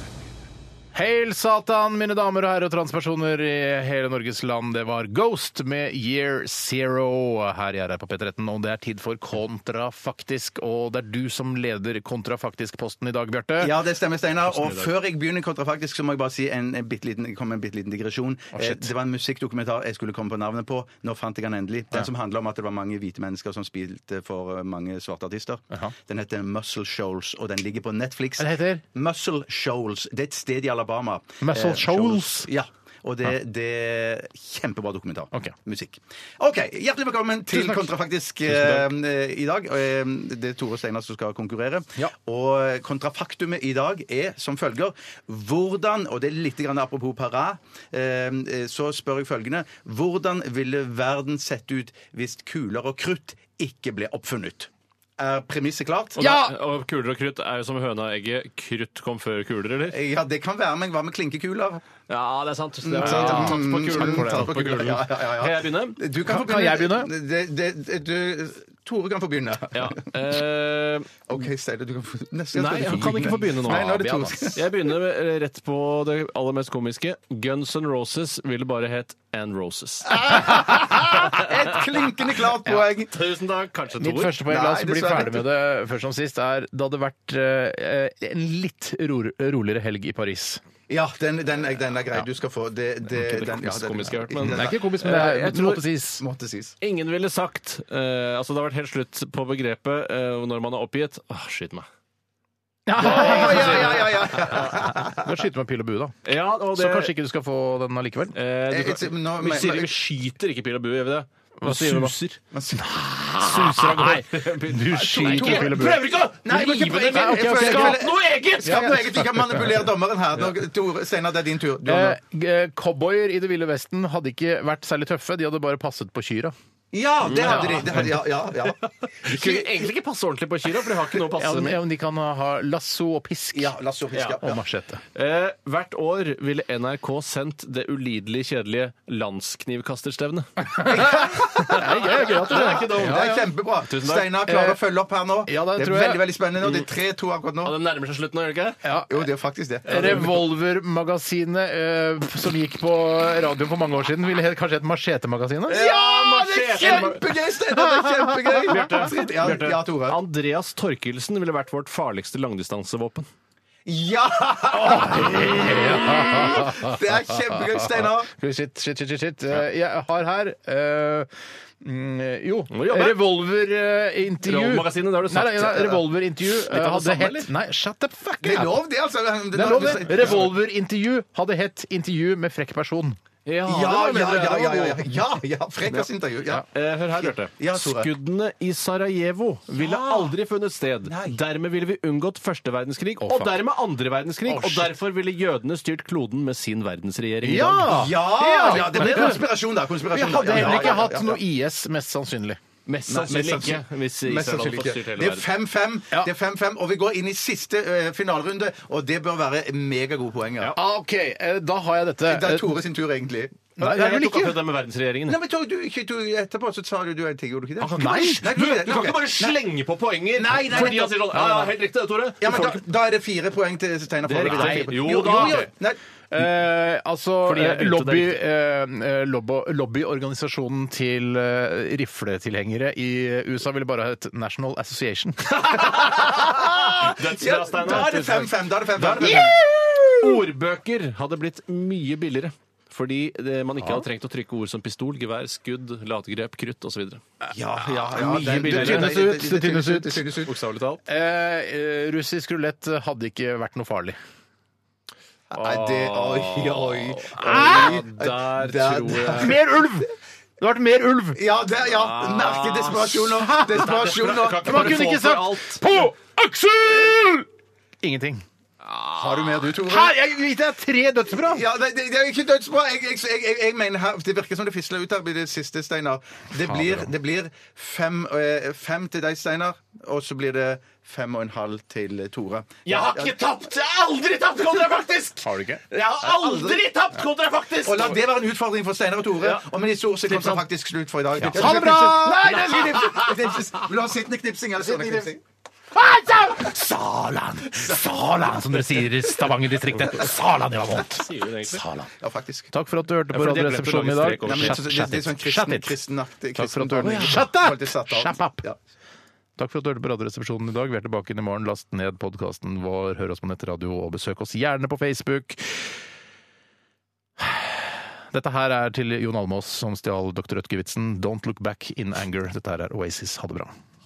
[SPEAKER 1] Hail Satan, mine damer og herrer og transpersoner i hele Norges land. Det var Ghost med Year Zero her jeg er på P13, og det er tid for Kontrafaktisk. Og det er du som leder Kontrafaktisk-posten i dag, Bjarte.
[SPEAKER 2] Ja, det stemmer, Steinar. Og før jeg begynner kontrafaktisk, så må jeg bare si en, en bitte liten, kom med en bitte liten digresjon. Eh, det var en musikkdokumentar jeg skulle komme på navnet på. Nå fant jeg den endelig. Den som handler om at det var mange hvite mennesker som spilte for eh, mange svarte artister. Den heter Muscle Shoals, og den ligger på Netflix.
[SPEAKER 1] Den heter?
[SPEAKER 2] Muscle Shoals. Det er et sted i Alabama.
[SPEAKER 1] Muscle Shoals?
[SPEAKER 2] Ja. Og det, det er kjempebra dokumentar.
[SPEAKER 1] Ok.
[SPEAKER 2] Musikk. OK. Hjertelig velkommen til
[SPEAKER 1] Tusen takk.
[SPEAKER 2] Kontrafaktisk
[SPEAKER 1] Tusen
[SPEAKER 2] eh, i dag. Eh, Det er Tore Steinar som skal konkurrere.
[SPEAKER 1] Ja.
[SPEAKER 2] Og eh, kontrafaktumet i dag er som følger Hvordan Og det er litt grann apropos para. eh, Så spør jeg følgende Hvordan ville verden sett ut hvis kuler og krutt ikke ble oppfunnet? Er premisset klart?
[SPEAKER 3] Og, da, og kuler og krutt er jo som høna og egget. Krutt kom før kuler, eller?
[SPEAKER 2] Ja, det kan være, men hva med klinkekuler?
[SPEAKER 3] Ja, det er sant. Det
[SPEAKER 2] Ja, sant.
[SPEAKER 3] er, Tatt på kulen.
[SPEAKER 2] Takk for det.
[SPEAKER 3] Tatt på kulen.
[SPEAKER 2] Ja, ja, ja, ja.
[SPEAKER 3] Kan jeg begynne?
[SPEAKER 2] Du kan,
[SPEAKER 1] Kan-
[SPEAKER 2] få
[SPEAKER 1] kan jeg begynne?
[SPEAKER 2] Det, det, det, du, Tore kan få begynne.
[SPEAKER 3] Ja. Eh,
[SPEAKER 2] OK, Steinar, du kan få nesten
[SPEAKER 3] nei, han kan ikke få begynne nå.
[SPEAKER 2] Nei, nå er det
[SPEAKER 3] Ja,
[SPEAKER 2] Tore.
[SPEAKER 3] Bjørn, ass. Jeg begynner med, eh, rett på det aller mest komiske. Guns N' Roses ville bare hett And Roses.
[SPEAKER 2] Et klinkende klart poeng!
[SPEAKER 3] Tusen takk. Kanskje
[SPEAKER 1] Mitt
[SPEAKER 3] to ord.
[SPEAKER 1] første poeng, la oss
[SPEAKER 2] Nei,
[SPEAKER 1] bli
[SPEAKER 2] dessverre.
[SPEAKER 1] ferdig med det først som sist, er det hadde vært eh, en litt ro roligere helg i Paris.
[SPEAKER 2] Ja, den, den, er- den er grei. Du skal få det, det,
[SPEAKER 3] det
[SPEAKER 2] den- ja,
[SPEAKER 3] komisk-
[SPEAKER 2] den-
[SPEAKER 3] komisk jeg har hørt, men-
[SPEAKER 2] den-
[SPEAKER 1] Det er ikke komisk, men det er
[SPEAKER 3] Jeg
[SPEAKER 1] Eh, jeg
[SPEAKER 3] tror-
[SPEAKER 1] måtte sies.
[SPEAKER 2] Måtte sies.
[SPEAKER 3] Ingen ville sagt eh, Altså, det har vært helt slutt på begrepet eh, når man er oppgitt. Åh, skyt meg.
[SPEAKER 2] Å, ja, ja, ja, ja, ja.
[SPEAKER 1] Men skyte med pil og bue, da.
[SPEAKER 3] Ja, og
[SPEAKER 1] Så kanskje ikke du skal få den allikevel?
[SPEAKER 3] eh, du,
[SPEAKER 2] Eh, it's-
[SPEAKER 3] kan,
[SPEAKER 2] nå-
[SPEAKER 3] vi,
[SPEAKER 2] men-
[SPEAKER 3] sier, vi skyter ikke pil og bue, gjør vi det?
[SPEAKER 1] Hva sier du da?
[SPEAKER 3] Suser.
[SPEAKER 2] Man sier-
[SPEAKER 3] Ah, Suser av gårde.
[SPEAKER 1] Du skyter med pil og bue.
[SPEAKER 3] Prøver ikke å
[SPEAKER 2] Nei, men ikke-
[SPEAKER 3] rive det
[SPEAKER 2] Nei, ok, ok,
[SPEAKER 3] med!
[SPEAKER 2] ok.
[SPEAKER 3] Skap noe eget!
[SPEAKER 2] Skap noe eget! Vi kan manipulere dommeren her. Nå- Tore, Steinar, det er din tur. Du har
[SPEAKER 1] Eh,
[SPEAKER 2] nå-
[SPEAKER 1] eh, Cowboyer i Det ville vesten hadde ikke vært særlig tøffe. De hadde bare passet på kyra.
[SPEAKER 2] Ja, det hadde de! Det hadde, ja, ja, ja.
[SPEAKER 3] De kunne egentlig ikke passe ordentlig på kyrne, for de har ikke noe å
[SPEAKER 1] Ja,
[SPEAKER 3] passe
[SPEAKER 1] men,
[SPEAKER 3] med.
[SPEAKER 1] ja, men de kan ha lasso og pisk
[SPEAKER 2] ja la oss så fiske.
[SPEAKER 1] og
[SPEAKER 2] Ja.
[SPEAKER 1] machete.
[SPEAKER 3] Eh, hvert år ville NRK sendt det ulidelig kjedelige Landsknivkasterstevnet.
[SPEAKER 2] Det er ikke dumt. Det er kjempebra.
[SPEAKER 3] Tusen takk.
[SPEAKER 2] Steinar klarer å følge opp her nå.
[SPEAKER 1] ja, det
[SPEAKER 2] Eh, det er
[SPEAKER 1] tror jeg.
[SPEAKER 2] veldig veldig spennende. nå. Det er 3-2 akkurat nå.
[SPEAKER 3] Ja, det nærmer seg slutten nå, gjør det ikke?
[SPEAKER 2] Jo, det er faktisk det.
[SPEAKER 1] Revolvermagasinet eh, som gikk på radioen for mange år siden, ville het, kanskje hett Machetemagasinet?
[SPEAKER 2] Ja, det er kjempegøy, Steinar! Det er kjempegøy! Bjarte. Ja,
[SPEAKER 3] Bjarte,
[SPEAKER 2] ja, Tore.
[SPEAKER 3] Andreas Torkelsen ville vært vårt farligste langdistansevåpen.
[SPEAKER 2] Ja! Det er kjempegøy, Steinar.
[SPEAKER 1] Skal vi- Shit, shit, shit, shit, shit. Eh, Jeg har her eh, mm, jo,
[SPEAKER 3] må jobbe.
[SPEAKER 1] revolverintervju.
[SPEAKER 3] Rollmagasinet, det har du sagt.
[SPEAKER 1] Nei, nei, revolverintervju eh,
[SPEAKER 3] av det
[SPEAKER 1] hadde
[SPEAKER 3] samme,
[SPEAKER 1] hett
[SPEAKER 3] eller?
[SPEAKER 1] Nei, shut the fuck
[SPEAKER 2] Det er
[SPEAKER 1] up!
[SPEAKER 2] lov, det, altså. Det
[SPEAKER 1] Det er lov, det. Revolverintervju hadde hett 'intervju med frekk person'.
[SPEAKER 3] Ja,
[SPEAKER 2] Ja,
[SPEAKER 3] det var
[SPEAKER 2] ja,
[SPEAKER 3] bedre.
[SPEAKER 2] ja.
[SPEAKER 3] Det
[SPEAKER 2] ja,
[SPEAKER 3] var
[SPEAKER 2] ja,
[SPEAKER 3] god.
[SPEAKER 2] ja, ja. Frekkas intervju. Ja.
[SPEAKER 3] Eh, Hør her, Bjarte.
[SPEAKER 2] Ja, Tore. Ah.
[SPEAKER 3] Skuddene i Sarajevo ville aldri funnet sted. Dermed ville vi unngått første verdenskrig, og
[SPEAKER 1] fuck.
[SPEAKER 3] dermed andre verdenskrig.
[SPEAKER 1] Å,
[SPEAKER 3] og
[SPEAKER 1] shit.
[SPEAKER 3] derfor ville jødene styrt kloden med sin verdensregjering. i dag.
[SPEAKER 1] Ja!
[SPEAKER 2] Ja! ja det ble konspirasjon, da.
[SPEAKER 1] Vi
[SPEAKER 2] Konspirasjon, da.
[SPEAKER 1] hadde
[SPEAKER 2] Ja, ja,
[SPEAKER 1] heller
[SPEAKER 2] ja,
[SPEAKER 1] ikke
[SPEAKER 2] ja,
[SPEAKER 1] hatt
[SPEAKER 2] ja.
[SPEAKER 1] noe IS, mest sannsynlig.
[SPEAKER 3] Mest
[SPEAKER 2] Nei,
[SPEAKER 3] sannsynlig
[SPEAKER 2] mest
[SPEAKER 3] ikke, hvis
[SPEAKER 2] Mest
[SPEAKER 3] Israel hadde
[SPEAKER 2] sannsynlig
[SPEAKER 3] fått styrt
[SPEAKER 2] ikke.
[SPEAKER 3] hele
[SPEAKER 2] Det er
[SPEAKER 3] verden.
[SPEAKER 2] 5-5,
[SPEAKER 1] Ja.
[SPEAKER 2] Det er 5-5, og vi går inn i siste eh, finalerunde, og det bør være megagode poenger.
[SPEAKER 1] Ah, OK, eh, da har jeg dette.
[SPEAKER 2] Det
[SPEAKER 1] Eh,
[SPEAKER 2] er Tore sin tur, egentlig.
[SPEAKER 1] Nei, det er
[SPEAKER 3] Jeg
[SPEAKER 1] vel
[SPEAKER 3] tok
[SPEAKER 1] ikke.
[SPEAKER 3] akkurat det med verdensregjeringen.
[SPEAKER 2] Nei, men Tore, du, ikke- du, etterpå så sa du du er en ting, gjorde du ikke det?
[SPEAKER 3] Du kan ikke bare-
[SPEAKER 2] Nei, du,
[SPEAKER 3] du, du kan ikke bare slenge på poenger
[SPEAKER 2] Nei, nei,
[SPEAKER 3] fordi
[SPEAKER 2] nettopp.
[SPEAKER 3] han sier sånn Ja, ja, helt riktig, det, Tore. Du
[SPEAKER 2] Ja, men
[SPEAKER 3] får
[SPEAKER 2] da,
[SPEAKER 3] ikke-
[SPEAKER 2] da er det fire poeng til Steinar.
[SPEAKER 3] Det er
[SPEAKER 2] Forhånd.
[SPEAKER 3] riktig.
[SPEAKER 2] Fire-
[SPEAKER 3] Jo
[SPEAKER 2] jo,
[SPEAKER 3] da.
[SPEAKER 2] jo. Nei,
[SPEAKER 1] Eh, altså
[SPEAKER 3] Fordi jeg
[SPEAKER 1] eh,
[SPEAKER 3] begynte
[SPEAKER 1] lobby,
[SPEAKER 3] det
[SPEAKER 1] eh, lobby, lobbyorganisasjonen til eh, rifletilhengere i USA ville bare hett National Association.
[SPEAKER 3] Dødsbra,
[SPEAKER 2] ja,
[SPEAKER 3] Steinar.
[SPEAKER 2] da er det 5-5. Da er det 5-5. da er det 5-5.
[SPEAKER 3] Ordbøker hadde blitt mye billigere. Fordi det, man ikke hadde trengt å trykke ord som pistol, gevær, skudd, lategrep, krutt osv.
[SPEAKER 2] Ja, ja, ja. den-
[SPEAKER 3] Mye
[SPEAKER 2] den-
[SPEAKER 3] billigere.
[SPEAKER 2] den-
[SPEAKER 1] Det tynnes ut,
[SPEAKER 2] den-
[SPEAKER 1] det tynnes ut.
[SPEAKER 2] Det tynnes ut.
[SPEAKER 3] Bokstavelig talt.
[SPEAKER 1] Mm. Eh, eh, russisk rulett hadde ikke vært noe farlig.
[SPEAKER 2] Nei, det Oi, oi.
[SPEAKER 3] Ah,
[SPEAKER 2] Oi.
[SPEAKER 3] der tror jeg-
[SPEAKER 1] Mer ulv! Det har vært mer ulv!
[SPEAKER 2] Ja, der, ja. Merke desperasjon nå. Desperasjon nå.
[SPEAKER 1] Man kunne ikke sagt 'på Aksel'! Ingenting.
[SPEAKER 2] Har du mer, du, Tore?
[SPEAKER 1] Her, jeg gitt deg tre dødsbra!
[SPEAKER 2] Ja, det, det, det er ikke dødsbra. Jeg, jeg, jeg, jeg, jeg mener her, Det virker som det fisler ut her i det siste, Steinar. Det blir, det blir fem, eh, fem til deg, Steinar, og så blir det fem og en halv til Tore.
[SPEAKER 3] Jeg har ikke tapt! Jeg har aldri tapt kontra faktisk!
[SPEAKER 1] Har du ikke?
[SPEAKER 3] Jeg har aldri tapt kontra faktisk!
[SPEAKER 2] Og la det være en utfordring for Steinar og Tore. Og med disse ord så kom det faktisk slutt for i dag.
[SPEAKER 1] Ha det bra!
[SPEAKER 2] Nei, det er knipsing. knipses. La oss sitte knipsing. eller stående knipsing.
[SPEAKER 1] Salan! Salan, som dere sier i Stavanger-distriktet. Salan, det var vondt. Salan.
[SPEAKER 2] Ja, faktisk.
[SPEAKER 1] Takk for at du hørte på
[SPEAKER 3] for det glemte å
[SPEAKER 1] Radioresepsjonen i
[SPEAKER 3] lage
[SPEAKER 1] dag.
[SPEAKER 3] strek
[SPEAKER 2] Nei,
[SPEAKER 3] over.
[SPEAKER 2] men det, er
[SPEAKER 1] Chat-
[SPEAKER 2] så- det, det er sånn
[SPEAKER 1] chat
[SPEAKER 2] kristen,
[SPEAKER 1] it.
[SPEAKER 2] kristenaktig.
[SPEAKER 1] Takk for
[SPEAKER 2] kristen-
[SPEAKER 1] at du hørte.
[SPEAKER 2] Å, ja.
[SPEAKER 1] Shut up!
[SPEAKER 2] Holdt det satt av.
[SPEAKER 1] Shut up!
[SPEAKER 2] Ja.
[SPEAKER 1] Takk for at du hørte på Radioresepsjonen i dag. Vi er tilbake inn i morgen. Last ned podkasten vår, hør oss på nettradio og besøk oss gjerne på Facebook. Dette her er til Jon Almaas som stjal Dr. Rødtgevitzen. Don't look back in anger. Dette her er Oasis. Ha det bra.